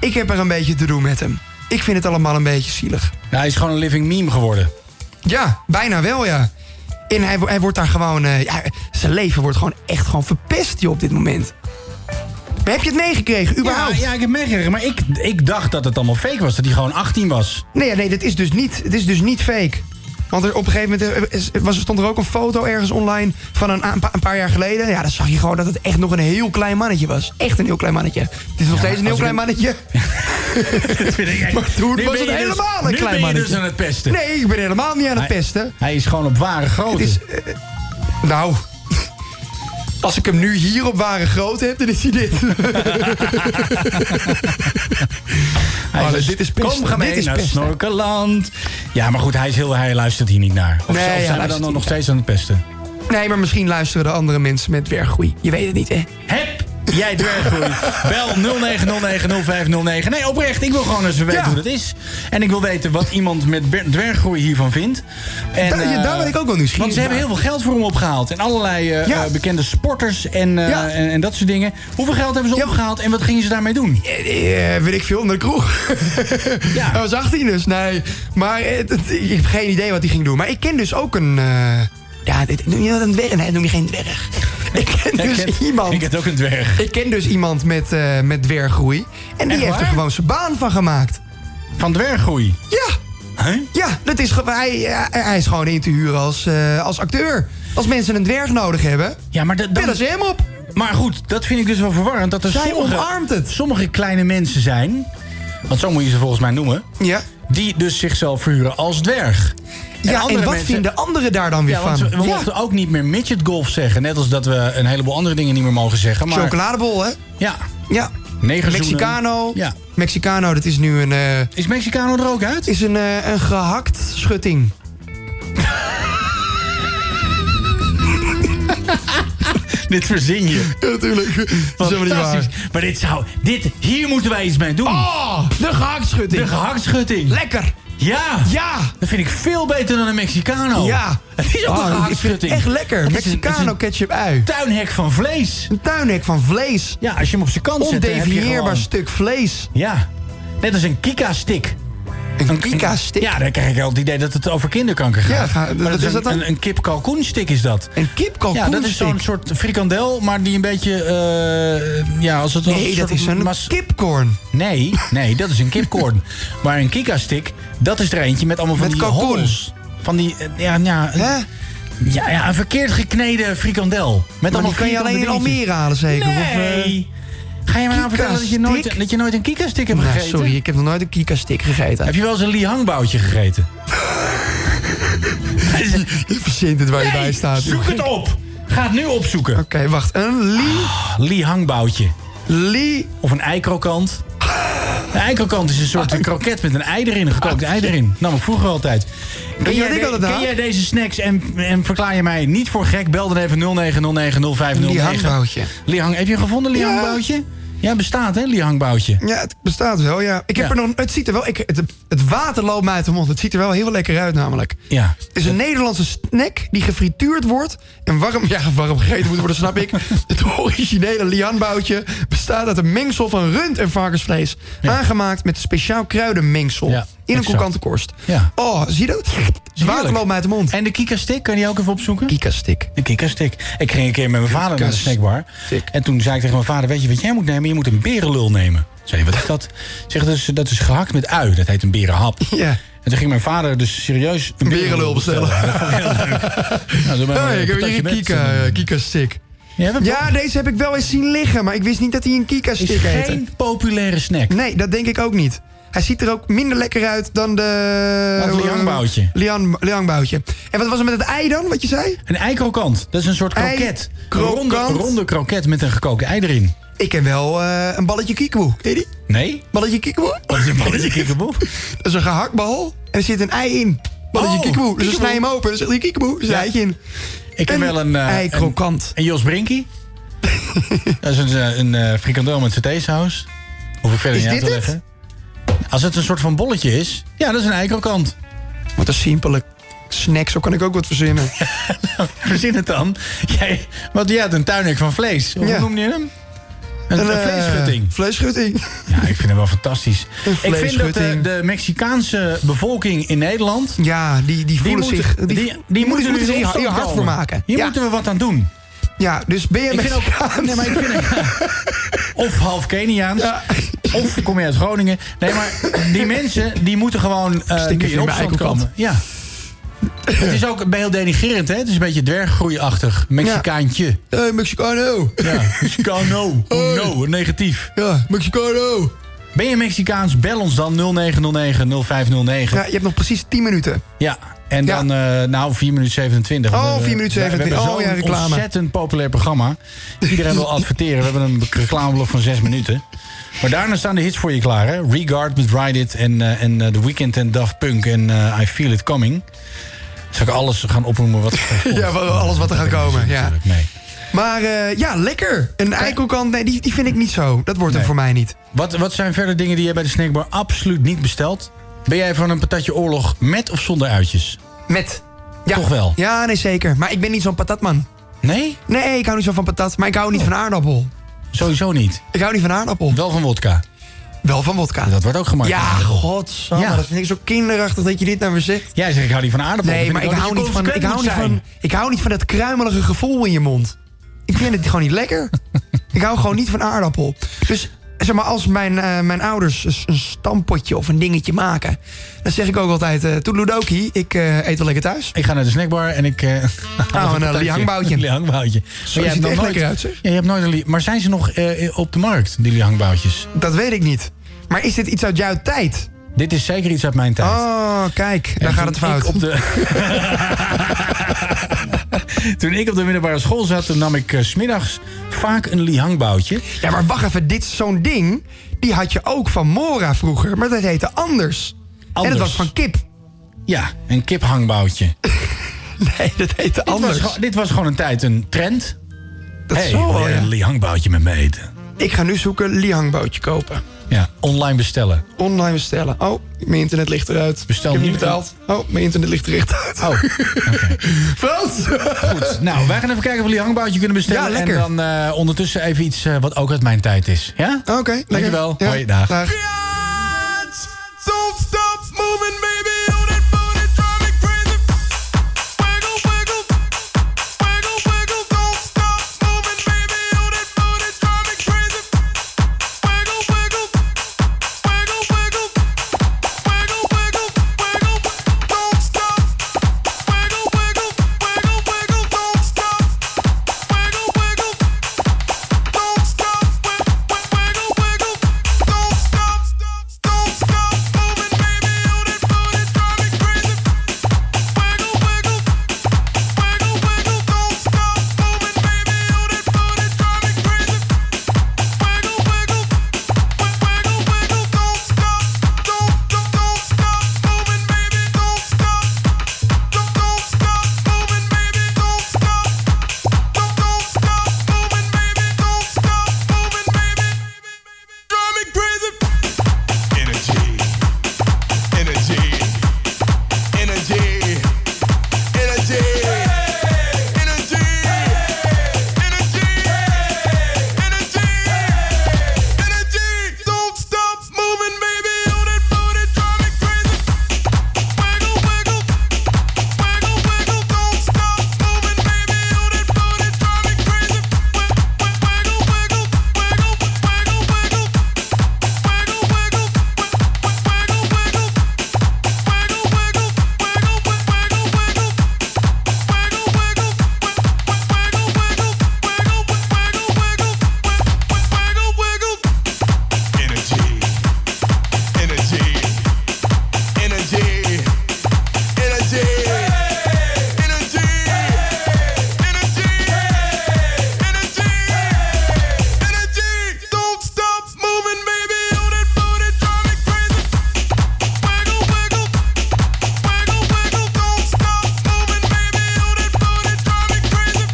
S2: Ik heb er een beetje te doen met hem. Ik vind het allemaal een beetje zielig.
S1: Nou, hij is gewoon een living meme geworden.
S2: Ja, bijna wel, ja. En hij, wo- hij wordt daar gewoon... eh, ja, zijn leven wordt gewoon echt gewoon verpest joh, op dit moment. Maar heb je het meegekregen,
S1: Ja,
S2: überhaupt?
S1: ja, ik heb meegekregen. Maar ik, ik dacht dat het allemaal fake was. Dat hij gewoon 18 was.
S2: Nee, ja, nee dat is dus niet, het is dus niet fake. Want er op een gegeven moment eh, is- was, stond er ook een foto ergens online van een, a- een pa- een paar jaar geleden. Ja, dan zag je gewoon dat het echt nog een heel klein mannetje was. Echt een heel klein mannetje. Het is nog steeds een heel
S1: als
S2: klein
S1: ik-
S2: mannetje. Maar toen
S1: Nu
S2: was
S1: ben
S2: het
S1: je dus-
S2: helemaal een
S1: nu
S2: klein
S1: ben je
S2: mannetje.
S1: dus aan het pesten.
S2: Nee, ik ben helemaal niet aan het
S1: Hij-
S2: pesten.
S1: Hij is gewoon op ware
S2: Het
S1: grootte.
S2: is... eh, nou... Als ik hem nu hier op ware grootte heb, dan is hij dit.
S1: Hij
S2: Oh,
S1: is-
S2: dit is pesten.
S1: Kom, ga mee
S2: Dit is
S1: naar
S2: pesten.
S1: Snorkeland. Ja, maar goed, hij, is heel, hij luistert hier niet naar. Of,
S2: Nee,
S1: of
S2: ja,
S1: zijn we
S2: luistert
S1: dan nog
S2: niet naar.
S1: steeds aan het pesten?
S2: Nee, maar misschien luisteren de andere mensen met dwerggroei. Je weet het niet, hè?
S1: Heb jij dwerggroei? Bel 09090509. Nee, oprecht. Ik wil gewoon eens weten hoe dat is. En ik wil weten wat iemand met ber- dwerggroei hiervan vindt. En,
S2: Daar- ja, daar ben ik ook wel nieuwsgierig
S1: Want ze hebben
S2: naar.
S1: heel veel geld voor hem opgehaald. En allerlei eh,
S2: Ja.
S1: eh, bekende sporters en, eh,
S2: Ja.
S1: en, en dat soort dingen. Hoeveel geld hebben ze opgehaald en wat gingen ze daarmee doen?
S2: Eh, weet ik veel, naar de kroeg. ja. Hij was 18 dus, nee. Maar het- het- ik heb geen idee wat hij ging doen. Maar ik ken dus ook een... eh, ja, dit, noem je dat een dwerg? Nee, dat noem je geen dwerg. Ik ken
S1: Jij
S2: dus
S1: kent-
S2: iemand...
S1: Ik heb ook een dwerg.
S2: Ik ken dus iemand met, eh met dwerggroei. En die
S1: Echt
S2: heeft er
S1: waar?
S2: gewoon zijn baan van gemaakt.
S1: Van dwerggroei?
S2: Ja. Ja, dat is, ge- hij, ja, hij is gewoon in te huren als, eh, als acteur. Als mensen een dwerg nodig hebben,
S1: Ja, maar dat- dan-
S2: bellen ze hem op.
S1: Maar goed, dat vind ik dus wel verwarrend. Dat er
S2: Zij
S1: sommige,
S2: omarmt het.
S1: sommige kleine mensen zijn... want zo moet je ze volgens mij noemen...
S2: Ja.
S1: die dus zichzelf verhuren als dwerg.
S2: Ja, en,
S1: andere
S2: wat
S1: mensen-
S2: vinden anderen daar dan weer
S1: Ja,
S2: van?
S1: want we, we
S2: Ja.
S1: mochten ook niet meer midget golf zeggen. Net als dat we een heleboel andere dingen niet meer mogen zeggen. Maar
S2: Chocoladebol, hè?
S1: Ja.
S2: Ja.
S1: Negerzoenen.
S2: Mexicano.
S1: Ja.
S2: Mexicano, dat is nu een... eh,
S1: is Mexicano er ook uit?
S2: Is een, eh, een gehakt schutting.
S1: Dit verzin je.
S2: Natuurlijk.
S1: Dat Maar dit zou... Dit, hier moeten wij iets mee doen.
S2: Oh, de gehaktschutting.
S1: De gehaktschutting.
S2: Lekker.
S1: Ja.
S2: Ja.
S1: Dat vind ik veel beter dan een Mexicano.
S2: Ja.
S1: Het is ook
S2: Oh, ik
S1: een
S2: vind het
S1: gehaktschutting.
S2: echt lekker.
S1: Het is een- het is een
S2: Mexicano ketchup ui.
S1: tuinhek van vlees.
S2: Een tuinhek van vlees.
S1: Ja, als je hem op zijn kant zet, dan heb je
S2: Ondefinieerbaar
S1: gewoon-
S2: stuk vlees.
S1: Ja, net als een kika-stick.
S2: Een kika-stick?
S1: Ja, dan krijg ik al het idee dat het over kinderkanker gaat.
S2: Ja, ga-
S1: Maar
S2: dat- is
S1: een,
S2: dat dan?
S1: Een, een kip-kalkoenstick is dat.
S2: Een
S1: Ja, dat is
S2: kipkalkoenstick.
S1: zo'n soort frikandel, maar die een beetje... eh, ja, als het
S2: Nee, dat is een kipcorn.
S1: Nee, nee, dat is een kipcorn. maar een kika-stick, dat is er eentje met allemaal van
S2: Met
S1: die
S2: kalkoen.
S1: hobbels. Van die, eh, ja, ja, een-
S2: Hè?
S1: ja, ja, een verkeerd gekneden frikandel. Met
S2: Maar
S1: allemaal
S2: die kan je
S1: vierkante
S2: alleen in
S1: dingetjes.
S2: Almere halen zeker. Of, eh,
S1: Nee. Ga je me nou vertellen dat je nooit,
S2: Kika-stick?
S1: dat je nooit een kika-stick hebt
S2: nou,
S1: gegeten?
S2: sorry, ik heb nog nooit een kika-stick gegeten.
S1: Heb je wel eens een Lee Hangboutje gegeten? Hij is een-
S2: Je verzint het waar je
S1: Nee,
S2: bij staat.
S1: Zoek het op. Ga het nu opzoeken. Ah,
S2: Oké, wacht. Een Lee...
S1: Lee Hangboutje.
S2: Lee...
S1: Of een eikrokant. Een eikrokant is een
S2: Ah,
S1: soort een kroket met een ei erin, een gekookt ei erin. Nam ik vroeger altijd. Ken
S2: je
S1: jij,
S2: wat ik
S1: de-
S2: altijd
S1: ken
S2: haal?
S1: jij deze snacks en, en verklaar je mij niet voor gek? Bel dan even 09090509.
S2: Lee Hangboutje.
S1: Lee Hang- heb je hem gevonden, Lee
S2: Ja.
S1: Hangboutje? Ja, bestaat hè, Lee Hangboutje.
S2: Ja, het bestaat wel, ja. Ik heb
S1: Ja.
S2: er nog... Het ziet er wel... Ik, het, het water loopt mij uit de mond. Het ziet er wel heel lekker uit namelijk.
S1: Ja.
S2: Het is een Nederlandse snack die gefrituurd wordt... en warm, ja, warm gegeten moet worden, snap ik. Het originele lianboutje bestaat uit een mengsel van rund en varkensvlees... aangemaakt met een speciaal kruidenmengsel
S1: Ja,
S2: in een
S1: exact.
S2: kokante korst.
S1: Ja.
S2: Oh, zie je dat? Het water
S1: Heerlijk.
S2: loopt mij uit de mond.
S1: En de kika-stick, kan je die ook even opzoeken?
S2: Kika-stick.
S1: Een kikkerstick. Ik ging een keer met mijn vader naar de snackbar.
S2: Kikkerstick.
S1: En toen zei ik tegen mijn vader, weet je wat jij moet nemen? Je moet een berenlul nemen. Zei hij, wat is dat? Zeg, dat is, dat is gehakt met ui. Dat heet een berenhap.
S2: Ja.
S1: En toen ging mijn vader dus serieus een berenlul bestellen. Dat vond ik heel leuk. Nou, doe maar
S2: Hey,
S1: een
S2: Oh, ik heb hier
S1: patatje
S2: een
S1: met.
S2: kika, kika-stick.
S1: Jij hebt een-
S2: Ja, deze heb ik wel eens zien liggen, maar ik wist niet dat hij een
S1: is
S2: kika-stick heette.
S1: geen populaire snack.
S2: Nee, dat denk ik ook niet. Hij ziet er ook minder lekker uit dan de... eh,
S1: Dat liangboutje.
S2: Lian, liangboutje. En wat was er met het ei dan, wat je zei?
S1: Een eikrokant. Dat is een soort
S2: Ei-
S1: kroket. Een
S2: krokant.
S1: Ronde, ronde kroket met een gekookt ei erin.
S2: Ik ken wel eh, een balletje kiekeboe. Ken je die?
S1: Nee?
S2: Balletje kiekeboe?
S1: Dat is een balletje kikkerboef.
S2: Dat is een gehaktbal en er zit een ei in. Balletje
S1: Oh,
S2: kiekeboe. Dus dan
S1: kiekeboe.
S2: snij je hem open en dan zit er kiekeboe. Er zit een
S1: Ja.
S2: eitje in.
S1: Ik heb
S2: Een
S1: wel een... eh,
S2: ei krokant.
S1: Een, een Jos Brinkie. dat is een, eh, een eh, frikandel met satésaus. Hoef ik verder
S2: Is
S1: niet uit
S2: dit
S1: te
S2: het?
S1: leggen. Als het een soort van bolletje is, ja, dat is een eikrokant.
S2: Wat een simpele snack, zo kan ik ook wat verzinnen.
S1: Nou, Verzin het dan. Jij, want jij had een tuinhek van vlees. Hoe
S2: Ja.
S1: noemde je hem? Een, een
S2: eh,
S1: vleesschutting.
S2: vleesschutting.
S1: Ja, ik vind hem wel fantastisch.
S2: Een
S1: Ik vind dat de,
S2: vleesschutting.
S1: de Mexicaanse bevolking in Nederland...
S2: Ja, die, die voelen
S1: moeten-
S2: zich... Die,
S1: die, die, moeten
S2: moeten
S1: er
S2: zich
S1: in
S2: hier
S1: opstand
S2: hard voor
S1: komen.
S2: maken.
S1: Hier
S2: ja.
S1: moeten we wat aan doen.
S2: ja, dus ben je
S1: Ik vind ook,
S2: Mexicaans?
S1: nee, maar ik vind of half Keniaans.
S2: Ja.
S1: Of kom je uit Groningen. Nee, maar die mensen die moeten gewoon
S2: Stik
S1: eh nu
S2: even in
S1: in
S2: mijn
S1: opstand
S2: eikelkant.
S1: komen. Ja. Het is ook heel denigrerend, hè? Het is een beetje dwerggroeiachtig. Mexicaantje.
S2: Hey, Mexicano.
S1: Ja. Mexicano. Oh no, negatief.
S2: Ja, Mexicano.
S1: Ben je Mexicaans? Bel ons dan 0909-0509.
S2: Ja, je hebt nog precies 10 minuten.
S1: Ja, en dan, eh, nou, 4 minuten 27.
S2: Oh,
S1: We hebben-
S2: 4 minuten
S1: we-
S2: 27.
S1: We hebben
S2: Oh, ja,
S1: zo'n
S2: reclame.
S1: ontzettend populair programma. Iedereen wil adverteren. We hebben een reclameblok van 6 minuten. Maar daarna staan de hits voor je klaar, hè? Regard met Ride It en, eh, en eh, The Weeknd en Daft Punk en eh, I Feel It Coming. Zal ik alles gaan opnoemen wat...
S2: Ja, wel alles wat er gaat komen. Ja.
S1: Nee.
S2: Maar eh, ja, lekker. Een eikelkant, nee, die, die vind ik niet zo. Dat wordt hem voor mij niet.
S1: Wat, wat zijn verder dingen die je bij de snackbar absoluut niet bestelt? Ben jij van een patatje oorlog met of zonder uitjes?
S2: Met. Ja.
S1: Toch wel?
S2: Ja, nee, zeker. Maar ik ben niet zo'n patatman.
S1: Nee? Oh.
S2: Nee, ik hou niet zo van patat. Maar ik hou niet van aardappel.
S1: Sowieso niet.
S2: Ik hou niet van aardappel.
S1: Wel van wodka.
S2: Wel van wodka.
S1: Dat wordt ook gemaakt.
S2: Ja, godsamme.
S1: Ja.
S2: Dat vind ik zo kinderachtig dat je dit naar me zegt.
S1: Jij zegt ik hou niet van aardappel.
S2: Nee, maar ik hou, niet van, ik, hou niet van, ik hou niet van dat kruimelige gevoel in je mond. Ik vind het gewoon niet lekker. ik hou gewoon niet van aardappel. Dus zeg maar, als mijn, eh, mijn ouders s- een stampotje of een dingetje maken... dan zeg ik ook altijd, eh toedeloedokie, ik eh, eet wel lekker thuis.
S1: Ik ga naar de snackbar en ik... eh
S2: nou, een
S1: patatje.
S2: liangboutje.
S1: Een liangboutje.
S2: Zo
S1: Maar
S2: ziet
S1: jij hebt
S2: het
S1: nog
S2: echt
S1: nooit-
S2: lekker uit, zeg.
S1: Ja, je hebt nooit een li- Maar zijn ze nog eh, op de markt, die liangboutjes?
S2: Dat weet ik niet. Maar is dit iets uit jouw tijd?
S1: Dit is zeker iets uit mijn tijd.
S2: Oh, kijk, daar
S1: En
S2: gaat het
S1: toen
S2: fout.
S1: ik op Toen ik op de middelbare school zat, toen nam ik eh, 's smiddags vaak een lihangboutje.
S2: Ja, maar wacht even, dit is zo'n ding... die had je ook van Mora vroeger, maar dat heette anders. En
S1: Anders.
S2: dat was van kip.
S1: Ja, een kiphangboutje.
S2: nee, dat heette
S1: Dit was,
S2: anders.
S1: gewoon- dit was gewoon een tijd een trend.
S2: Dat
S1: hey,
S2: zo,
S1: wil jij
S2: ja.
S1: een lihangboutje met me eten?
S2: Ik ga nu zoeken, liangboutje kopen.
S1: Ja, online bestellen.
S2: Online bestellen. Oh, mijn internet ligt eruit.
S1: Bestel
S2: ik heb
S1: nu
S2: niet betaald. Oh, mijn internet ligt er echt uit.
S1: Oh,
S2: Frans!
S1: Goed, nou, wij gaan even kijken of we hangboutje kunnen bestellen.
S2: Ja, lekker.
S1: En dan eh, ondertussen even iets eh, wat ook uit mijn tijd is. Ja?
S2: Oké, lekker.
S1: Dankjewel.
S2: Ja,
S1: Hoi, dag.
S3: Don't stop moving, baby. On that booty, drive me crazy. Wiggle, wiggle, wiggle, wiggle. Don't stop moving, baby. On that booty, drive me crazy. Wiggle, wiggle, wiggle, wiggle, wiggle, wiggle, wiggle. Don't stop. Wiggle, wiggle, wiggle, wiggle. Don't stop. Wiggle, wiggle. Don't stop. Wiggle, wiggle. Don't stop. Don't stop moving, baby. On that booty, drive me crazy. Wiggle, wiggle, wiggle, wiggle. Don't stop moving, baby. On that booty, drive me crazy. Wiggle, wiggle, wiggle, wiggle. Don't stop, don't, don't, don't stop moving, baby. Don't stop, don't, don't stop moving, baby. Don't stop, don't, don't stop moving, baby. Don't stop moving, baby. Drive me crazy. Energy. Energy. Energy. Energy. Energy. Energy. Energy. Don't stop moving, baby. On that booty, drive me crazy. Wiggle, wiggle. Wiggle, wiggle. Don't stop moving, baby. On that booty, drive me crazy. Wiggle, wiggle. Wiggle, wiggle, wiggle. Wiggle, wiggle. Wiggle, wiggle. Don't stop moving, baby. On that booty, drive me crazy. Wiggle, wiggle. Wiggle, wiggle. Don't stop moving, baby. On that booty, drive me crazy.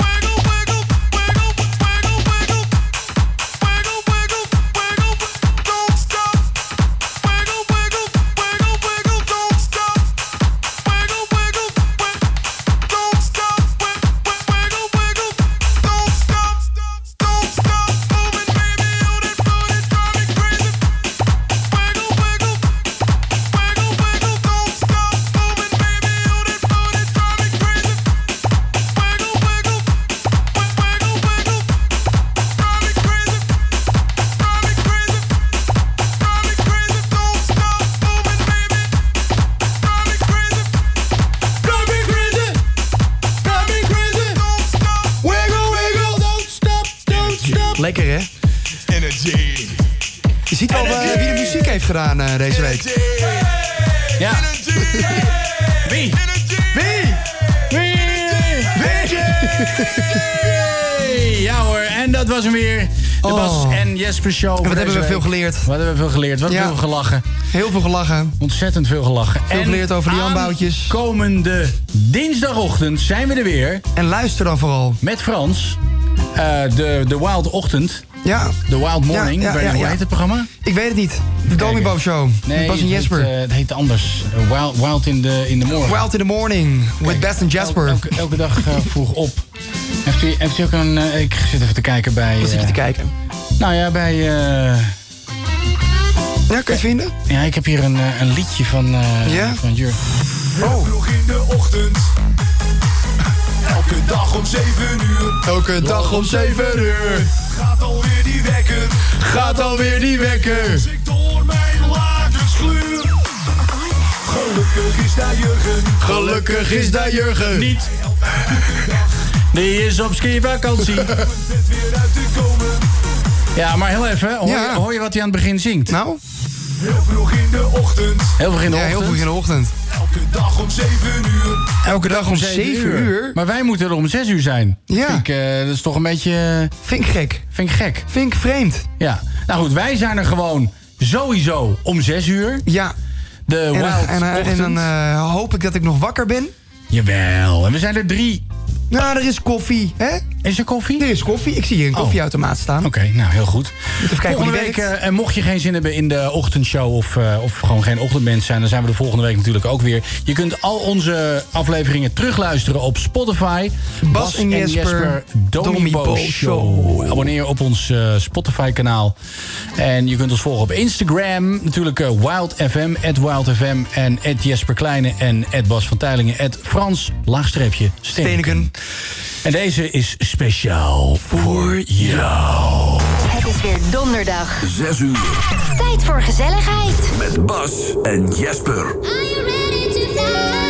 S3: Wiggle, wiggle. Wiggle, wiggle, wiggle. Wiggle, wiggle, wiggle. Don't stop. Wiggle, wiggle. Wiggle, wiggle. Don't stop. Wiggle, wiggle. Don't stop. Wiggle, wiggle. Don't stop. Don't stop moving, baby. On that booty, drive me crazy. Wiggle, wiggle.
S2: Lekker, hè?
S3: Energy.
S2: Je ziet wel eh, wie de muziek heeft gedaan eh, deze week.
S1: Ja. Wie?
S2: Wie?
S1: Wie? Ja hoor, en En dat was hem weer. De
S2: Oh.
S1: Bas en Jesper Show. voor
S2: hebben
S1: deze
S2: we veel
S1: week.
S2: geleerd.
S1: Wat hebben we veel geleerd. Wat
S2: Ja.
S1: hebben we gelachen.
S2: Heel veel gelachen.
S1: Ontzettend veel gelachen.
S2: Veel geleerd over die handboutjes.
S1: komende dinsdagochtend zijn we er weer.
S2: En luister dan vooral.
S1: Met Frans. eh, de, de Wild Ochtend.
S2: Ja.
S1: De Wild Morning.
S2: Ja, ja,
S1: bij-
S2: ja,
S1: hoe
S2: ja.
S1: heet het programma?
S2: Ik weet het niet. De Domibo Show.
S1: Nee,
S2: Met Bas en
S1: het heet,
S2: Jesper.
S1: eh, het heet anders. Eh, Wild, Wild in the, in the Morning.
S2: Wild in the Morning. With Bas en Jasper.
S1: Elke, elke dag eh, vroeg op. Heeft u, heeft u ook een... eh, ik zit even te kijken bij... eh,
S2: Wat zit je te kijken?
S1: Nou ja, bij... eh,
S2: Ja, kun je het vinden?
S1: ja, ik heb hier een, eh, een liedje van, eh
S2: Ja?
S1: van Jur.
S2: Oh.
S5: Vroeg in de ochtend. Elke dag om 7 uur.
S2: Elke dag om 7 uur.
S5: Gaat alweer die wekker.
S2: Gaat alweer die wekker.
S5: Als ik door mijn lakens gluur. Gelukkig is daar Jurgen.
S2: Gelukkig is daar Jurgen.
S1: Niet. Die is op skivakantie.
S5: Weer uit te komen.
S1: Ja, maar heel even. Hoor,
S2: Ja.
S1: je, hoor je wat hij aan het begin zingt?
S2: Nou?
S5: Heel vroeg in de ochtend.
S1: Heel veel in de
S2: Ja, heel
S1: ochtend.
S2: vroeg in de ochtend.
S5: Elke dag om 7 uur.
S2: Elke dag om
S1: zeven
S2: 7 uur.
S1: Maar wij moeten er om 6 uur zijn.
S2: Ja.
S1: Vind ik, eh, dat is toch een beetje... eh,
S2: Vind ik gek.
S1: vind ik gek.
S2: Vind ik vreemd.
S1: Ja. Nou goed, wij zijn er gewoon sowieso om 6 uur.
S2: Ja.
S1: De
S2: En,
S1: Wild
S2: en, en,
S1: Ochtend.
S2: dan eh, hoop ik dat ik nog wakker ben.
S1: Jawel. En we zijn er drie.
S2: Nou, er is koffie, hè?
S1: Is er koffie?
S2: Er is koffie. Ik zie hier een
S1: Oh.
S2: koffieautomaat staan.
S1: Oké, nou heel goed.
S2: even kijken hoe
S1: volgende
S2: die
S1: week,
S2: werkt.
S1: eh, en mocht je geen zin hebben in de ochtendshow of, eh, of gewoon geen ochtendmens zijn, dan zijn we de volgende week natuurlijk ook weer. Je kunt al onze afleveringen terugluisteren op Spotify. Bas,
S2: en Jesper,
S1: Domibo
S2: Domibo
S1: Show. Abonneer je op ons eh, Spotify-kanaal. En je kunt ons volgen op Instagram. Natuurlijk eh, WildFM, WildFM en Jesper Kleine en Bas van Tijlingen, Frans, laagstreepje, Steenken.
S2: Teneken.
S1: En deze is speciaal voor jou.
S6: Het is weer donderdag.
S5: 6 uur.
S6: Tijd voor gezelligheid.
S5: Met Bas en Jesper.
S4: Are you ready to fly?